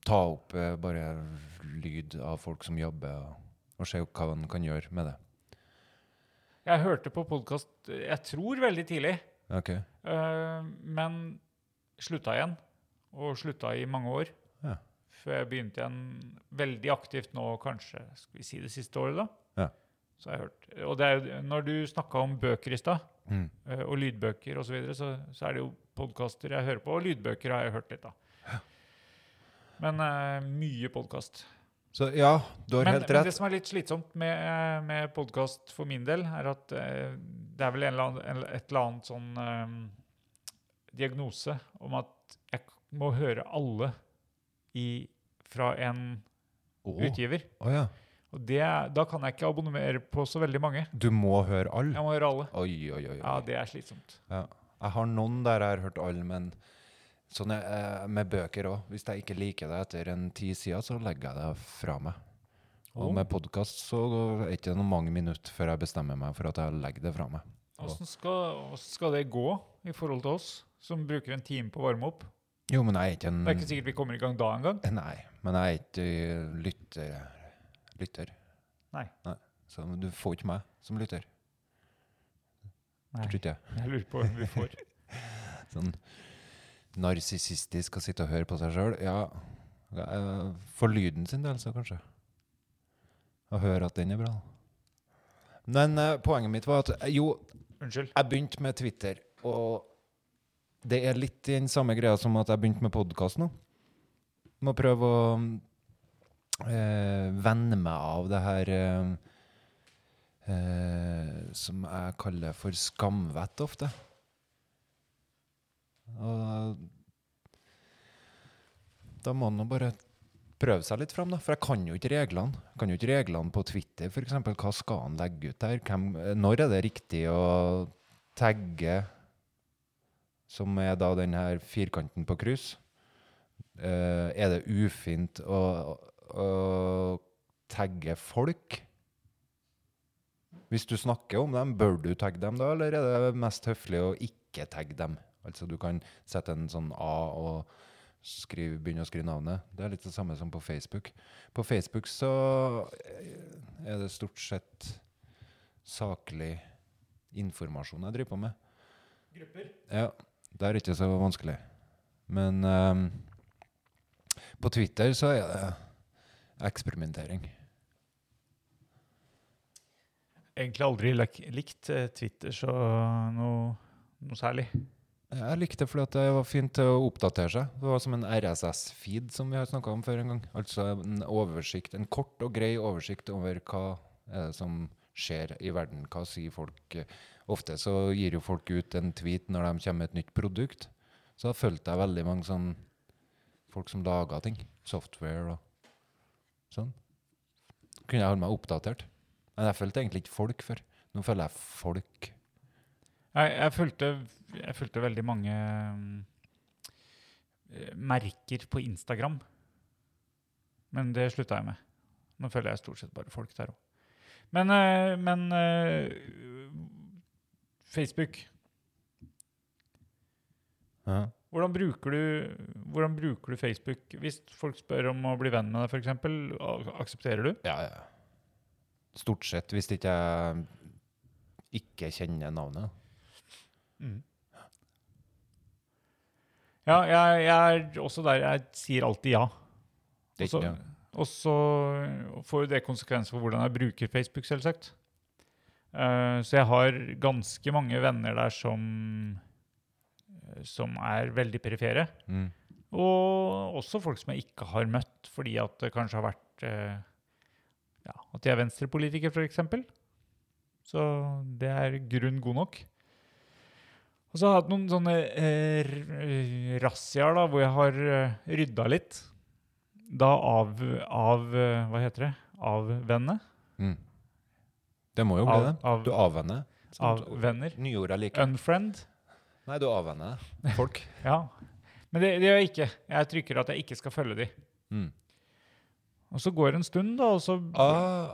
B: ta opp eh, bare lyd av folk som jobber, og, og se hva man kan gjøre med det.
D: Jeg hørte på podkast jeg tror veldig tidlig,
B: Ok.
D: eh, men slutta igjen. Og slutta i mange år.
B: Ja.
D: Før jeg begynte igjen veldig aktivt nå, kanskje skal vi si det siste året, da.
B: Ja.
D: Så har jeg hørt. Og det er jo, når du snakka om bøker i stad,
B: Mm.
D: eh, og lydbøker osv., så, videre, så så er det jo podkaster jeg hører på, og lydbøker har jeg hørt litt av. Men eh, mye podkast.
B: Så ja, du har
D: Men,
B: helt
D: men
B: rett.
D: det som er litt slitsomt med, med podkast for min del, er at eh, det er vel en eller annen, en, et eller annet sånn eh, diagnose om at jeg k- må høre alle i, fra en
B: Å
D: utgiver.
B: å ja.
D: Og det, da kan jeg ikke abonnere på så veldig mange.
B: Du må høre alle?
D: Jeg må høre alle.
B: Oi, oi, oi. oi.
D: Ja, det er slitsomt.
B: Ja. Jeg har noen der jeg har hørt alle, men sånn er, eh, med bøker òg. Hvis jeg ikke liker det etter en ti sider, så legger jeg det fra meg. Og
D: Å.
B: med podkast så er det ikke noen mange minutter før jeg bestemmer meg for at jeg legger det fra meg.
D: Åssen skal, hvordan skal det gå i forhold til oss som bruker en time på å varme opp?
B: Jo, men jeg er ikke en
D: Det er ikke sikkert vi kommer i gang da engang.
B: Eh, Nei, men jeg er ikke eh, lytter. lytter.
D: Nei.
B: Så du får ikke meg som lytter.
D: Nei.
B: Tror ikke jeg.
D: Jeg lurer på hvem vi får.
B: Sånn narsissistisk å sitte og høre på seg sjøl. Ja, det er for lyden sin del, så kanskje. Å høre at den er bra. Men eh, poenget mitt var at eh, jo,
D: Unnskyld.
B: jeg begynte med Twitter, og det er litt i den samme greia som at jeg begynte med podkast nå. Må prøve å eh, venne meg av det her eh, eh, som jeg kaller for skamvett ofte. Og da må man nå bare prøve seg litt fram, da. For jeg kan jo ikke reglene. Jeg kan jo ikke reglene på Twitter, f.eks. Hva skal han legge ut der? Hvem, når er det riktig å tagge, som er da den her firkanten på kryss? Eh, er det ufint å, å tagge folk? Hvis du snakker om dem, bør du tagge dem da, eller er det mest høflig å ikke tagge dem? Altså du kan sette en sånn A og skrive, begynne å skrive navnet. Det er litt det samme som på Facebook. På Facebook så eh, er det stort sett saklig informasjon jeg driver på med. Grupper? Ja. Det er ikke så vanskelig. Men ehm, på Twitter så er det eksperimentering.
D: Egentlig aldri lik- likt eh, Twitter så noe, noe særlig.
B: Jeg likte det fordi at det var fint til å oppdatere seg. Det var som en RSS-feed som vi har snakka om før en gang. Altså en oversikt, en kort og grei oversikt over hva er det som skjer i verden. Hva sier folk? Ofte så gir jo folk ut en tweet når de kommer med et nytt produkt. Så da fulgte jeg veldig mange sånn folk som laga ting. Software og sånn. kunne jeg holde meg oppdatert. Men jeg følte egentlig ikke folk før. Nå føler jeg folk.
D: Jeg, jeg, fulgte, jeg fulgte veldig mange mm, eh, merker på Instagram. Men det slutta jeg med. Nå følger jeg stort sett bare folk der òg. Men, eh, men eh, Facebook
B: Ja.
D: hvordan bruker, du, hvordan bruker du Facebook hvis folk spør om å bli venn med deg, f.eks.? Aksepterer du?
B: Ja, ja. Stort sett, hvis ikke jeg ikke kjenner navnet.
D: Ja, jeg, jeg er også der. Jeg sier alltid ja.
B: Det er
D: Og så-
B: ikke,
D: Og så får jo det konsekvenser for hvordan jeg bruker Facebook, selvsagt. Eh, så jeg har ganske mange venner der som, som er veldig perifere.
B: mm.
D: Og også folk som jeg ikke har møtt, fordi at det kanskje har vært eh, ja, At de er venstrepolitiker, f.eks. Så det er grunn god nok. Og så har jeg hatt noen sånne eh, r- razziaer da, hvor jeg har eh, rydda litt. Da av, av eh, Hva heter det? Avvenne?
B: Mm. Det må jo bli
D: Av,
B: det.
D: av,
B: Du avvenner. Sånn,
D: av venner?
B: Nyord jeg liker.
D: Unfriend?
B: Nei, du avvenner folk.
D: Ja. Men det, det gjør jeg ikke. Jeg trykker at jeg ikke skal følge de.
B: Mm.
D: Og så går det en stund, da, og så
B: Ah,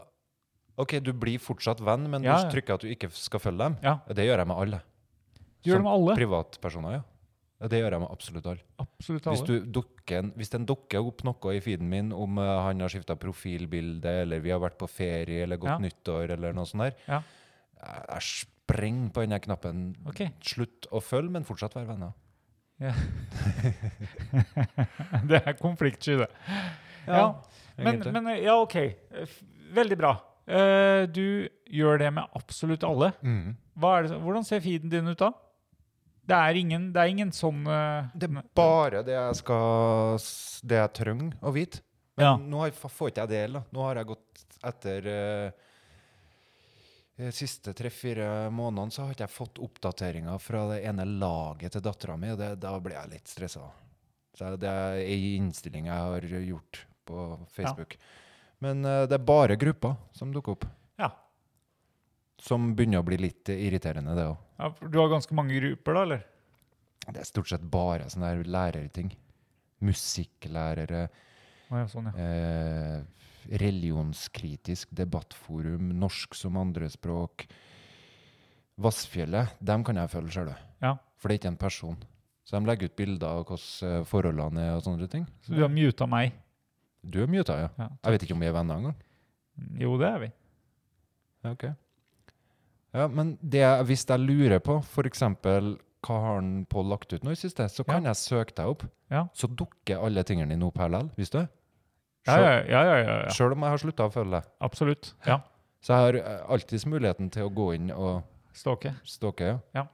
B: ok, du blir fortsatt venn, men
D: Ja, ja.
B: du trykker at du ikke skal følge dem.
D: Ja.
B: Det gjør jeg med alle.
D: Du gjør det
B: Som
D: med alle.
B: Privatpersoner, ja. ja. Det gjør jeg med absolutt alle.
D: Absolutt
B: Hvis,
D: alle.
B: du dukker, en- hvis den dukker opp noe i feeden min om eh, han har skifta profilbilde, eller vi har vært på ferie, eller godt
D: Ja.
B: nyttår, eller noe sånt der,
D: Ja.
B: jeg, jeg sprenger på den der knappen.
D: Ok.
B: Slutt å følge, men fortsatt være venner.
D: det er konfliktsky, det. Ja, men,
B: egentlig.
D: men ja, OK. F- Veldig bra. Eh, Du gjør det med absolutt alle.
B: Mhm.
D: Hva er det, som- hvordan ser feeden din ut da? Det er ingen, det er ingen sånn eh,
B: Det er bare det jeg skal s- Det jeg trenger å vite. Men
D: Ja.
B: nå har, fa- får ikke jeg det heller. Nå har jeg gått etter eh, de siste tre-fire månedene så har ikke jeg fått oppdateringer fra det ene laget til dattera mi. Da blir jeg litt stressa. Så det er ei innstilling jeg har gjort på Facebook. Men eh, det er bare grupper som dukker opp.
D: Ja.
B: Som begynner å bli litt irriterende, det òg.
D: ja. for Du har ganske mange grupper, da, eller?
B: Det er stort sett bare sånne der lærerting. Musikklærere.
D: Å, ja, sånn, ja.
B: Eh, religionskritisk debattforum, norsk som andrespråk. Vassfjellet, dem kan jeg følge sjøl,
D: Ja.
B: for det er ikke en person. Så de legger ut bilder av hvordan eh, forholdene er og sånne ting.
D: Så du har muta meg.
B: Du er muta, ja.
D: Ja.
B: Jeg vet ikke om vi er venner engang.
D: Jo, det er vi.
B: Ja, ok. Ja, men det, jeg- hvis jeg lurer på, f.eks. hva har han Pål lagt ut nå i siste, så kan jeg søke deg opp.
D: Ja.
B: Så dukker alle tingene dine opp her likevel, visste du?
D: Ja, ja, ja. ja, ja, ja.
B: Sjøl om jeg har slutta å følge deg.
D: Absolutt. Ja.
B: Så jeg har eh, alltids muligheten til å gå inn og
D: Ståke.
B: stalke. Ja.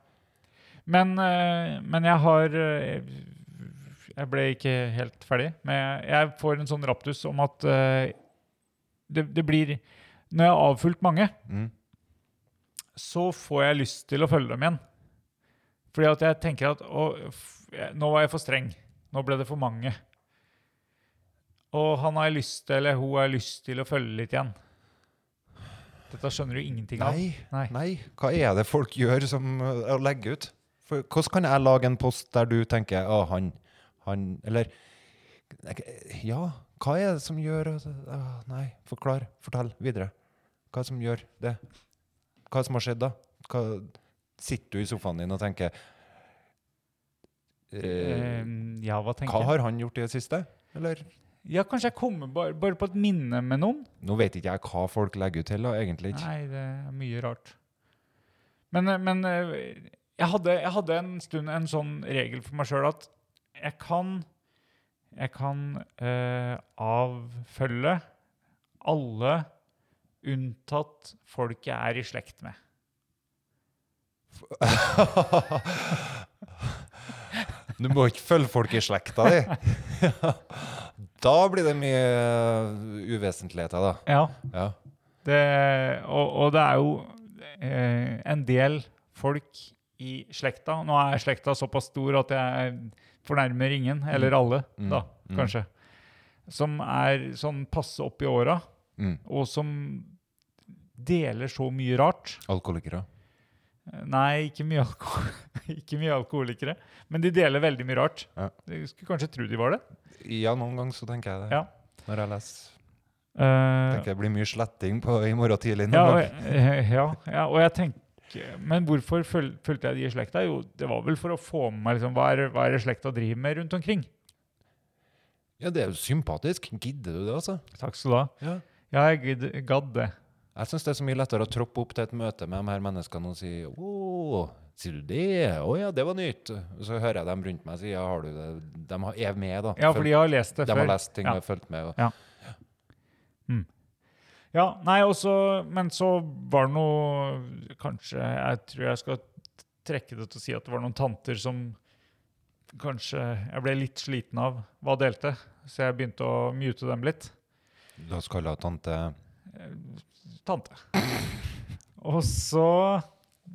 D: Men, eh, men jeg har eh, Jeg ble ikke helt ferdig. Men jeg- jeg får en sånn raptus om at eh, det, det blir Når jeg har avfulgt mange,
B: Mm.
D: så får jeg lyst til å følge dem igjen. Fordi at jeg tenker at å, f- jeg- nå var jeg for streng. Nå ble det for mange. Og han har jeg lyst til, eller hun har jeg lyst til å følge litt igjen. Dette skjønner du ingenting av.
B: Nei,
D: Nei.
B: nei. Hva er det folk gjør som uh, legger ut? For, hvordan kan jeg lage en post der du tenker Å, han, han Eller Ja, hva er det som gjør at- «Å, Nei, forklar. Fortell videre. Hva er det som gjør det? Hva er det som har skjedd, da? Hva, sitter du i sofaen din og tenker eh,
D: Eh, ja, hva tenker
B: Hva
D: jeg?
B: har han gjort i det siste? Eller?
D: Ja, kanskje jeg kommer bare, bare på et minne med noen.
B: Nå vet ikke jeg hva folk legger ut til, da, egentlig. ikke.
D: Nei, det er mye rart. Men, eh, men eh, jeg hadde, jeg hadde en stund en sånn regel for meg sjøl at jeg kan Jeg kan eh, avfølge alle unntatt folk jeg er i slekt med.
B: Du må ikke følge folk i slekta di. da blir det mye eh, uvesentligheter, da.
D: Ja,
B: Ja.
D: det, og, og det er jo eh, en del folk i slekta Nå er slekta såpass stor at jeg fornærmer ingen, eller alle, da,
B: mm.
D: kanskje. Som er sånn passe opp i åra.
B: Mm.
D: og som deler så mye rart.
B: Alkoholikere.
D: Nei, ikke mye, alko ikke mye alkoholikere, men de deler veldig mye rart.
B: Ja.
D: Jeg skulle kanskje tro de var det.
B: Ja, noen ganger så tenker jeg det.
D: Ja.
B: Når jeg leser.
D: Eh,
B: Tenker jeg blir mye sletting på i morgen tidlig.
D: ja,
B: noen
D: og
B: gang.
D: jeg, ja, ja, og jeg tenker Men hvorfor føl følte jeg de i slekta? Jo, det var vel for å få med meg liksom, hva, er, hva er det slekta driver med rundt omkring.
B: ja, det er jo sympatisk. Gidder du det, altså?
D: Takk skal du ha.
B: Ja.
D: Ja, jeg gidd- gadd det.
B: Jeg syns det er så mye lettere å troppe opp til et møte med de her menneskene og si Å, sier du det? Å ja, det var nytt. Og så hører jeg dem rundt meg si ja, har du det? De har- er med, da.
D: Ja, for de har lest det
B: de
D: før.
B: har lest ting
D: ja.
B: og fulgt med. Og,
D: Ja, nei, og så- men så var det noe Kanskje Jeg tror jeg skal trekke det til å si at det var noen tanter som kanskje jeg ble litt sliten av hva delte, så jeg begynte å mute dem litt.
B: La oss kalle henne tante
D: Tante. Og så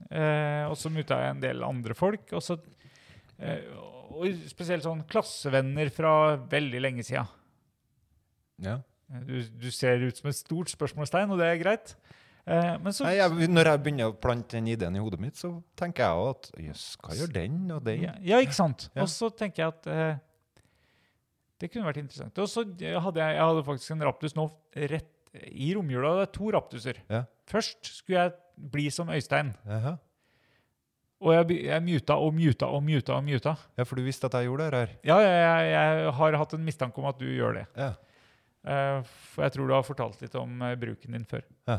D: eh, Og så muta jeg en del andre folk, og så eh, og spesielt sånn klassevenner fra veldig lenge sida.
B: Ja.
D: Du, du ser ut som et stort spørsmålstegn, og det er greit. Eh, men så
B: Nei, jeg, når jeg begynner å plante den ideen i hodet mitt, så tenker jeg òg at jøss, hva gjør den og den?
D: Ja, ja ikke sant?
B: Ja.
D: Og så tenker jeg at eh, det kunne vært interessant. Og så hadde jeg, jeg hadde faktisk en raptus nå rett i romjula. Det er to raptuser.
B: Ja.
D: Først skulle jeg bli som Øystein.
B: Jaha.
D: Og jeg, by- jeg muta og muta og muta og muta.
B: Ja, for du visste at jeg gjorde det her?
D: Ja, jeg, jeg, jeg har hatt en mistanke om at du gjør det.
B: Ja.
D: Eh, for jeg tror du har fortalt litt om eh, bruken din før.
B: Ja.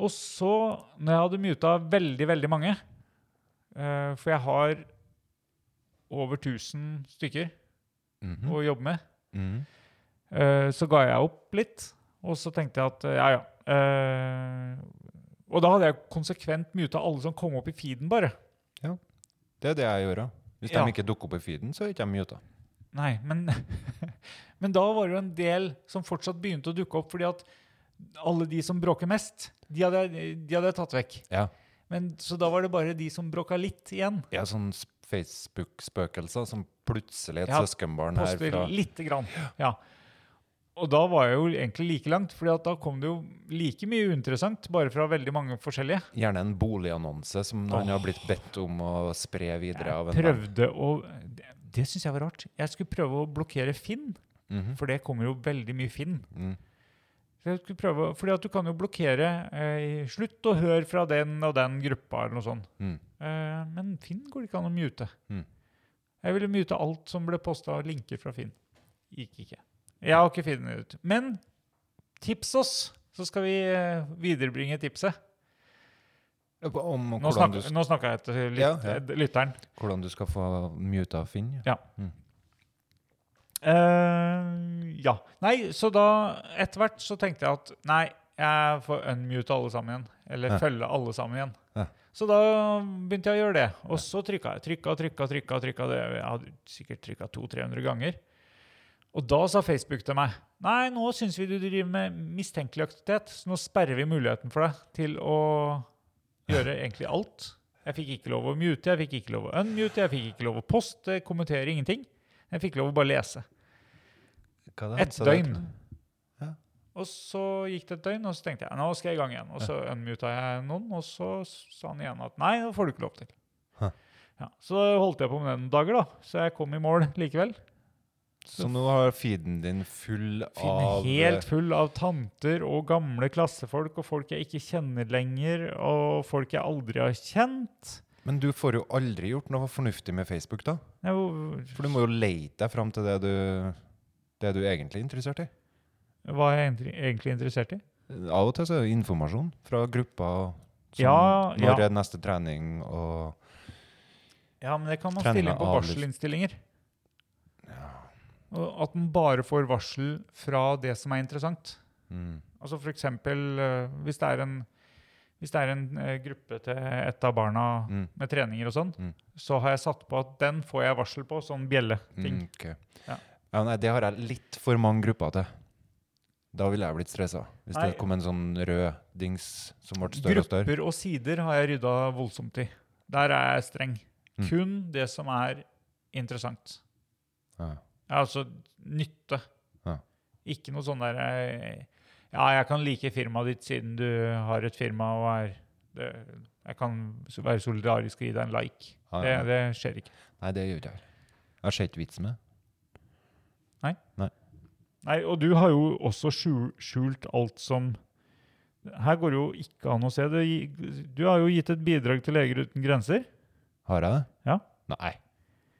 D: Og så, når jeg hadde muta veldig, veldig mange, eh, for jeg har over 1000 stykker
B: Mhm.
D: å jobbe med,
B: Mhm.
D: eh, så ga jeg opp litt. Og så tenkte jeg at eh, ja, ja. eh, og da hadde jeg konsekvent muta alle som kom opp i feeden, bare.
B: Det er det jeg gjør. ja. Hvis
D: Ja.
B: de ikke dukker opp i feeden, så er ikke de muta.
D: Nei, men, men da var det jo en del som fortsatt begynte å dukke opp, fordi at alle de som bråker mest, de hadde, de hadde jeg tatt vekk.
B: Ja.
D: Men, så da var det bare de som bråka litt igjen.
B: Ja, sånn sp- Facebook-spøkelser som plutselig et
D: Ja,
B: søskenbarn her
D: Poster
B: fra
D: lite grann. Ja. Og da var jeg jo egentlig like langt, fordi at da kom det jo like mye uinteressant, bare fra veldig mange forskjellige.
B: Gjerne en boligannonse som han har blitt bedt om å spre videre av en venn.
D: Prøvde å Det, det syns jeg var rart. Jeg skulle prøve å blokkere Finn,
B: Mhm.
D: for det kommer jo veldig mye Finn.
B: Mm.
D: Så Jeg skulle prøve, å- fordi at du kan jo blokkere eh, Slutt å høre fra den og den gruppa, eller noe sånt.
B: Mm.
D: Eh, men Finn går det ikke an å mute.
B: Mm.
D: Jeg ville mute alt som ble posta av linker fra Finn. Gikk ikke. Jeg har ikke funnet det ut. Men tips oss, så skal vi eh, viderebringe tipset.
B: Ja, på- Om
D: Nå
B: hvordan du,
D: snakka, nå snakka jeg til lyt,
B: Ja, ja.
D: lytteren.
B: s- hvordan du skal få muta Finn. Ja. Mm.
D: Ja. Eh, ja. Nei, så da etter hvert så tenkte jeg at nei, jeg får unmute alle sammen igjen. Eller
B: Ja.
D: følge alle sammen igjen.
B: Ja.
D: Så da begynte jeg å gjøre det. Og så trykka jeg. Trykka, trykka, trykka. trykka det. Jeg hadde sikkert trykka 200-300 ganger. Og da sa Facebook til meg Nei, nå syns vi du driver med mistenkelig aktivitet, så nå sperrer vi muligheten for deg til å gjøre egentlig alt. Jeg fikk ikke lov å mute, jeg fikk ikke lov å unmute, jeg fikk ikke lov å poste, kommentere, ingenting. Jeg fikk lov å bare lese.
B: Hva
D: Et
B: Så
D: døgn.
B: Ja.
D: Og så gikk det et døgn, og så tenkte jeg nå skal jeg i gang igjen. Og så unmuta jeg noen, og så sa han igjen at nei, det får du ikke lov til.
B: Hæ.
D: Ja, så holdt jeg på med det noen dager, da. Så jeg kom i mål likevel.
B: Så nå har feeden din full
D: Finn
B: av eh,
D: helt full av tanter og gamle klassefolk og folk jeg ikke kjenner lenger, og folk jeg aldri har kjent.
B: Men du får jo aldri gjort noe fornuftig med Facebook, da?
D: Jeg, var-
B: For du må jo leite deg fram til det du, det du egentlig er interessert i.
D: var jeg egentlig- egentlig interessert i?
B: Av og til så er det informasjon fra gruppa. Som
D: Ja,
B: når
D: ja.
B: er neste trening, og
D: Ja, men det kan man
B: Trender
D: stille inn på
B: avlyst.
D: varselinnstillinger. Og At man bare får varsel fra det som er interessant.
B: Mm.
D: Altså for eksempel eh, hvis det er en, hvis det er en eh, gruppe til et av barna
B: Mm.
D: med treninger og sånn,
B: Mm.
D: så har jeg satt på at den får jeg varsel på, sånn
B: Mm,
D: bjelleting.
B: ok.
D: Ja.
B: Ja, nei, det har jeg litt for mange grupper til. Da ville jeg blitt stressa. Hvis
D: Nei.
B: det kom en sånn rød dings som ble større og større.
D: Grupper og sider har jeg rydda voldsomt i. Der er jeg streng.
B: Mm.
D: Kun det som er interessant.
B: Ja.
D: Altså nytte.
B: Ja.
D: Ikke noe sånn der eh, Ja, jeg kan like firmaet ditt siden du har et firma og er det, Jeg kan s- være solidarisk og gi deg en like.
B: Ja,
D: Det,
B: ja.
D: det skjer ikke.
B: Nei, det gjør jeg ikke. Jeg ser ikke vits med det.
D: Nei, og du har jo også skjul- skjult alt som Her går det jo ikke an å se. Det, gi- du har jo gitt et bidrag til Leger uten grenser.
B: Har jeg det?
D: Ja.
B: Nei.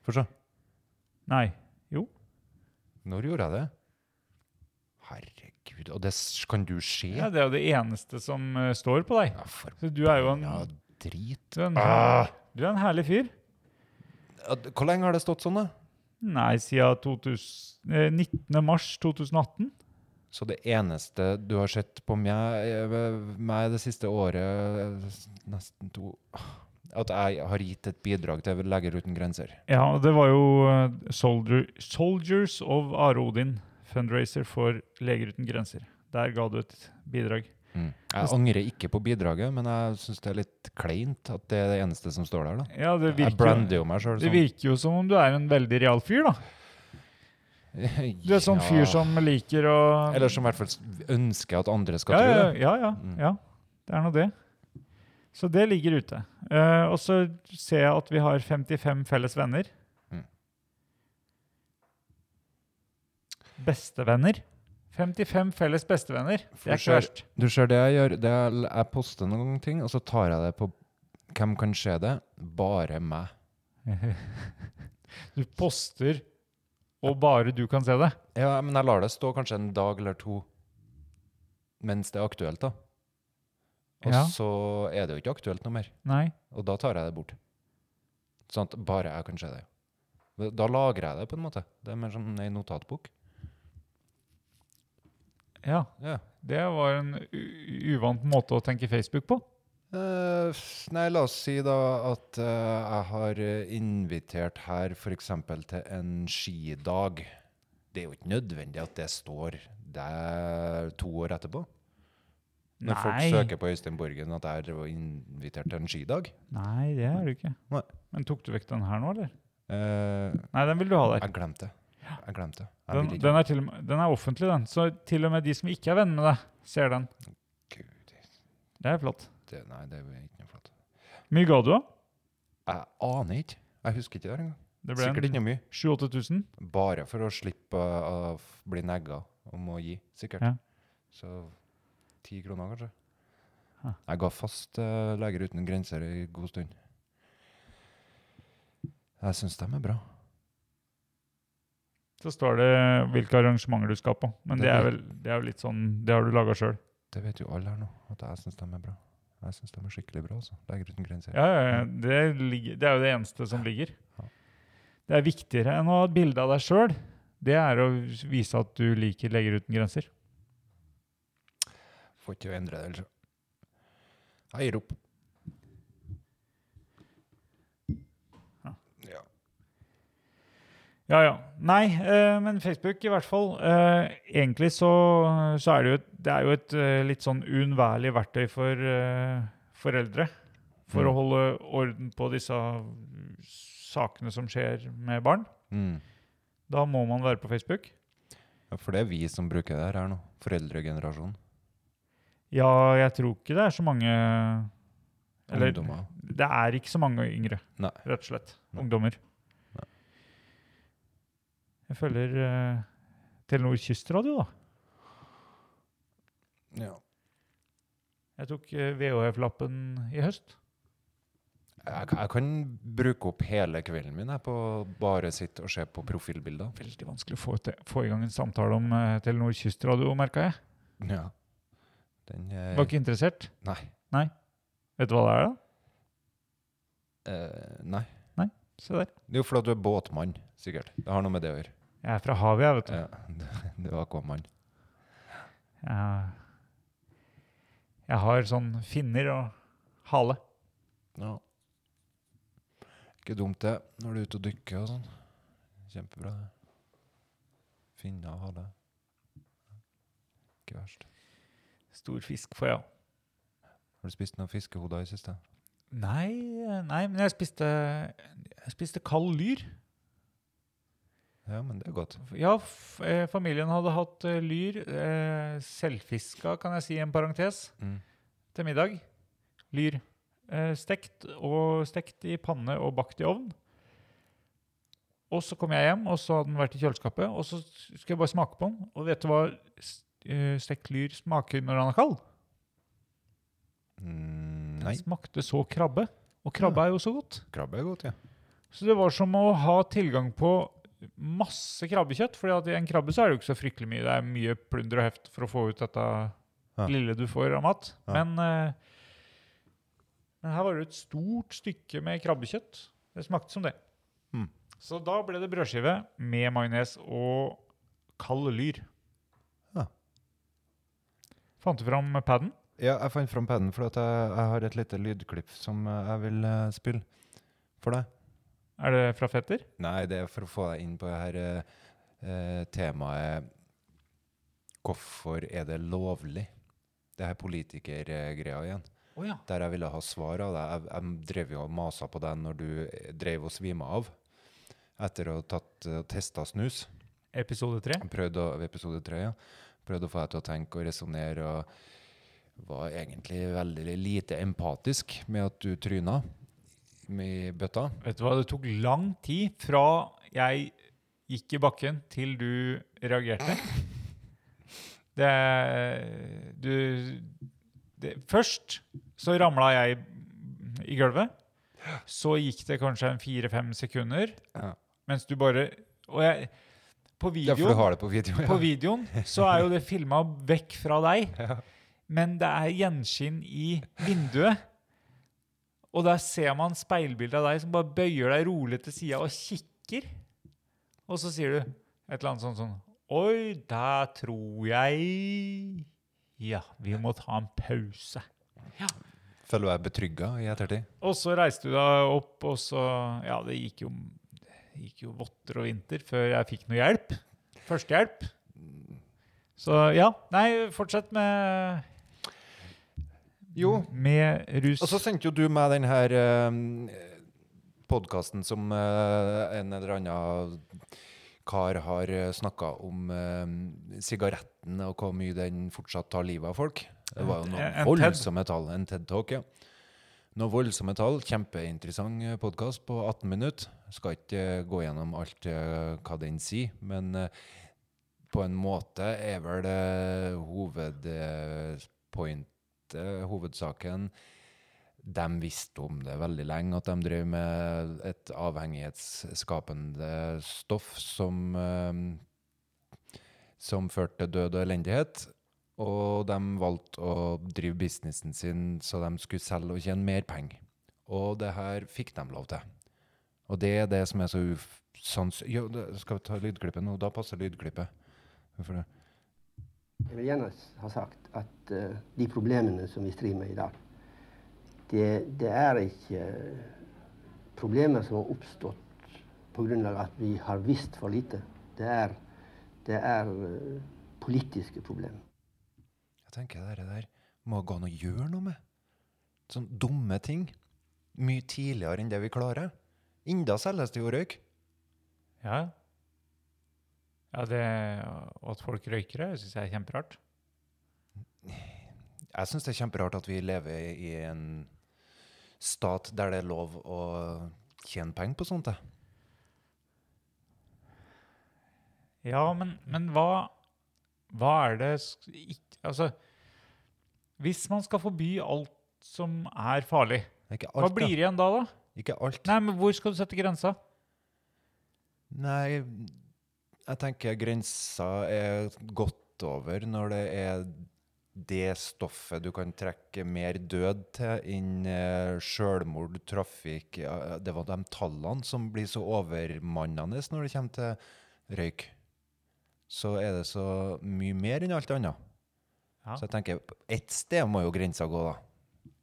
B: Få se.
D: Nei. Jo.
B: Når gjorde jeg det? Herregud, og det s- kan du se?
D: Ja, det er jo det eneste som eh, står på deg.
B: Ja, for
D: Så du er jo en,
B: ja, ah. drit.
D: du er en, her, du er en herlig fyr.
B: Ja, d- Hvor lenge har det stått sånn, da?
D: Nei, siden 2000 eh, 19. mars 2018.
B: Så det eneste du har sett på meg, eh, ved meg det siste året, eh, s- nesten to At jeg har gitt et bidrag til Leger uten grenser.
D: Ja, og det var jo eh, Soldier, Soldiers of Are Odin, fundraiser for Leger uten grenser. Der ga du et bidrag.
B: Mm. Jeg angrer ikke på bidraget, men jeg syns det er litt kleint at det er det eneste som står der. da.
D: Ja, det
B: Jeg
D: virker,
B: brander jo sånn. meg sjøl
D: det virker jo som om du er en veldig real fyr, da. Du er sånn fyr som liker å
B: Eller som i hvert fall s- ønsker at andre skal
D: ja,
B: tro
D: ja,
B: det.
D: ja, ja,
B: Mm.
D: ja. Det er nå det. Så det ligger ute. Eh, og så ser jeg at vi har 55 felles venner.
B: Mm.
D: Bestevenner. 55 felles bestevenner. Det
B: For
D: er ikke
B: ser-
D: verst.
B: Du ser det jeg gjør, det er, l- jeg poster noen ganger ting, og så tar jeg det på Hvem kan se det? Bare meg.
D: Du poster, og bare du kan se det.
B: Ja, men jeg lar det stå kanskje en dag eller to mens det er aktuelt, da. Og
D: Ja.
B: så er det jo ikke aktuelt noe mer.
D: Nei.
B: Og da tar jeg det bort. Sånn at bare jeg kan se det. Da- Da lagrer jeg det på en måte. Det er mer som ei notatbok.
D: Ja.
B: Ja.
D: Det var en u uvant måte å tenke Facebook på.
B: Eh, s- nei, la oss si da at eh, jeg har eh, invitert her f.eks. til en skidag. Det er jo ikke nødvendig at det står der to år etterpå. Når folk søker på Øystein Borgen at jeg var invitert til en skidag.
D: Nei, det er du ikke.
B: Nei.
D: Men tok du vekk den her nå, eller?
B: Eh,
D: Nei, den vil du ha der.
B: jeg glemte det. Jeg glemte det. Jeg
D: Den,
B: vil ikke-
D: den, er til, og med- den er offentlig, den. Så til og med de som ikke er venn med deg, ser den.
B: Gud,
D: Det er flott.
B: det, nei, det er ikke noe flott.
D: Mye ga du, da?
B: Jeg aner ikke. Jeg husker ikke det her engang.
D: Det
B: Sikkert
D: ble
B: ikke mye.
D: 7000-8000.
B: Bare for å slippe å f- bli negga om å gi, sikkert.
D: Ja.
B: Så ti kroner, kanskje.
D: Hæ.
B: Jeg ga fast eh, Leger uten grenser i god stund. Jeg syns dem er bra.
D: Så står det hvilke arrangementer du skal på. Men
B: Det
D: det er
B: vet-
D: vel det er jo litt sånn Det har du laga sjøl.
B: Det vet jo alle her nå, at jeg syns dem er bra. Jeg syns dem er skikkelig bra, altså. Leger uten grenser.
D: Ja, ja, ja. Det, ligger- det er jo det eneste som ligger.
B: Ja.
D: Det er viktigere enn å ha et bilde av deg sjøl. Det er å vise at du liker Leger uten grenser.
B: Får ikke endre det, ellers. Jeg gir opp. Ja.
D: Ja, ja. Nei, eh, men Facebook i hvert fall. Eh, egentlig så, så er det jo et, det er jo et eh, litt sånn uunnværlig verktøy for eh, foreldre. For å
B: Mm.
D: holde orden på disse sakene som skjer med barn.
B: Mm.
D: Da må man være på Facebook.
B: ja. For det er vi som bruker det her nå. Foreldregenerasjonen.
D: Ja, jeg tror ikke det er så mange Eller
B: Ungdommer.
D: det er ikke så mange yngre,
B: Nei.
D: rett og slett.
B: Nei.
D: Ungdommer. Jeg følger eh, Telenor Kystradio, da.
B: Ja.
D: Jeg tok eh, VHF-lappen i høst.
B: Jeg, kan- jeg kan bruke opp hele kvelden min jeg, på å bare sitte og se på profilbilder.
D: Veldig vanskelig å få, til, få i gang en samtale om eh, Telenor Kystradio, merka jeg.
B: Ja. Den eh,
D: Var ikke interessert.
B: Nei.
D: Vet du hva det er, da?
B: Eh, nei.
D: Se der.
B: Det er jo fordi at du er båtmann, sikkert. Det har noe med det å gjøre.
D: Jeg er fra havet, jeg, vet du.
B: Ja. Du er akvamann.
D: Jeg, jeg har sånn finner og hale.
B: Ja. Ikke dumt det, når du er ute og dykker og sånn. Kjempebra det. Finne og ha det. Ikke verst.
D: Stor fisk får jeg òg.
B: Har du spist noen fiskehoder i siste?
D: Nei, eh, nei, men jeg spiste, jeg spiste kald lyr.
B: Ja, men det er godt.
D: Ja, f eh, familien hadde hatt eh, lyr. Eh, selvfiska, kan jeg si, i en parentes,
B: Mm.
D: til middag. Lyr. Eh, stekt, og, stekt i panne og bakt i ovn. Og så kom jeg hjem, og så hadde den vært i kjøleskapet. Og så skulle jeg bare smake på den. Og vet du hva s- eh, stekt lyr smaker når den er kald?
B: Mm,
D: Den
B: nei,
D: smakte så krabbe. Og krabbe er jo så godt.
B: krabbe er godt, ja.
D: Så det var som å ha tilgang på masse krabbekjøtt, for i en krabbe så er det jo ikke så fryktelig mye. Det er mye plunder og heft for å få ut dette
B: Ja.
D: lille du får av mat.
B: Ja.
D: Men, eh, men her var det et stort stykke med krabbekjøtt. Det smakte som det.
B: Mm.
D: Så da ble det brødskive med majones og kald lyr.
B: Ja.
D: Fant du fram paden?
B: Ja, jeg fant fram paden, for at jeg, jeg har et lite lydklipp som eh, jeg vil eh, spille for deg.
D: Er det fra fetter?
B: Nei, det er for å få deg inn på det her eh, eh, temaet Hvorfor er det lovlig? Det her politikergreia igjen.
D: Å ja.
B: Der jeg ville ha svar av deg. Jeg, jeg drev jo og masa på deg når du eh, drev og svima av etter å ha tatt eh, testa snus.
D: Episode tre.
B: Prøvd å, ved episode tre, ja. Prøvd å få deg til å tenke og resonnere, og var egentlig veldig lite empatisk med at du tryna i bøtta.
D: Vet du hva, det tok lang tid fra jeg gikk i bakken til du reagerte. Det, du, det, først så ramla jeg i gulvet. Så gikk det kanskje en fire-fem sekunder,
B: Ja.
D: mens du bare Og jeg På
B: Ja, for du
D: videoen,
B: har det på video.
D: på
B: Ja.
D: videoen så er jo det filma vekk fra deg, men det er gjenskinn i vinduet. Og der ser man speilbildet av deg som bare bøyer deg rolig til sida og kikker. Og så sier du et eller annet sånn sånn Oi, der tror jeg Ja, vi må ta en pause.
B: Føler du deg betrygga i ettertid?
D: Og så reiste du deg opp, og så Ja, det gikk jo, det gikk jo votter og vinter før jeg fikk noe hjelp. Førstehjelp. Så ja. Nei, fortsett med
B: Jo.
D: Med rus.
B: Og så sendte jo du meg den her eh, podkasten som eh, en eller annen kar har snakka om eh, sigaretten og hvor mye den fortsatt tar livet av folk. Det var jo noen
D: En- en
B: voldsomme tall. En TED Talk, ja. Noen voldsomme tall. Kjempeinteressant podkast på 18 minutter. Skal ikke eh, gå gjennom alt eh, hva den sier, men eh, på en måte er vel eh, hovedpointet, hovedsaken De visste om det veldig lenge, at de drev med et avhengighetsskapende stoff som eh, som førte til død og elendighet. Og de valgte å drive businessen sin så de skulle selge og tjene mer penger. Og det her fikk de lov til. Og det er det som er så usans... Jo, det- skal vi ta lydklippet nå? Da passer lydklippet. Hvorfor det?
H: Jeg vil gjerne s- ha sagt at eh, de problemene som vi strir med i dag, det, det er ikke eh, problemer som har oppstått på grunn av at vi har visst for lite. Det er, det er eh, politiske problemer.
B: Jeg tenker det der må gå an å gjøre noe med. Sånne dumme ting. Mye tidligere enn det vi klarer. Enda selges det jo røyk.
D: Ja. Ja, det Og at folk røyker det, syns jeg er kjemperart.
B: Jeg syns det er kjemperart at vi lever i en stat der det er lov å tjene penger på sånt. jeg.
D: Ja, men, men hva Hva er det sk- ikk- Altså Hvis man skal forby alt som er farlig,
B: Det er ikke
D: hva
B: alt,
D: blir
B: da.
D: igjen da, da?
B: Ikke alt.
D: Nei, men hvor skal du sette grensa?
B: Nei, jeg tenker grensa er godt over når det er det stoffet du kan trekke mer død til enn eh, sjølmord, trafikk ja, Det var de tallene som blir så overmannende når det kommer til røyk. Så er det så mye mer enn alt annet.
D: Ja.
B: Så jeg tenker, ett sted må jo grensa gå, da.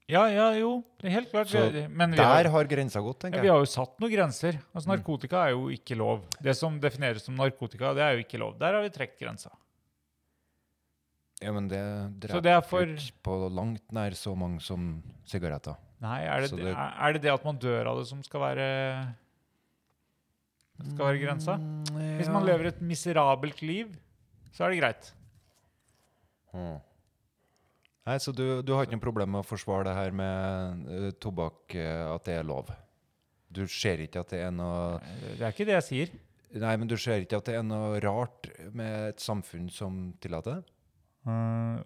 D: Ja, ja, jo, det er helt klart.
B: Så
D: vi- men vi har,
B: Der har Mm. grensa gått,
D: ja,
B: tenker
D: vi
B: jeg.
D: har jo satt noen grenser. Altså, narkotika er jo ikke lov. Det som defineres som narkotika, det er jo ikke lov. Der har vi trukket grensa.
B: Ja, men det
D: Så det er
B: dreper
D: for-
B: ikke på langt nær så mange som sigaretter.
D: Nei, er det
B: Så
D: det,
B: det-
D: er er det det at man dør av det som skal være skal være grensa?
B: Mm,
D: Hvis man lever et miserabelt liv, så er det greit.
B: Mm. Nei, Så du, du har ikke noe problem med å forsvare det her med eh, tobakk, eh, at det er lov? Du ser ikke at det er noe
D: Det er ikke det jeg sier.
B: Nei, men du ser ikke at det er noe rart med et samfunn som tillater det?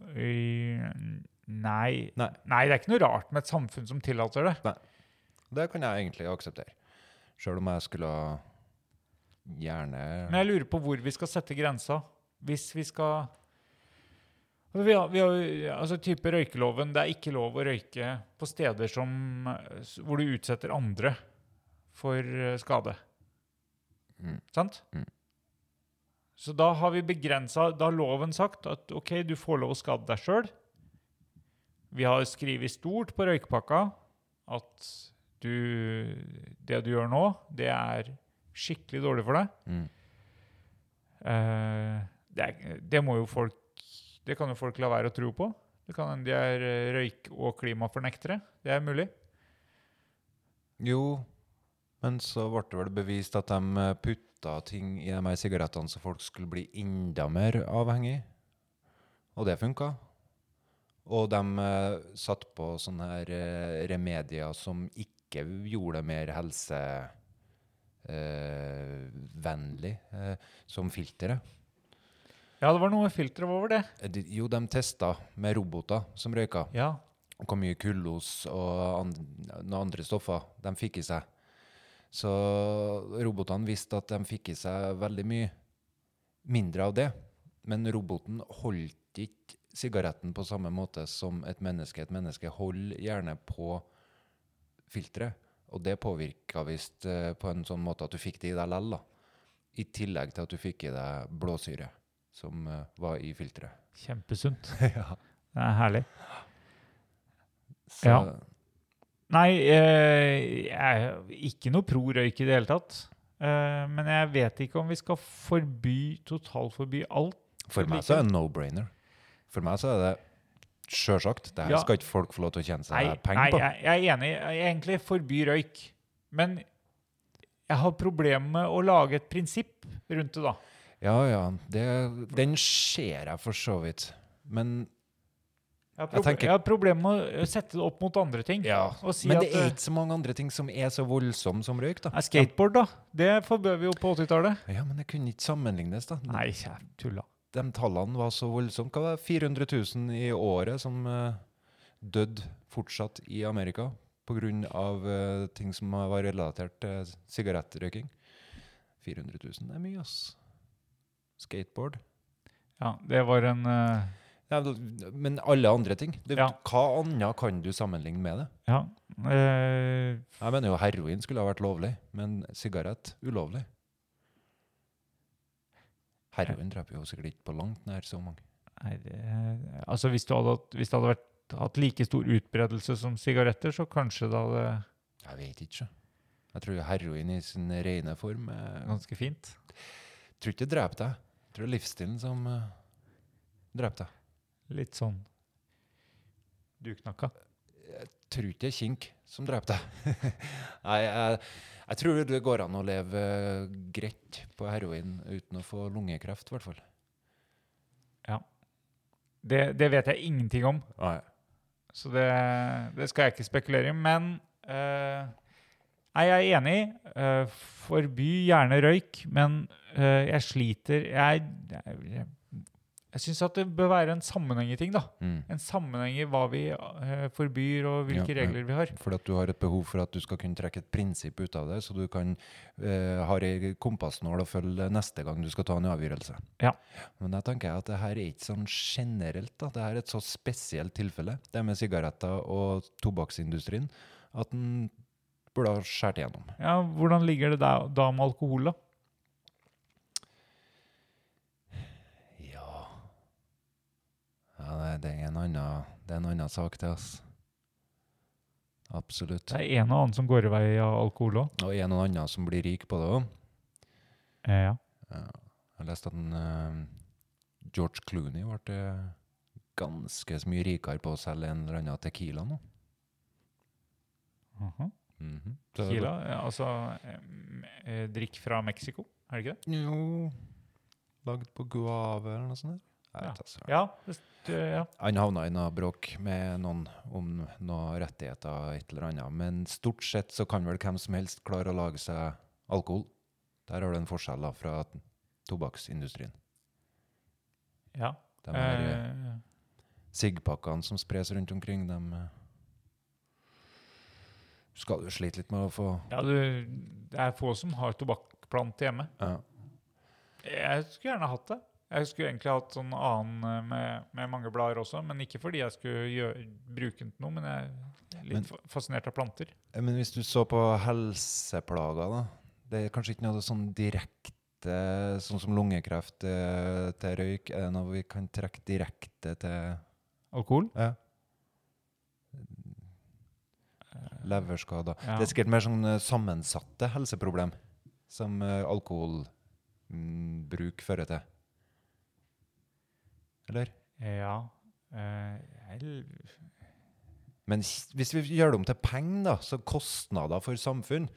D: nei.
B: Mm, Nei.
D: Nei, det er ikke noe rart med et samfunn som tillater det.
B: Det kan jeg egentlig akseptere. Sjøl om jeg skulle gjerne
D: Men jeg lurer på hvor vi skal sette grensa. Hvis vi skal altså, vi har, vi har, jo- altså type røykeloven, det er ikke lov å røyke på steder som, eh, s- hvor du utsetter andre for eh, skade. Sant?
B: Mm.
D: Så da har vi begrensa Da har loven sagt at OK, du får lov å skade deg sjøl. Vi har skrevet stort på røykpakka at du, det du gjør nå, det er skikkelig dårlig for deg.
B: Mm.
D: Eh, det, er, det må jo folk Det kan jo folk la være å tro på. Det kan hende de er eh, røyk- og klimafornektere. Det er mulig.
B: Jo, men så ble det vel bevist at de putta ting i de her sigarettene så folk skulle bli enda mer avhengig. Og det funka. Og de eh, satte på sånne her eh, remedier som ikke gjorde det mer helsevennlig, eh, vennlig, eh, som filteret.
D: Ja, det var noe filter over det.
B: Eh, de- Jo, de testa med roboter som røyka
D: Ja.
B: hvor mye kullos og an, noen andre stoffer de fikk i seg. Så robotene visste at de fikk i seg veldig mye mindre av det. Men roboten holdt ikke sigaretten på samme måte som et menneske. Et menneske holder gjerne på filteret, og det påvirka visst eh, på en sånn måte at du fikk det i deg lell, da. I tillegg til at du fikk i deg blåsyre, som eh, var i filteret.
D: Kjempesunt.
B: ja.
D: Det er herlig.
B: Så,
D: Ja. Nei, eh, jeg er ikke noe pro røyk i det hele tatt. Eh, men jeg vet ikke om vi skal forby, totalforby alt.
B: For meg så er det en no-brainer. For meg så er det sjølsagt. Det her
D: Ja.
B: skal ikke folk få lov til å tjene seg
D: Nei,
B: penger
D: nei
B: på.
D: jeg, jeg er enig. Jeg egentlig forby røyk. Men jeg har problemer med å lage et prinsipp rundt det, da.
B: Ja, ja. Det, den ser jeg for så vidt. Men
D: Jeg har,
B: Jeg
D: proble-
B: tenker-
D: jeg har problemer med å eh, sette det opp mot andre ting.
B: ja.
D: Og si
B: Men
D: at
B: det er
D: eh,
B: ikke så mange andre ting som er så voldsomme som røyk, da.
D: er skateboard, da. Det forbød vi jo på 80-tallet.
B: Ja, men det kunne ikke sammenlignes, da.
D: Nei, jeg tulla.
B: De tallene var så voldsomme. Hva var det? 400 000 i året som eh, døde fortsatt i Amerika pga. Uh, ting som var relatert til sigarettrøyking. 400 000, det er mye, ass. Skateboard.
D: Ja, det var en eh,
B: Ja, vel, men alle andre ting. Det,
D: Ja.
B: Hva annet kan du sammenligne med det?
D: Ja. eh,
B: Jeg mener jo heroin skulle ha vært lovlig, men sigarett ulovlig. Heroin dreper jo sikkert ikke på langt nær så mange.
D: nei, det, altså, hvis, du hadde, hatt- hvis det hadde vært, hatt like stor utbredelse som sigaretter, så kanskje det hadde
B: Jeg vet ikke. Jeg tror heroin i sin rene form eh,
D: ganske fint.
B: Jeg tror ikke det dreper deg. Jeg tror det er livsstilen som eh, dreper deg.
D: Litt sånn duknakka.
B: Jeg tror ikke det er kink som dreper deg. Nei, jeg, jeg tror det går an å leve eh, greit på heroin uten å få lungekreft, i hvert fall.
D: Det, det vet jeg ingenting om,
B: Nei.
D: så det, det skal jeg ikke spekulere i. Men eh, nei, jeg er enig. eh, forby gjerne røyk, men eh, jeg sliter Jeg, jeg, jeg, jeg syns at det bør være en sammenheng i ting, da.
B: Mm.
D: En sammenheng i hva vi eh, forbyr, og
B: Ja,
D: hvilke
B: ja.
D: regler vi har.
B: Fordi at du har et behov for at du skal kunne trekke et prinsipp ut av det, så du kan eh, ha ei kompassnål å følge neste gang du skal ta en avgjørelse.
D: Ja.
B: Men da tenker jeg at det her er ikke sånn generelt. da. Det her er et så spesielt tilfelle, det med sigaretter og tobakksindustrien, at en burde ha skåret igjennom.
D: Ja, hvordan ligger det da, da med alkohol, da?
B: Ja, ja det, det, er en annen, det er en annen sak, det, altså. Absolutt.
D: Det er en og annen som går i vei av alkohol òg.
B: Og en og annen som blir rik på det òg.
D: Eh, ja.
B: Ja. Jeg leste at den, eh, George Clooney ble eh, ganske så mye rikere på å selge en eller annen tequila nå.
D: Aha.
B: Mhm. Så-
D: Tequila, ja, altså eh, eh, drikk fra Mexico, er det ikke det?
B: Jo Lagd på guave eller noe sånt? Der. Jeg vet ikke, altså.
D: Ja. Det, st- eh, ja.
B: Han havna i noe bråk med noen om noen rettigheter, et eller annet. Men stort sett så kan vel hvem som helst klare å lage seg alkohol. Der har du en forskjell da fra tobakksindustrien.
D: ja.
B: De her eh,
D: Eh,
B: sigpakkene som spres rundt omkring, de eh, skal du slite litt med å få
D: ja, du, det er få som har tobakksplante hjemme.
B: ja.
D: Jeg skulle gjerne hatt det. Jeg skulle egentlig hatt sånn annen eh, med, med mange blader også, men ikke fordi jeg skulle gjøre, bruke den til noe, men jeg er litt
B: Men-
D: fa- fascinert av planter.
B: Eh, Men hvis du så på helseplager, da Det er kanskje ikke noe sånn direkte Sånn som lungekreft eh, til røyk, er det noe vi kan trekke direkte til
D: Alkohol?
B: Ja. Leverskader.
D: Ja.
B: Det er sikkert mer sånn eh, sammensatte helseproblem som alkoholbruk fører til. Eller?
D: Ja. Eh, jeg, l-
B: Men s- hvis vi gjør det om til penger, da, så kostnader for samfunn,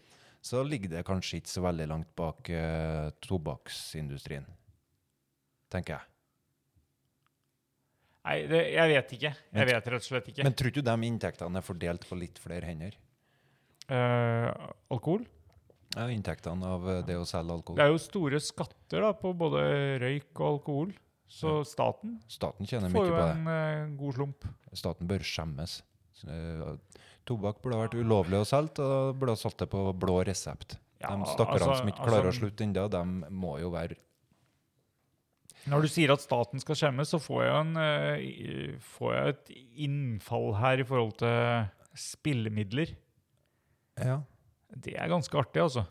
B: så ligger det kanskje ikke så veldig langt bak eh, tobakksindustrien, tenker jeg.
D: nei, det, jeg vet ikke.
B: Men-
D: Jeg vet rett og slett ikke.
B: Men tror ikke du de inntektene er fordelt på litt flere hender?
D: Eh, alkohol?
B: Ja, inntektene av eh, det å selge alkohol?
D: Det er jo store skatter da, på både røyk og alkohol, så staten
B: Staten tjener mye
D: får jo
B: på det.
D: en eh, god slump.
B: Staten bør skjemmes. Så, eh, Tobakk burde ha vært ulovlig å selge, og da burde ha solgt det på blå resept.
D: Ja,
B: de stakkarene
D: altså-
B: som ikke
D: altså-
B: klarer å slutte ennå, de må jo være
D: Når du sier at staten skal skjemmes, så får jeg, en, eh, i- får jeg et innfall her i forhold til spillemidler.
B: Ja.
D: Det er ganske artig, altså.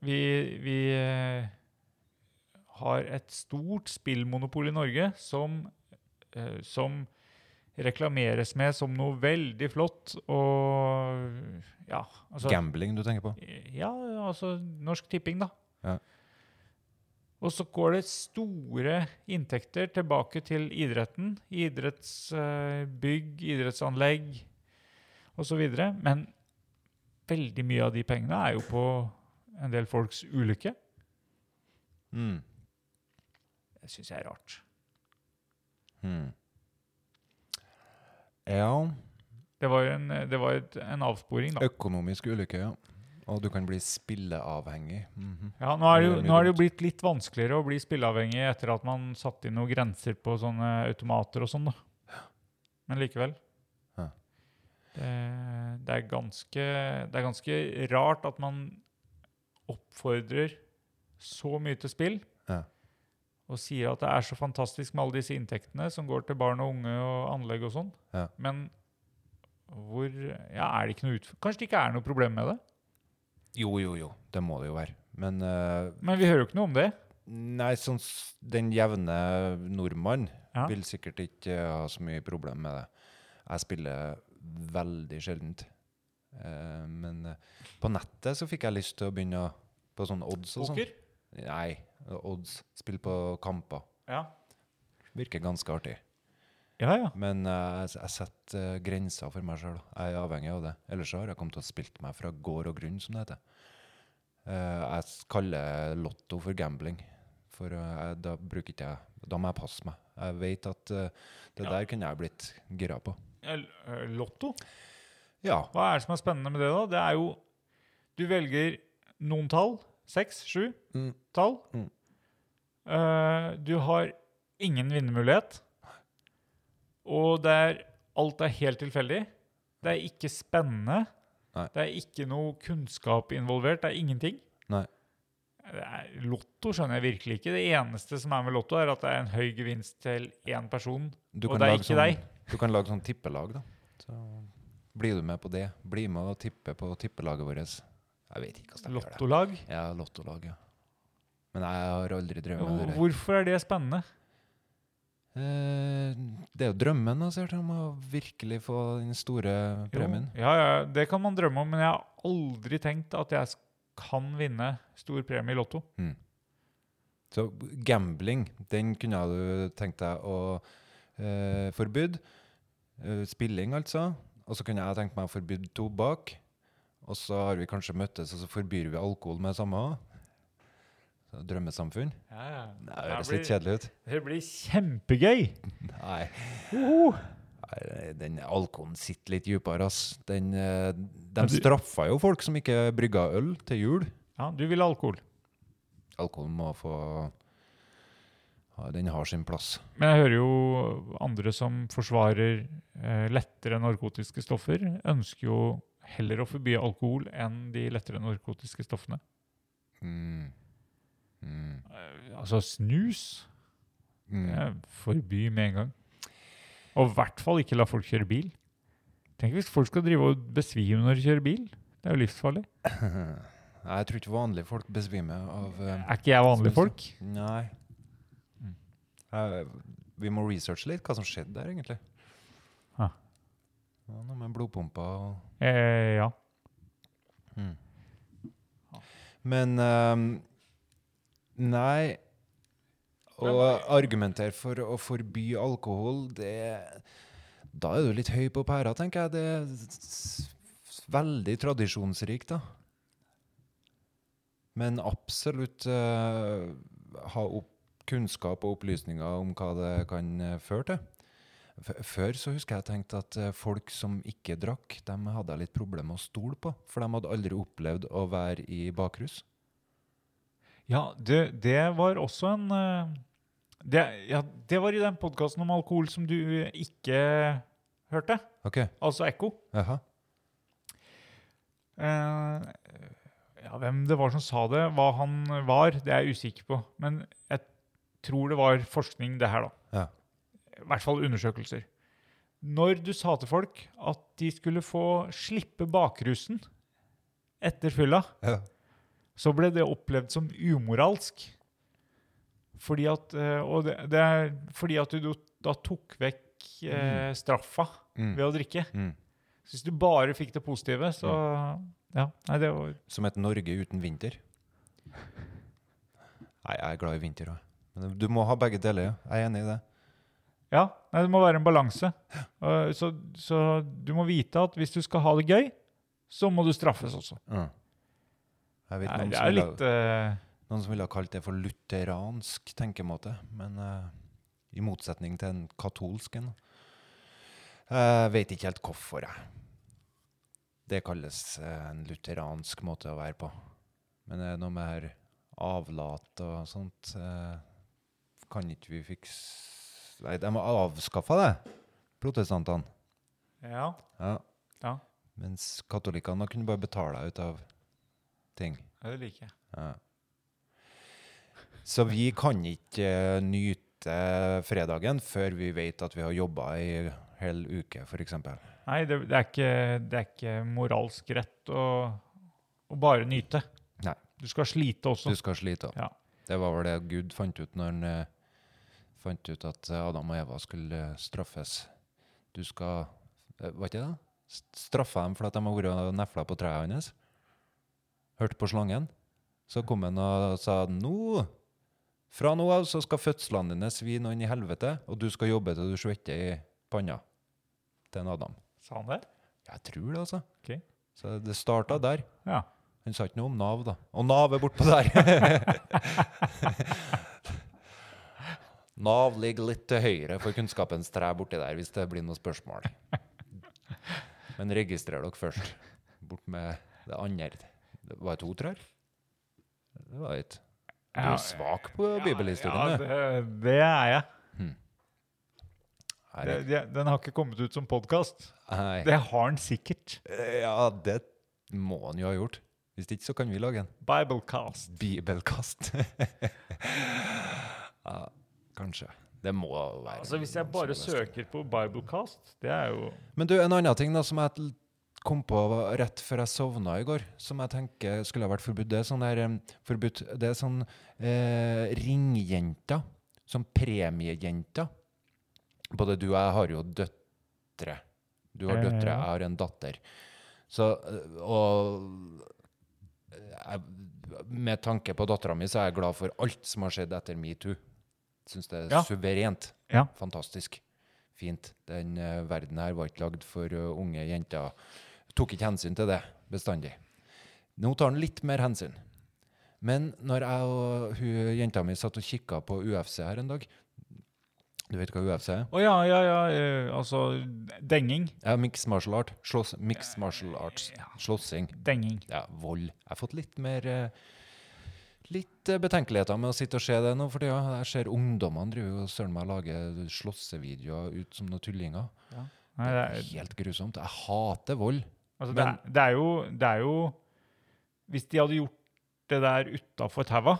D: Vi, vi eh, har et stort spillmonopol i Norge som, eh, som reklameres med som noe veldig flott og ja, altså,
B: Gambling du tenker på?
D: Ja, altså Norsk Tipping, da.
B: Ja.
D: Og så går det store inntekter tilbake til idretten. Idrettsbygg, idrettsanlegg osv. Men veldig mye av de pengene er jo på en del folks ulykke.
B: Mm.
D: Det syns jeg er rart.
B: Mm. Ja.
D: Det var, jo en, det var et, en avsporing, da.
B: Økonomisk ulykke, ja. Og du kan bli spilleavhengig. Mhm.
D: Ja, nå er, det jo,
B: Det gjør mye
D: nå er det jo blitt litt vanskeligere å bli spilleavhengig etter at man satte inn noen grenser på sånne automater og sånn, da. Men likevel.
B: Ja.
D: Det, det, er ganske, det er ganske rart at man oppfordrer så mye til spill,
B: Ja.
D: og sier at det er så fantastisk med alle disse inntektene som går til barn og unge og anlegg og sånn.
B: Ja.
D: Men hvor ja, er det ikke noe utf- Kanskje det ikke er noe problem med det?
B: Jo, jo, jo. Det må det jo være. Men eh,
D: Men vi hører jo ikke noe om det.
B: nei, sånn, s- den jevne nordmann
D: Ja.
B: vil sikkert ikke eh, ha så mye problem med det. Jeg spiller veldig sjeldent. Eh, men eh, på nettet så fikk jeg lyst til å begynne å- på sånn odds og sånn.
D: Poker?
B: Nei, odds. Spill på kamper.
D: Ja.
B: Virker ganske artig.
D: Ja, ja.
B: Men eh, jeg, jeg setter eh, grenser for meg sjøl. Jeg er avhengig av det. Ellers så har jeg kommet til å spilt meg fra gård og grunn, som det heter. Eh, jeg s- kaller Lotto for gambling. For eh, jeg, da bruker ikke jeg Da må jeg passe meg. Jeg vet at eh, det
D: Ja.
B: der kunne jeg blitt gira på.
D: El- eh, Lotto?
B: Ja.
D: Hva er det som er spennende med det, da? Det er jo Du velger noen tall. Seks, sju
B: Mm.
D: tall.
B: Mm.
D: Eh, du har ingen vinnermulighet. Og det er Alt er helt tilfeldig. Det er ikke spennende.
B: Nei.
D: Det er ikke noe kunnskap involvert. Det er ingenting.
B: Nei.
D: Det er, lotto skjønner jeg virkelig ikke. Det eneste som er med lotto, er at det er en høy gevinst til én person.
B: Du
D: Og det er
B: lage
D: ikke
B: sånn,
D: deg.
B: Du kan lage sånn tippelag, da. Så blir du med på det. Bli med og tippe på tippelaget vårt. Jeg vet ikke hvordan de gjør det.
D: Lottolag.
B: Ja, lottolag, ja. Men jeg har aldri drevet med det.
D: Hvor-
B: der.
D: Hvorfor er det spennende?
B: Eh, Det er jo drømmen altså, om å virkelig få den store
D: Jo,
B: premien.
D: Ja, ja, det kan man drømme om, men jeg har aldri tenkt at jeg sk- kan vinne stor premie i Lotto.
B: Så gambling, den kunne du tenkt deg å eh, forbyde. Eh, spilling, altså. Og så kunne jeg tenkt meg å forbyde tobakk. Og så har vi kanskje møttes, og så forbyr vi alkohol med det samme. også. Så Drømmesamfunn?
D: Ja, ja.
B: Nei,
D: Det
B: det høres
D: blir-
B: litt kjedelig ut.
D: Det blir kjempegøy!
B: Nei. Nei, Den alkoholen sitter litt dypere, ass. Den, eh, de
D: du-
B: straffa jo folk som ikke brygga øl til jul.
D: Ja, du vil ha alkohol.
B: Alkoholen må få ja, Den har sin plass.
D: Men jeg hører jo andre som forsvarer eh, lettere narkotiske stoffer, ønsker jo heller å forby alkohol enn de lettere narkotiske stoffene.
B: Mm. Mm.
D: Eh, altså snus
B: Mm.
D: eh, forby med en gang. Og i hvert fall ikke la folk kjøre bil. Tenk hvis folk skal drive og besvime når de kjører bil. Det er jo livsfarlig.
B: Nei, Jeg tror ikke vanlige folk besvimer av eh,
D: Er ikke jeg vanlige folk?
B: Nei.
D: Mm.
B: Eh, vi må researche litt hva som skjedde der, egentlig.
D: Ah.
B: Ja, noe med blodpumpa og
D: Eh, ja.
B: Men ehm, Nei. Å argumentere for å forby alkohol, det Da er du litt høy på pæra, tenker jeg. Det er s- s- veldig tradisjonsrikt, da. Men absolutt eh, ha opp kunnskap og opplysninger om hva det kan eh, føre til. F- Før så husker jeg jeg tenkte at eh, folk som ikke drakk, dem hadde jeg litt problemer med å stole på. For de hadde aldri opplevd å være i bakrus.
D: Ja, det, det var også en eh, det, ja, det var i den podkasten om alkohol som du ikke hørte,
B: Ok,
D: altså Ekko.
B: jaha.
D: Eh, ja, hvem det var som sa det, hva han var, det er jeg usikker på. Men jeg tror det var forskning, det her, da.
B: Ja.
D: I hvert fall undersøkelser. Når du sa til folk at de skulle få slippe bakrusen etter fylla,
B: Ja.
D: så ble det opplevd som umoralsk. Fordi at, eh, og det, det er fordi at du da tok vekk eh, straffa
B: Mm.
D: ved å drikke.
B: Mm.
D: Så hvis du bare fikk det positive, så Ja. Nei, det var
B: Som et Norge uten vinter. Nei, jeg er glad i vinter òg. Men du må ha begge deler, ja. Jeg er enig i det.
D: Ja, nei, det må være en balanse. Eh, Så, så du må vite at hvis du skal ha det gøy, så må du straffes også.
B: Mm. Jeg vet
D: Nei,
B: noen,
D: det
B: som
D: er
B: ville,
D: litt eh,
B: noen som ville ha kalt det for lutheransk tenkemåte, men eh, i motsetning til en katolsk en. Jeg vet ikke helt hvorfor, jeg. Det kalles eh, en lutheransk måte å være på. Men det er noe med her avlat og sånt eh, Kan ikke vi fikse Nei, de har avskaffa det, protestantene.
D: eh, Ja.
B: Ja.
D: ja.
B: Mens katolikkene kunne bare betale ut av ting.
D: Det liker jeg.
B: Ja. Så vi kan ikke eh, nyte fredagen før vi vet at vi har jobba ei hel uke, f.eks.
D: Nei, det, det, er ikke, det er ikke moralsk rett å, å bare nyte.
B: Nei.
D: Du skal slite også.
B: Du skal slite.
D: Ja.
B: Det var vel det Gud fant ut når han eh, fant ut at eh, Adam og Eva skulle eh, straffes. Du skal eh, Var ikke det? St- Straffa dem for at de har vært og nefla på treet hans? Hørte på slangen? Så kom han og sa nå Fra nå av så skal fødslene dine svi noen i helvete, og du skal jobbe til du svetter i panna. Til en Adam.
D: Sa han det?
B: Jeg tror det, altså.
D: Ok.
B: Så det starta der.
D: Ja.
B: Han sa ikke noe om Nav, da. Og Nav er bortpå der! Nav ligger litt til høyre for kunnskapens tre borti der, hvis det blir noen spørsmål. Men registrer dere først. Bort med det andre. Det var det to trær? Det var et. Du
D: Ja,
B: er svak på
D: ja,
B: bibelhistorien, du.
D: det, det er jeg.
B: Her
D: Det,
B: er-
D: det, den har ikke kommet ut som podkast.
B: Nei.
D: Det har den sikkert.
B: Ja, det må han jo ha gjort. Hvis ikke, så kan vi lage en.
D: Biblecast.
B: Bibelkast. ja, kanskje. Det må være sånn
D: Altså, hvis jeg bare søker på Biblecast, det er jo
B: Men du, en annen ting da, som jeg l- kom på var rett før jeg sovna i går, som jeg tenker skulle ha vært forbudt, det er sånn der, em, forbudt, det er sånn eh, ringjenter, sånn premiejenter. Både du og jeg har jo døtre. Du har
D: Eh,
B: døtre,
D: ja.
B: jeg har en datter. Så, eh, og eh, jeg, med tanke på dattera mi, så er jeg glad for alt som har skjedd etter metoo. Syns det er
D: Ja.
B: suverent.
D: Ja.
B: Fantastisk. Fint. Den eh, verden her var ikke lagd for eh, unge jenter. Tok ikke hensyn til det bestandig. Nå tar han litt mer hensyn. Men når jeg og hun jenta mi satt og kikka på UFC her en dag Du vet hva UFC er?
D: Å ja, ja, ja. eh, Altså denging.
B: Ja, Mixed martial art. Slåss, mixed martial arts. Slåssing.
D: Denging.
B: Ja, vold. Jeg har fått litt mer eh, Litt eh, betenkeligheter med å sitte og se det nå for tida. Jeg ser ungdommene driver jo og søren meg lager slåssevideoer ut som noen tullinger.
D: Nei, det, er-
B: Helt grusomt. Jeg hater vold.
D: altså, det, er, det, er jo, det er jo Hvis de hadde gjort det der utafor taua,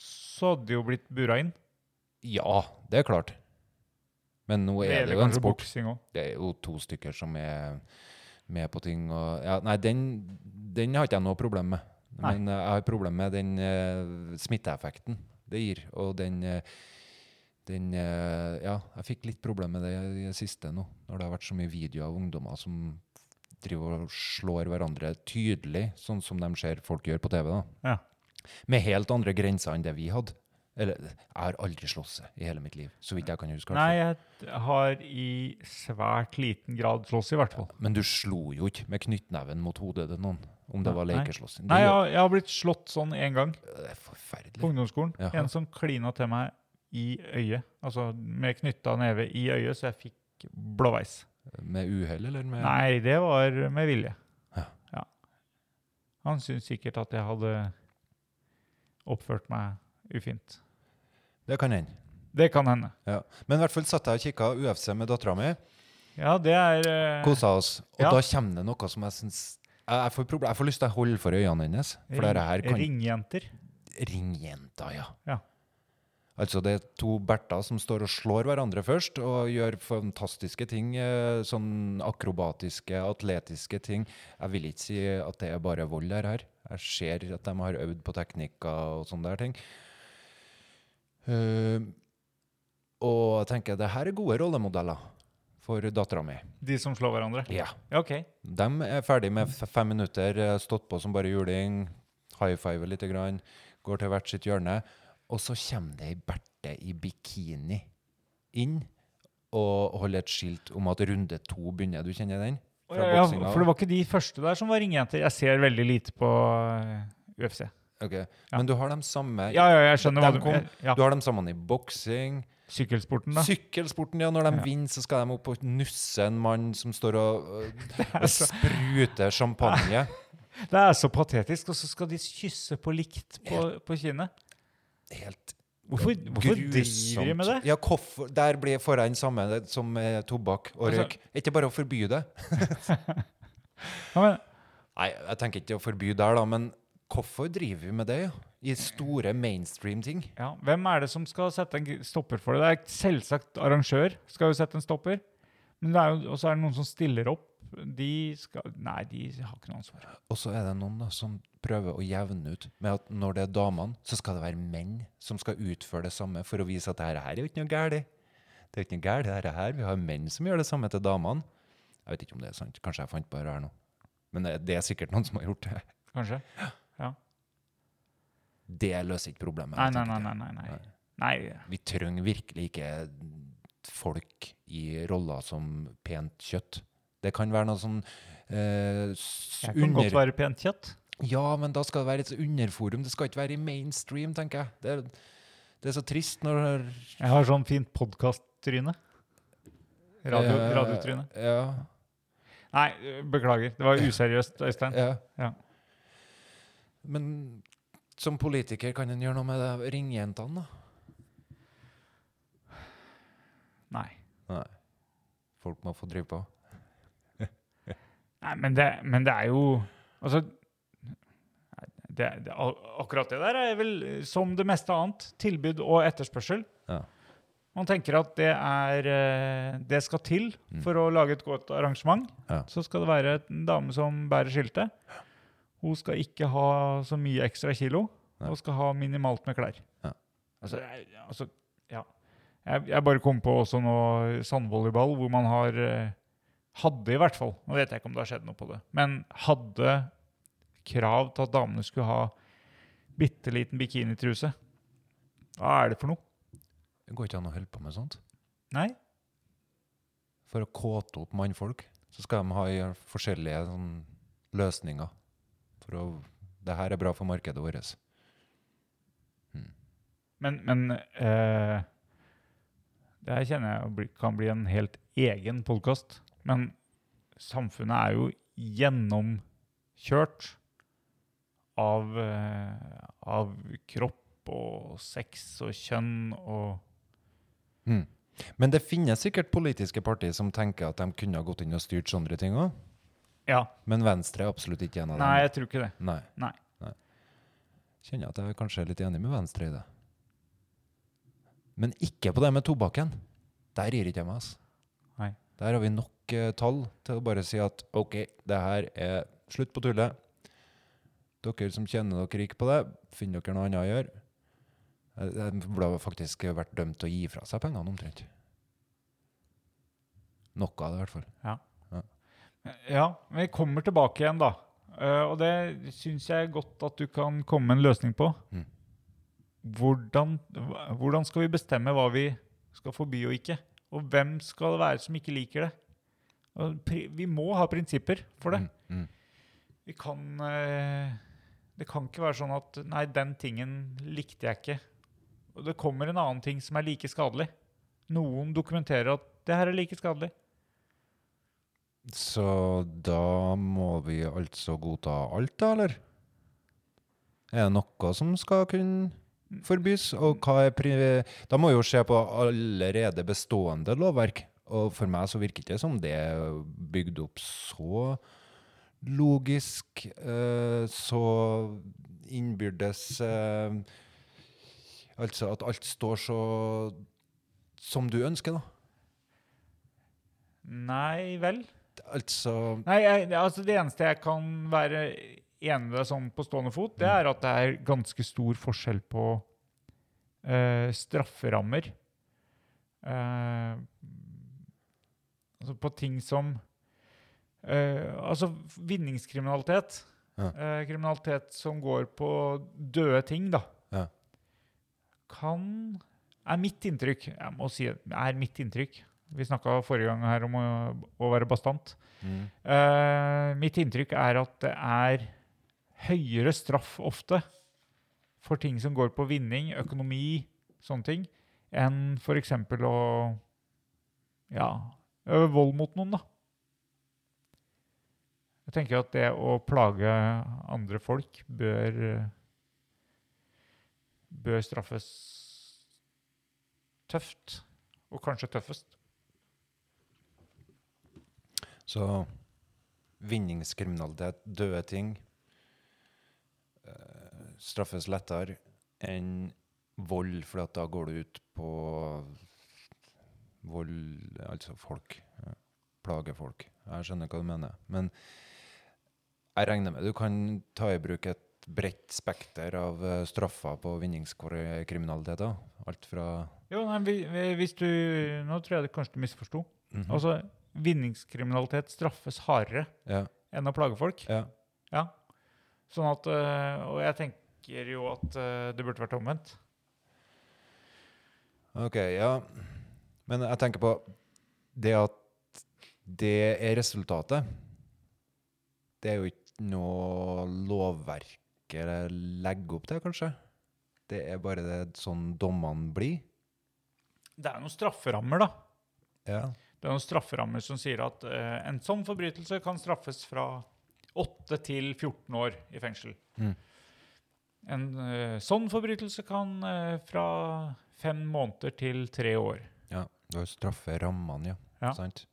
D: så hadde de jo blitt bura inn.
B: Ja, det er klart. Men nå er det
D: gjelder
B: jo en
D: kanskje
B: sport.
D: boksing òg.
B: Det er jo to stykker som er med på ting. Og, ja, nei, den, den har ikke jeg noe problem med.
D: Nei.
B: Men eh, jeg har problem med den eh, smitteeffekten det gir. Og den, eh, den eh, Ja, jeg fikk litt problem med det i det siste nå, når det har vært så mye videoer av ungdommer som driver og slår hverandre tydelig, sånn som de ser folk gjør på TV. da
D: Ja.
B: med helt andre grenser enn det vi hadde. Eller, jeg har aldri slåss i hele mitt liv, så vidt jeg kan huske.
D: Nei,
B: hvertfall.
D: jeg har i svært liten grad slåss, i hvert fall.
B: Men du slo jo ikke med knyttneven mot hodet til noen, om det var
D: Nei.
B: lekeslåssing.
D: Nei,
B: Det
D: jeg,
B: gjør-
D: har- jeg har blitt slått sånn én gang
B: Det er
D: på
B: forferdelig.
D: ungdomsskolen.
B: Jaha.
D: En som klina til meg i øyet. Altså med knytta neve i øyet, så jeg fikk blåveis.
B: Med uhell, eller? Med
D: Nei, det var med vilje.
B: Ja.
D: Ja. Han syntes sikkert at jeg hadde oppført meg ufint.
B: Det kan hende.
D: Det kan hende.
B: Ja. Men i hvert fall satt jeg og kikka UFC med dattera mi,
D: Ja, det er eh,
B: kosa oss, og
D: Ja.
B: da kommer det noe som jeg syns jeg, jeg, får proble- jeg får lyst til å holde for øynene hennes. For det her kan
D: Ringjenter.
B: Ringjenta, ja.
D: Ja.
B: Altså det er to berter som står og slår hverandre først, og gjør fantastiske ting, eh, sånn akrobatiske, atletiske ting. Jeg vil ikke si at det er bare vold her her. Jeg ser at de har øvd på teknikker og sånne der ting. Eh, og jeg tenker, det her er gode rollemodeller for dattera mi.
D: De som slår hverandre.
B: Ja.
D: Ja, OK.
B: De er ferdig med f- fem minutter, eh, stått på som bare juling, high-fiver litt, grann, går til hvert sitt hjørne, og så kommer det ei Berthe i bikini inn og holder et skilt om at runde to begynner. Du kjenner den?
D: Å,
B: Fra
D: Ja, ja,
B: boksinga.
D: for det var ikke de første der som var ringjenter. Jeg ser veldig lite på eh, UFC.
B: Ok. Men du har de samme
D: Ja, ja, jeg skjønner hva
B: de
D: du
B: kom,
D: Ja,
B: Du har dem sammen i boksing.
D: Sykkelsporten, da.
B: Sykkelsporten, ja. Når de vinner, så skal de opp og nusse en mann som står og, øh, og spruter champagne.
D: Det er så patetisk. Og så skal de kysse på likt på, på kinnet.
B: Helt
D: Hvorfor, hvorfor driver de med det?
B: Ja, hvorfor, der blir, får jeg den samme det- som eh, tobakk og
D: Altså-
B: røyk. Er ikke bare å forby det?
D: Ja, men,
B: Nei, jeg tenker ikke å forby der, da, men hvorfor driver vi med det? ja? I store mainstream-ting?
D: ja, hvem er det som skal sette en gr- stopper for det? Det er selvsagt arrangør skal jo sette en stopper. Men det er jo, og så er det noen som stiller opp. De skal Nei, de har ikke noe ansvar.
B: Og så er det noen da, som prøver å jevne ut med at når det er damene, så skal det være menn som skal utføre det samme for å vise at det her er jo ikke noe galt. Det er jo ikke noe galt, det her er her. Vi har menn som gjør det samme til damene. Jeg vet ikke om det er sant. Kanskje jeg fant på det her nå. Men det- det er sikkert noen som har gjort det.
D: Kanskje? Ja.
B: Det løser ikke problemet.
D: Nei,
B: jeg
D: nei,
B: tenker
D: nei.
B: det.
D: nei, nei, nei. nei.
B: Vi trenger virkelig ikke folk i roller som pent kjøtt. Det kan være noe sånn eh, s-
D: Jeg kan godt
B: under...
D: være pent kjøtt.
B: Ja, men da skal det være et underforum. Det skal ikke være i mainstream, tenker jeg. Det, er- det er så trist når eh,
D: Jeg har sånn fint podkast-tryne. Radio,
B: Eh,
D: radiotryne.
B: Ja,
D: Nei, øh, beklager. Det var useriøst, Øystein.
B: ja.
D: Ja.
B: Men som politiker kan en gjøre noe med det. Ringjentene, da.
D: Nei.
B: Nei. Folk må få drive på.
D: Nei, men det, men det er jo Altså nei, det, det, al- Akkurat det der er vel, eh, som det meste annet, tilbud og etterspørsel.
B: Ja.
D: Man tenker at det er eh, Det skal til for å lage et godt arrangement.
B: Mm. Ja.
D: Så skal det være en dame som bærer skiltet. Hun skal ikke ha så mye ekstra kilo. Og skal ha minimalt med klær.
B: Ja.
D: Altså, jeg- altså ja. Jeg, jeg bare kom på også nå sandvolleyball, hvor man har eh, Hadde i hvert fall, nå vet jeg ikke om det har skjedd noe på det, men hadde krav til at damene skulle ha bitte liten bikinitruse. Hva er det for noe?
B: Det går ikke an å holde på med sånt.
D: Nei?
B: for å kåte opp mannfolk, så skal de ha i- forskjellige sånn, løsninger. For å, det her er bra for markedet vårt.
D: Men, men eh, Det her kjenner jeg bli- kan bli en helt egen podkast. Men samfunnet er jo gjennomkjørt av, eh, av kropp og sex og kjønn og
B: Mm. Men det finnes sikkert politiske partier som tenker at de kunne ha gått inn og styrt sånne ting òg.
D: Ja.
B: Men Venstre er absolutt ikke en av dem.
D: Nei, jeg tror ikke det.
B: Nei.
D: Nei.
B: Kjenner at jeg kanskje er litt enig med Venstre i det. Men ikke på det med tobakken. Der gir ikke jeg meg, altså.
D: Nei.
B: Der har vi nok eh, tall til å bare si at OK, det her er slutt på tullet. Dere som kjenner dere ikke på det, finn dere noe annet å gjøre. Eh, De burde faktisk vært dømt til å gi fra seg pengene, omtrent. Noe av det, i hvert fall.
D: Ja, men vi kommer tilbake igjen, da. Eh, og det syns jeg er godt at du kan komme med en løsning på.
B: Mm.
D: Hvordan, hva- hvordan skal vi bestemme hva vi skal forby og ikke? Og hvem skal det være som ikke liker det? Og pri, vi må ha prinsipper for det.
B: Mm, mm.
D: Vi kan eh, Det kan ikke være sånn at Nei, den tingen likte jeg ikke. Og det kommer en annen ting som er like skadelig. Noen dokumenterer at det her er like skadelig.
B: Så da må vi altså godta alt, da, eller? Er det noe som skal kunne forbys? Og hva er pri... Da må vi jo se på allerede bestående lovverk. Og for meg så virker det ikke som det er bygd opp så logisk, eh, så innbyrdes eh, Altså at alt står så som du ønsker, da.
D: Nei vel?
B: Altså
D: Nei, jeg, det- altså Det eneste jeg kan være enig med deg sånn på stående fot, det er at det er ganske stor forskjell på eh, strafferammer. Eh, altså på ting som eh, Altså vinningskriminalitet.
B: Ja.
D: eh, kriminalitet som går på døde ting, da.
B: Ja.
D: Kan Er mitt inntrykk Jeg må si er mitt inntrykk. Vi snakka forrige gang her om å, å være bastant. Eh, mitt inntrykk er at det er høyere straff ofte for ting som går på vinning, økonomi, sånne ting, enn f.eks. å ja, øve vold mot noen, da. Jeg tenker at det å plage andre folk bør eh, bør straffes tøft, og kanskje tøffest.
B: Så vinningskriminalitet, døde ting, eh, straffes lettere enn vold, for at da går du ut på vold, altså folk. ja, Plage folk. Jeg skjønner hva du mener. Men jeg regner med du kan ta i bruk et bredt spekter av eh, straffer på vinningskriminalitet. da. Alt fra
D: Jo, nei, vi- vi- hvis du Nå tror jeg det kanskje du misforsto.
B: Mhm.
D: Altså, vinningskriminalitet straffes hardere
B: Ja.
D: enn å plage folk.
B: ja.
D: Ja. Sånn at øh, Og jeg tenker jo at øh, det burde vært omvendt.
B: Ok, ja. Men jeg tenker på det at det er resultatet. Det er jo ikke noe lovverket legger opp til, kanskje. Det er bare det sånn dommene blir.
D: Det er noen strafferammer, da.
B: Ja.
D: Det er noen strafferammer som sier at øh, en sånn forbrytelse kan straffes fra 8 til 14 år i fengsel.
B: Mhm.
D: En øh, sånn forbrytelse kan øh, fra fem måneder til tre år.
B: ja. Du har strafferammene, ja.
D: Ja.
B: Sant?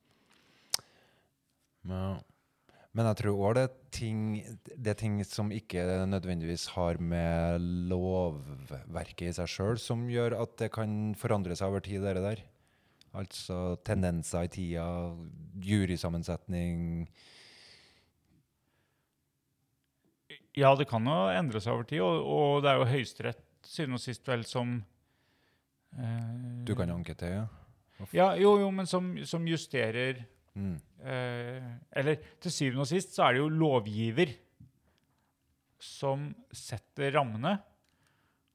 B: Men, men jeg tror òg det, er ting- det er ting som ikke nødvendigvis har med lovverket i seg sjøl, som gjør at det kan forandre seg over tid, det der. Altså tendenser i tida, jurysammensetning
D: Ja, det kan jo endre seg over tid, og, og det er jo Høyesterett syvende og sist vel som eh,
B: Du kan anke til, ja.
D: Ja, jo, jo, men som, som justerer
B: Mm.
D: eh, Eller til syvende og sist så er det jo lovgiver som setter rammene,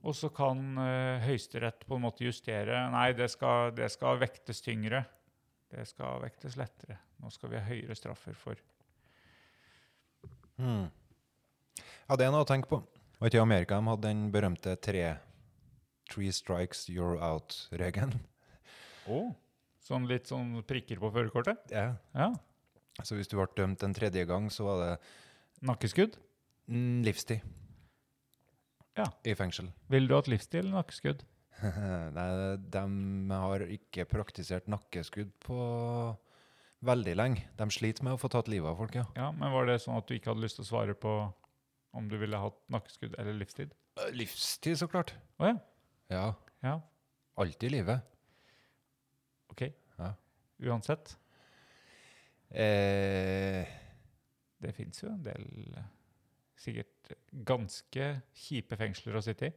D: og så kan eh, Høyesterett på en måte justere Nei, det skal, det skal vektes tyngre. Det skal vektes lettere. Nå skal vi ha høyere straffer for
B: Mm. Ja, det er noe å tenke på. Var ikke i Amerika de hadde den berømte tre three strikes, you're out-regelen.
D: Å, Sånn litt sånn prikker på førerkortet?
B: Ja.
D: Ja.
B: Så hvis du ble dømt en tredje gang, så var det
D: Nakkeskudd?
B: mm, livstid
D: Ja.
B: i fengsel.
D: Ville du hatt livsstil eller nakkeskudd?
B: Nei, de har ikke praktisert nakkeskudd på veldig lenge. De sliter med å få tatt livet av folk, ja.
D: Ja, men var det sånn at du ikke hadde lyst til å svare på om du ville hatt nakkeskudd eller livstid?
B: Eh, Livstid, så klart.
D: Å ja.
B: Ja,
D: Ja,
B: alltid i livet.
D: ok.
B: Ja.
D: Uansett,
B: Eh,
D: det finnes jo en del eh, sikkert ganske kjipe fengsler å sitte i.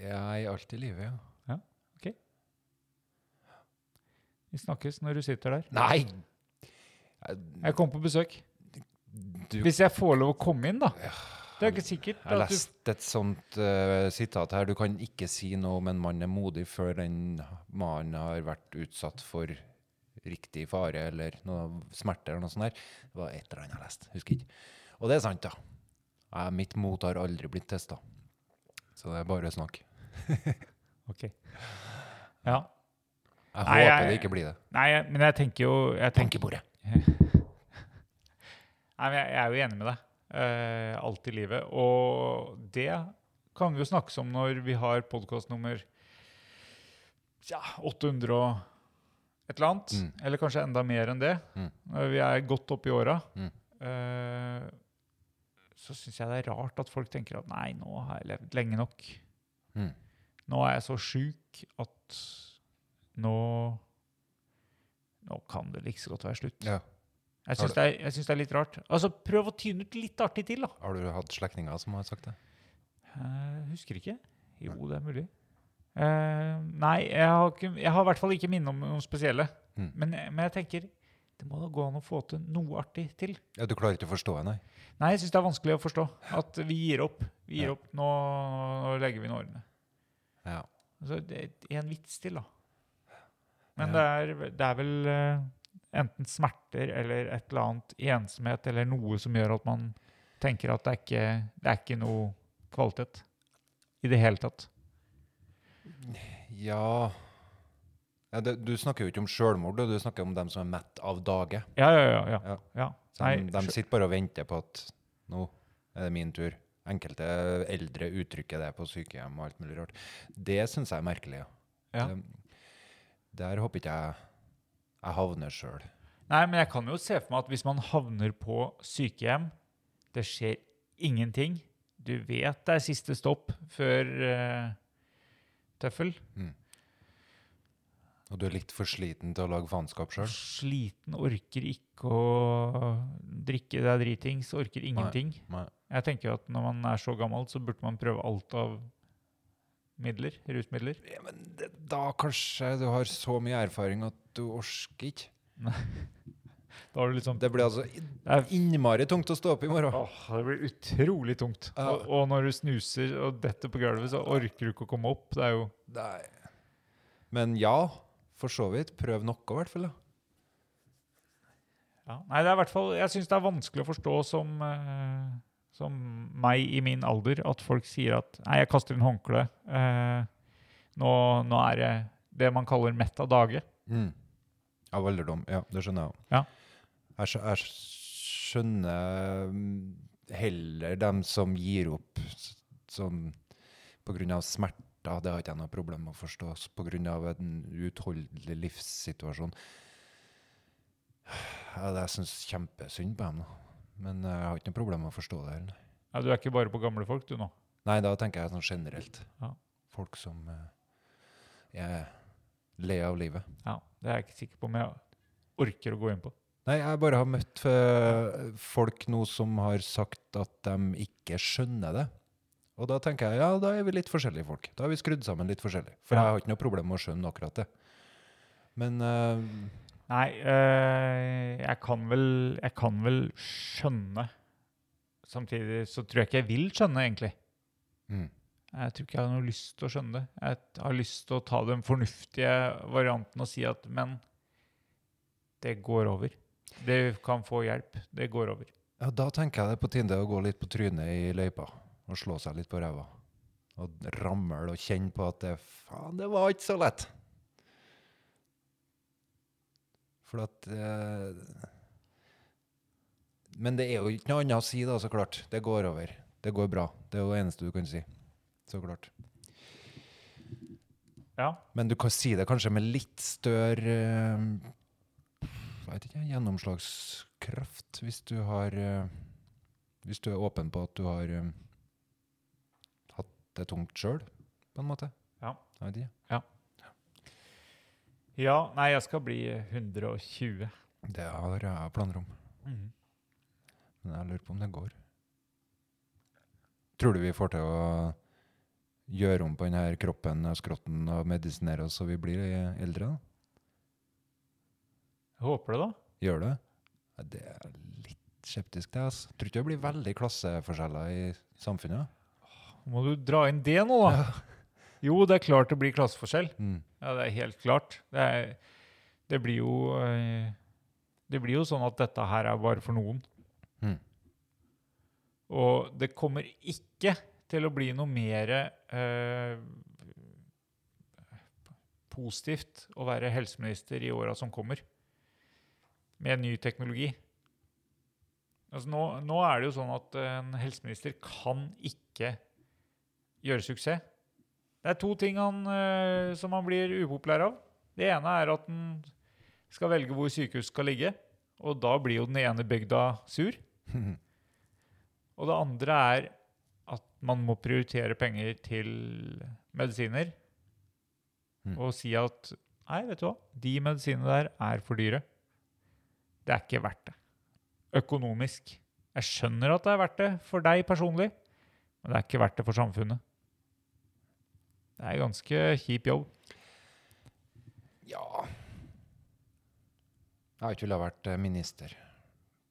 B: jeg er alltid i livet, ja.
D: Vi snakkes når du sitter der.
B: Nei!
D: Jeg kommer på besøk.
B: Du,
D: Hvis jeg får lov å komme inn, da. Det er ikke sikkert.
B: jeg
D: At du,
B: leste et sånt eh, sitat her. Du kan ikke si noe om en mann er modig før den mannen har vært utsatt for riktig fare eller noe smerte eller noe sånt. Der. Det var et eller annet jeg leste. Husker ikke. Og det er sant, da. Nei, mitt mot har aldri blitt testa. Så det er bare snakk.
D: ok. Ja.
B: Jeg
D: Nei,
B: håper
D: jeg-
B: det ikke blir det.
D: Nei, jeg- men jeg tenker jo jeg tenker,
B: Tenkebordet.
D: Nei, men jeg, jeg er jo enig med deg. eh, alt i livet. Og det kan vi jo snakkes om når vi har podkast nummer ja, 800 og et eller annet.
B: Mm.
D: Eller kanskje enda mer enn det.
B: Mm.
D: Når vi er godt opp i åra.
B: Mm.
D: eh, så syns jeg det er rart at folk tenker at nei, nå har jeg levd lenge nok.
B: Mm.
D: Nå er jeg så sjuk at nå Nå kan det like så godt være slutt.
B: Ja.
D: Jeg syns det, er- jeg syns det er litt rart. Altså, Prøv å tyne ut litt artig til, da.
B: Har du hatt slektninger som har sagt det?
D: Eh, husker ikke. Jo, det er mulig. Eh, nei, jeg har, ikke, jeg har i hvert fall ikke minne om noen spesielle.
B: Mm.
D: Men, men jeg tenker det må da gå an å få til noe artig til.
B: Ja, du klarer ikke å forstå det, nei?
D: Nei, jeg syns det er vanskelig å forstå at vi gir opp. Vi gir
B: Ja.
D: opp. Nå, nå legger vi inn årene.
B: Ja.
D: Altså, det er en vits til, da. Men det, er, det er vel eh, enten smerter eller et eller annet ensomhet eller noe som gjør at man tenker at det er ikke, det er ikke noe kvalitet i det hele tatt.
B: Ja, ja det, Du snakker jo ikke om sjølmord, du, du snakker om dem som er mett av dage.
D: Ja, ja, ja. ja.
B: Ja.
D: ja.
B: Så
D: Nei,
B: de, de
D: skjø-
B: sitter bare og venter på at nå er det min tur. Enkelte eldre uttrykker det på sykehjem og alt mulig rart. Det syns jeg er merkelig.
D: Ja.
B: Det- Der håper ikke jeg jeg havner sjøl.
D: Nei, men jeg kan jo se for meg at hvis man havner på sykehjem, det skjer ingenting. Du vet det er siste stopp før eh, tøffel.
B: Og du er litt for sliten til å lage faenskap sjøl.
D: Sliten, orker ikke å drikke deg dritings, orker ingenting. Jeg tenker jo at når man er så gammel, så burde man prøve alt av midler, rusmidler.
B: Ja, men det, da kanskje du har så mye erfaring at du orker ikke.
D: Da har du liksom
B: Det blir altså
D: er-
B: innmari tungt å stå opp i morgen.
D: Åh, det blir utrolig tungt.
B: Ja.
D: Og, og når du snuser og detter på gulvet, så orker du ikke å komme opp. Det er jo
B: Nei. Men ja, for så vidt. Prøv noe, i hvert fall. da.
D: ja. Nei, det er i hvert fall Jeg syns det er vanskelig å forstå som, eh, som meg i min alder at folk sier at Nei, jeg kaster inn håndkleet. Eh, nå, nå er det det man kaller mett av dage.
B: Av alderdom. Mm. Ja, det skjønner jeg òg.
D: Ja.
B: Jeg, skjø- jeg skjønner mm, heller dem som gir opp s- som pga. smerter. Det har ikke jeg noe problem med å forstå. Pga. en uutholdelig livssituasjon. Ja, det syns jeg kjempesynd på dem. da. Men eh, jeg har ikke noe problem med å forstå det. heller.
D: Ja, du er ikke bare på gamle folk, du nå.
B: Nei, da tenker jeg sånn generelt.
D: Ja.
B: Folk som eh, er le av livet.
D: Ja, Det er jeg ikke sikker på om jeg orker å gå inn på.
B: Nei, jeg bare har møtt eh, folk nå som har sagt at de ikke skjønner det. Og da tenker jeg ja, da er vi litt forskjellige folk. Da er vi skrudd sammen litt forskjellig. For
D: Ja.
B: jeg har ikke noe problem med å skjønne akkurat det. Men eh,
D: Nei, øh, jeg, kan vel, jeg kan vel skjønne. Samtidig så tror jeg ikke jeg vil skjønne, egentlig.
B: mm,
D: Jeg tror ikke jeg har noe lyst til å skjønne det. Jeg t- har lyst til å ta den fornuftige varianten og si at men, det går over. Det kan få hjelp. Det går over.
B: ja, da tenker jeg det er på tide å gå litt på trynet i løypa. Og slå seg litt på ræva. og ramle og kjenne på at det, faen, det var ikke så lett. For at eh, Men det er jo ikke noe annet å si, da, så klart. Det går over. Det går bra. Det er jo det eneste du kan si. Så klart.
D: Ja.
B: Men du kan si det kanskje med litt større eh, jeg vet ikke, gjennomslagskraft, hvis du har eh, Hvis du er åpen på at du har eh, hatt det tungt sjøl, på en måte.
D: Ja.
B: Jeg vet ikke.
D: ja. Nei, jeg skal bli 120.
B: Det har jeg planer om.
D: Mhm.
B: Men jeg lurer på om det går. Tror du vi får til å gjøre om på denne kroppen og skrotten og medisinere oss så vi blir eh, eldre? da?
D: Jeg håper det, da.
B: Gjør det? Ja, Det er litt skeptisk, det. ass. Tror ikke det blir veldig klasseforskjeller i samfunnet.
D: Må du dra inn det nå, da? Jo, det er klart det blir klasseforskjell.
B: Mm.
D: Ja, det er helt klart. Det, er, det blir jo eh, Det blir jo sånn at dette her er bare for noen.
B: Mhm.
D: Og det kommer ikke til å bli noe mer eh, positivt å være helseminister i åra som kommer, med ny teknologi. Altså nå, nå er det jo sånn at en helseminister kan ikke gjøre suksess. Det er to ting han, eh, som han blir upopulær av. Det ene er at han skal velge hvor sykehus skal ligge, og da blir jo den ene bygda sur. Og det andre er at man må prioritere penger til medisiner
B: Mm.
D: og si at nei, vet du hva, de medisinene der er for dyre. Det er ikke verdt det. Økonomisk. Jeg skjønner at det er verdt det for deg personlig, men det er ikke verdt det for samfunnet. Det er ganske kjip jobb.
B: Ja Jeg har ikke villet vært eh, minister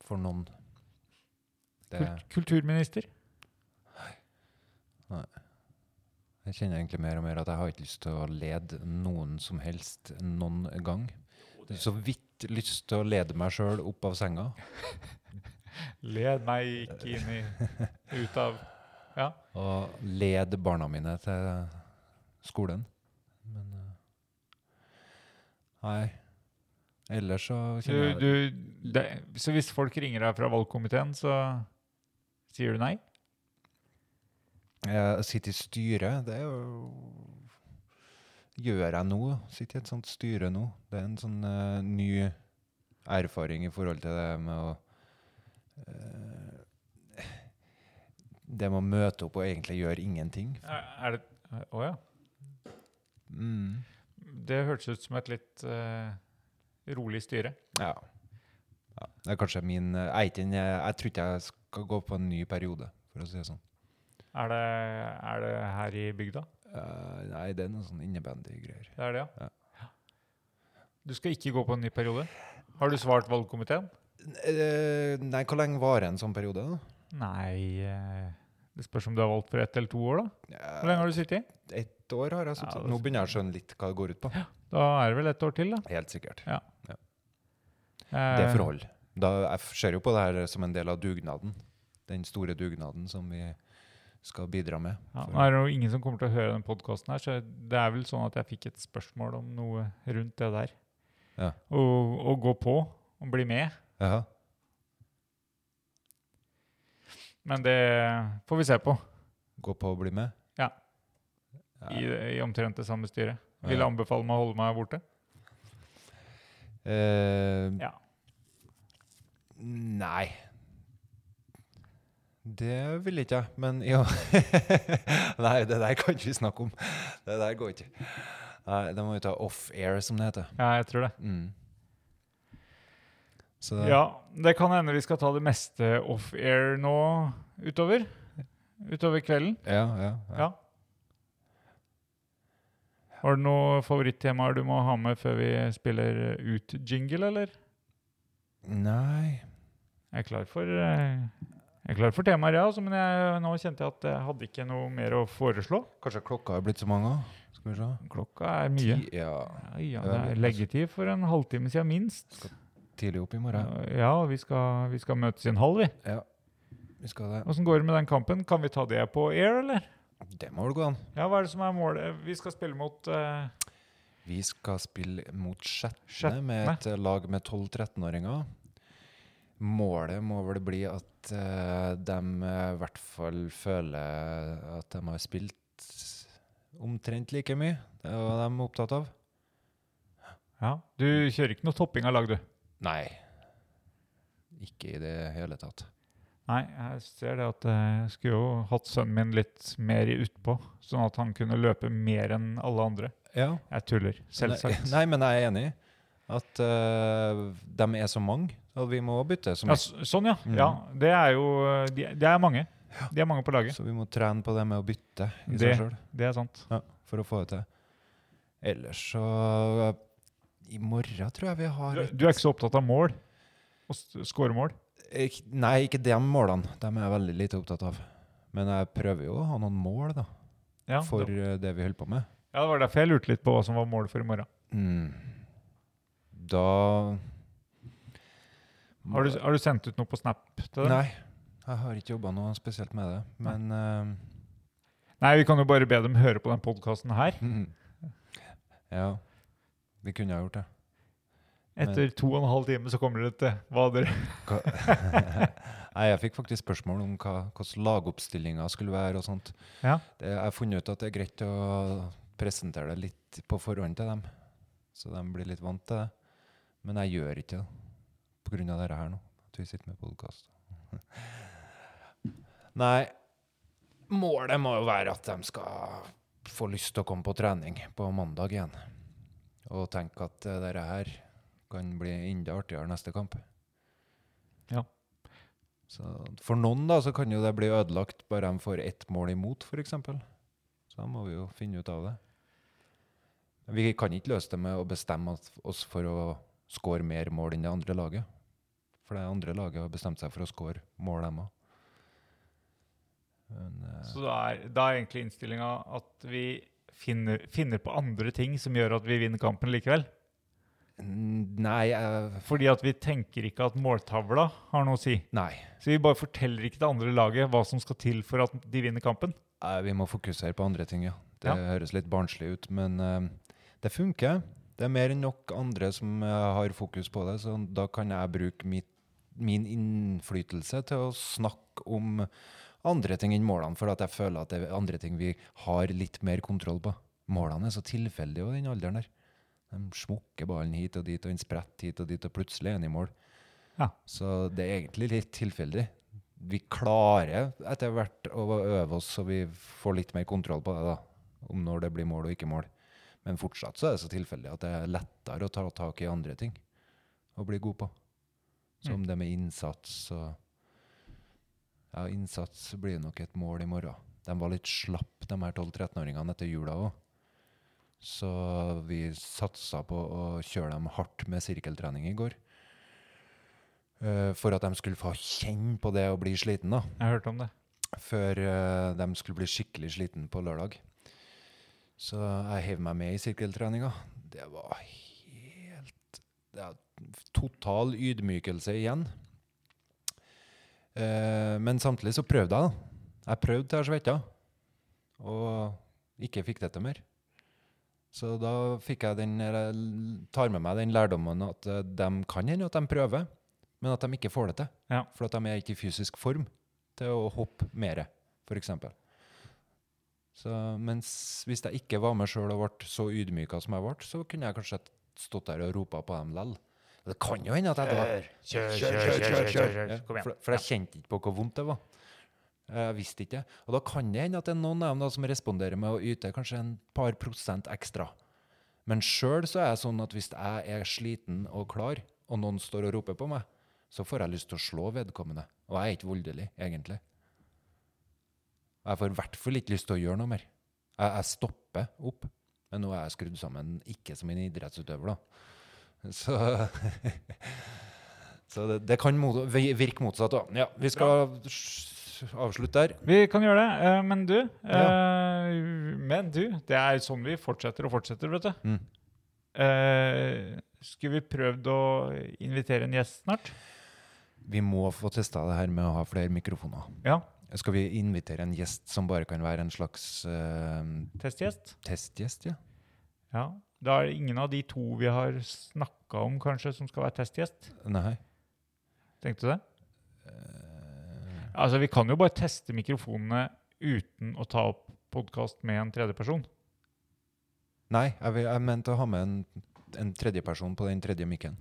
B: for noen. Det,
D: Kul- Kulturminister.
B: jeg kjenner egentlig mer og mer at jeg har ikke lyst til å lede noen som helst noen gang. Så vidt lyst til å lede meg sjøl opp av senga.
D: Led meg ikke inn i Ut av Ja.
B: og led barna mine til skolen. Men eh, Nei. Ellers så
D: Du,
B: kjenner jeg
D: du, det, så hvis folk ringer deg fra valgkomiteen, så sier du nei?
B: Jeg sitter i styret. Det er jo Gjør jeg nå? Sitter i et sånt styre nå. Det er en sånn eh, ny erfaring i forhold til det med å eh, Det med å møte opp og egentlig gjøre ingenting.
D: Er, er det Å ja.
B: Mm.
D: Det hørtes ut som et litt eh, rolig styre.
B: Ja. ja. Det er kanskje min eh, Jeg, er ikke en- jeg tror ikke jeg skal gå på en ny periode, for å si det sånn.
D: Er det, er det her i bygda?
B: Eh, nei, det er noe sånn innebandy-greier.
D: Det er det, ja?
B: Ja.
D: Du skal ikke gå på en ny periode? Har du svart valgkomiteen?
B: Eh, nei, hvor lenge varer en sånn periode, da?
D: Nei eh, Det spørs om du har valgt for ett eller to år, da.
B: Ja,
D: Hvor lenge har du sittet? i?
B: Eh, Ett år har jeg sittet.
D: Ja, det er
B: Nå begynner jeg å skjønne litt hva det går ut på.
D: Da er det vel ett år til, da.
B: Helt sikkert.
D: Ja.
B: Ja.
D: Eh,
B: Det er forhold. Da, jeg ser jo på det her som en del av dugnaden. Den store dugnaden som vi skal bidra med.
D: Ja,
B: For-
D: nå er det jo ingen som kommer til å høre den podkasten her, så det er vel sånn at jeg fikk et spørsmål om noe rundt det der.
B: Ja.
D: Å å gå på og bli med.
B: Jaha.
D: Men det får vi se på
B: Gå på og bli med.
D: Ja.
B: Ja.
D: i, i omtrent det samme styret.
B: Ja.
D: Vil anbefale meg å holde meg borte.
B: Eh,
D: Ja.
B: Nei. Det vil ikke jeg, men ja. Nei, det der kan ikke vi snakke om. Det der går ikke. Nei, det må vi ta off-air, som det heter.
D: Ja, jeg tror det.
B: Mm. Så
D: Ja, det kan hende vi skal ta det meste off-air nå utover. Utover kvelden.
B: ja, ja, ja.
D: Ja. Har du noen favorittemaer du må ha med før vi spiller ut jingle, eller?
B: Nei
D: Jeg er klar for, eh, jeg er klar for temaer, ja. altså, Men jeg, nå kjente jeg at jeg hadde ikke noe mer å foreslå.
B: Kanskje klokka har blitt så mange? også? Skal vi se.
D: Klokka er mye.
B: Ti- Ja.
D: Ja, ja, det er leggetid for en halvtime siden minst.
B: Tidlig opp i morgen.
D: Ja, vi skal, vi skal møtes i en halv, vi.
B: Ja. Vi skal det.
D: Åssen går det med den kampen? Kan vi ta det på air, eller?
B: Det må vel gå an.
D: Ja, hva er det som er målet? Vi skal spille mot eh,
B: Vi skal spille mot Skjetne,
D: Skjetne.
B: med et eh, lag med 12-13-åringer. Målet må vel bli at eh, de eh, i hvert fall føler at de har spilt omtrent like mye. Det er hva de er opptatt av.
D: Ja, du kjører ikke noe topping av lag, du?
B: Nei. Ikke i det hele tatt.
D: Nei, jeg ser det at eh, jeg skulle jo hatt sønnen min litt mer i utpå, sånn at han kunne løpe mer enn alle andre.
B: Ja.
D: Jeg tuller,
B: Nei,
D: selvsagt.
B: nei, men jeg er enig i at eh, de er så mange, og vi må bytte. Så,
D: Ja,
B: mye.
D: s- sånn, ja.
B: Mm.
D: ja. Det er jo de, de er mange. De er mange på laget.
B: så vi må trene på det med å bytte i
D: Det,
B: seg sjøl.
D: det er sant.
B: Ja, for å få det til. Ellers så I morgen tror jeg vi har
D: Du, du er ikke så opptatt av mål? Å s- score mål?
B: Ik- Nei, ikke de målene. De er jeg veldig lite opptatt av. Men jeg prøver jo å ha noen mål da,
D: Ja,
B: for
D: det-
B: eh, det vi holder på med.
D: ja, det var derfor jeg lurte litt på hva som var målet for i morgen.
B: Mm. Da
D: Har du, har du sendt ut noe på Snap til dem?
B: Nei, jeg har ikke jobba noe spesielt med det. Men
D: Nei, vi kan jo bare be dem høre på den podkasten her.
B: eh, ja. Vi kunne ha gjort det.
D: Etter to og en halv time så kommer dere til hva dere
B: Hva? Nei, jeg fikk faktisk spørsmål om hva, hvordan lagoppstillinga skulle være og sånt.
D: Ja.
B: Det, jeg har funnet ut at det er greit å presentere det litt på forhånd til dem, så de blir litt vant til det. Men jeg gjør ikke det på grunn av dette her nå, at vi sitter med podkast. Nei, målet må jo være at de skal få lyst til å komme på trening på mandag igjen. Og tenke at eh, dette her kan bli enda artigere neste kamp. Så for noen da, så kan jo det bli ødelagt bare de får ett mål imot, f.eks. Så da må vi jo finne ut av det. Vi kan ikke løse det med å bestemme at- oss for å score mer mål enn det andre laget. For det andre laget har bestemt seg for å score mål, dem eh, òg.
D: Så da er, da er egentlig innstillinga at vi finner, finner på andre ting som gjør at vi vinner kampen likevel.
B: Nei, jeg-
D: Fordi at vi tenker ikke at måltavla har noe å si.
B: nei.
D: Så vi bare forteller ikke det andre laget hva som skal til for at de vinner kampen.
B: Nei, Eh, vi må fokusere på andre ting, ja. Det
D: Ja.
B: høres litt barnslig ut, men eh, det funker. Det er mer enn nok andre som eh, har fokus på det, så da kan jeg bruke mitt, min innflytelse til å snakke om andre ting enn målene, for at jeg føler at det er andre ting vi har litt mer kontroll på. Målene er så tilfeldige og den alderen der. De smukker ballen hit og dit, og den spretter hit og dit, og plutselig er den i mål.
D: Ja.
B: Så det er egentlig litt tilfeldig. Vi klarer etter hvert å øve oss, så vi får litt mer kontroll på det, da. Om når det blir mål og ikke mål. Men fortsatt så er det så tilfeldig at det er lettere å ta tak i andre ting og bli god på. Som det med innsats og Ja, innsats blir nok et mål i morgen. De var litt slapp, de her 12-13-åringene, etter jula òg. Så vi satsa på å kjøre dem hardt med sirkeltrening i går. Eh, for at de skulle få kjenne på det å bli sliten, da.
D: Jeg hørte om det.
B: Før eh, de skulle bli skikkelig sliten på lørdag. Så jeg heiv meg med i sirkeltreninga. Det var helt det er Total ydmykelse igjen. Eh, men samtidig så prøvde jeg, da. Jeg prøvde til jeg svetta. Og ikke fikk det til mer. Så da fikk jeg den, eller l- tar med meg den lærdommen at eh, de kan hende at de prøver, men at de ikke får det til.
D: Ja.
B: For at de er ikke i fysisk form til å hoppe mer, f.eks. Så, mens hvis jeg ikke var med sjøl og ble så ydmyka som jeg ble, så kunne jeg kanskje stått der og ropa på dem lell. Det kan jo hende at jeg da
D: Kjør, kjør, kjør, kjør, kjør,
B: ja,
D: Kom igjen.
B: for, for jeg kjente ikke på hvor vondt det var. Jeg visste ikke. Og da kan det hende at det er noen av dem da som responderer med å yte kanskje en par prosent ekstra. Men sjøl så er jeg sånn at hvis jeg er sliten og klar, og noen står og roper på meg, så får jeg lyst til å slå vedkommende. Og jeg er ikke voldelig, egentlig. Og jeg får i hvert fall ikke lyst til å gjøre noe mer. Jeg, jeg stopper opp. Men nå er jeg skrudd sammen, ikke som en idrettsutøver, da. Så så det, det kan mot, vi- virke motsatt òg. Ja, vi skal s- avslutte der.
D: Vi kan gjøre det, eh, men du eh, Men du, det er sånn vi fortsetter og fortsetter, vet du.
B: Mm.
D: Eh, skulle vi prøvd å invitere en gjest snart?
B: Vi må få testa det her med å ha flere mikrofoner.
D: Ja.
B: Skal vi invitere en gjest som bare kan være en slags eh,
D: Testgjest?
B: testgjest? ja?
D: Ja. Det er ingen av de to vi har snakka om, kanskje, som skal være testgjest.
B: Nei.
D: Tenkte du det?
B: Eh,
D: Altså, vi kan jo bare teste mikrofonene uten å ta opp podkast med en tredjeperson.
B: Nei, jeg, vil- jeg mente å ha med en, en tredjeperson på den tredje mikken.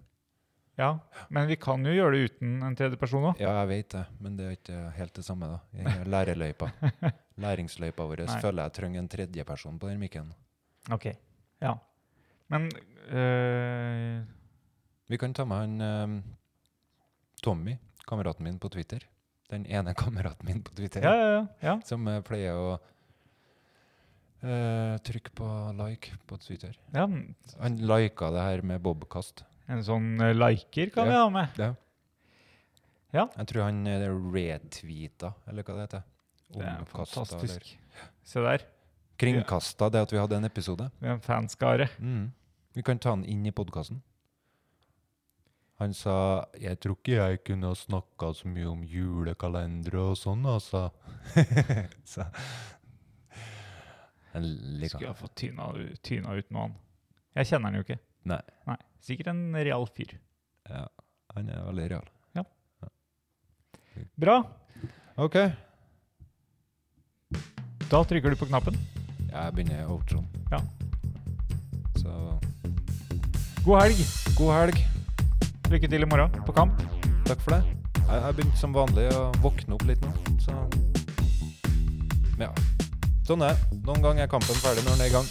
D: Ja, men vi kan jo gjøre det uten en tredjeperson òg.
B: Ja, jeg vet det, men det er ikke helt det samme, da. I den Lærerløypa. Læringsløypa vår
D: Nei.
B: føler jeg trenger en tredjeperson på den mikken.
D: Ok. Ja. Men øh,
B: Vi kan ta med han eh, Tommy, kameraten min på Twitter. Den ene kameraten min på Twitter.
D: ja, ja, ja, ja.
B: Som eh, pleier å eh, trykke på like på Twitter.
D: ja. men
B: Han lika det her med bobkast.
D: En sånn eh, liker kan
B: Ja.
D: vi ha med.
B: Ja.
D: Ja.
B: Jeg tror han eh, retweeta, eller hva det heter.
D: Det er
B: Omkasta, eller-
D: fantastisk. Se der.
B: Kringkasta det at vi hadde en episode.
D: Det er en fanskare.
B: Mm. Vi kan ta han inn i podkasten. Han sa 'Jeg tror ikke jeg kunne ha snakka så mye om julekalendere og sånn, altså'. så. Jeg liker
D: Skulle
B: han.
D: jeg fått tyna, tyna ut med han. Jeg kjenner han jo ikke.
B: Nei.
D: Nei. Sikkert en real fyr.
B: Ja, han er veldig real.
D: Bra.
B: OK.
D: Da trykker du på knappen.
B: Jeg begynner outroen.
D: Ja.
B: Så
D: God helg.
B: god helg.
D: Lykke til i morgen på kamp.
B: Takk for det. Jeg jeg begynte som vanlig å våkne opp litt nå, så Ja. Sånn er det. Noen ganger er kampen ferdig når den er i gang.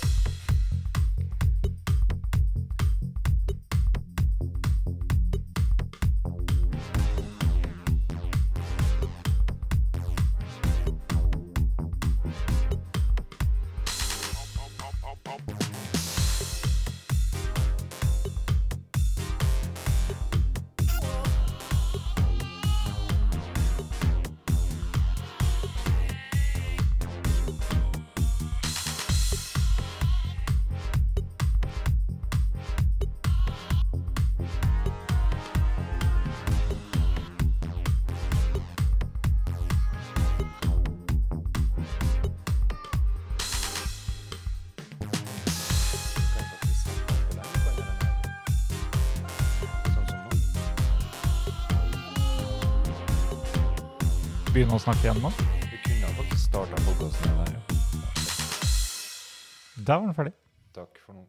B: Sånn
D: Begynne å snakke igjen nå.
B: Vi kunne ha faktisk starta podkasten her.
D: Der var den ferdig.
B: Takk for nå.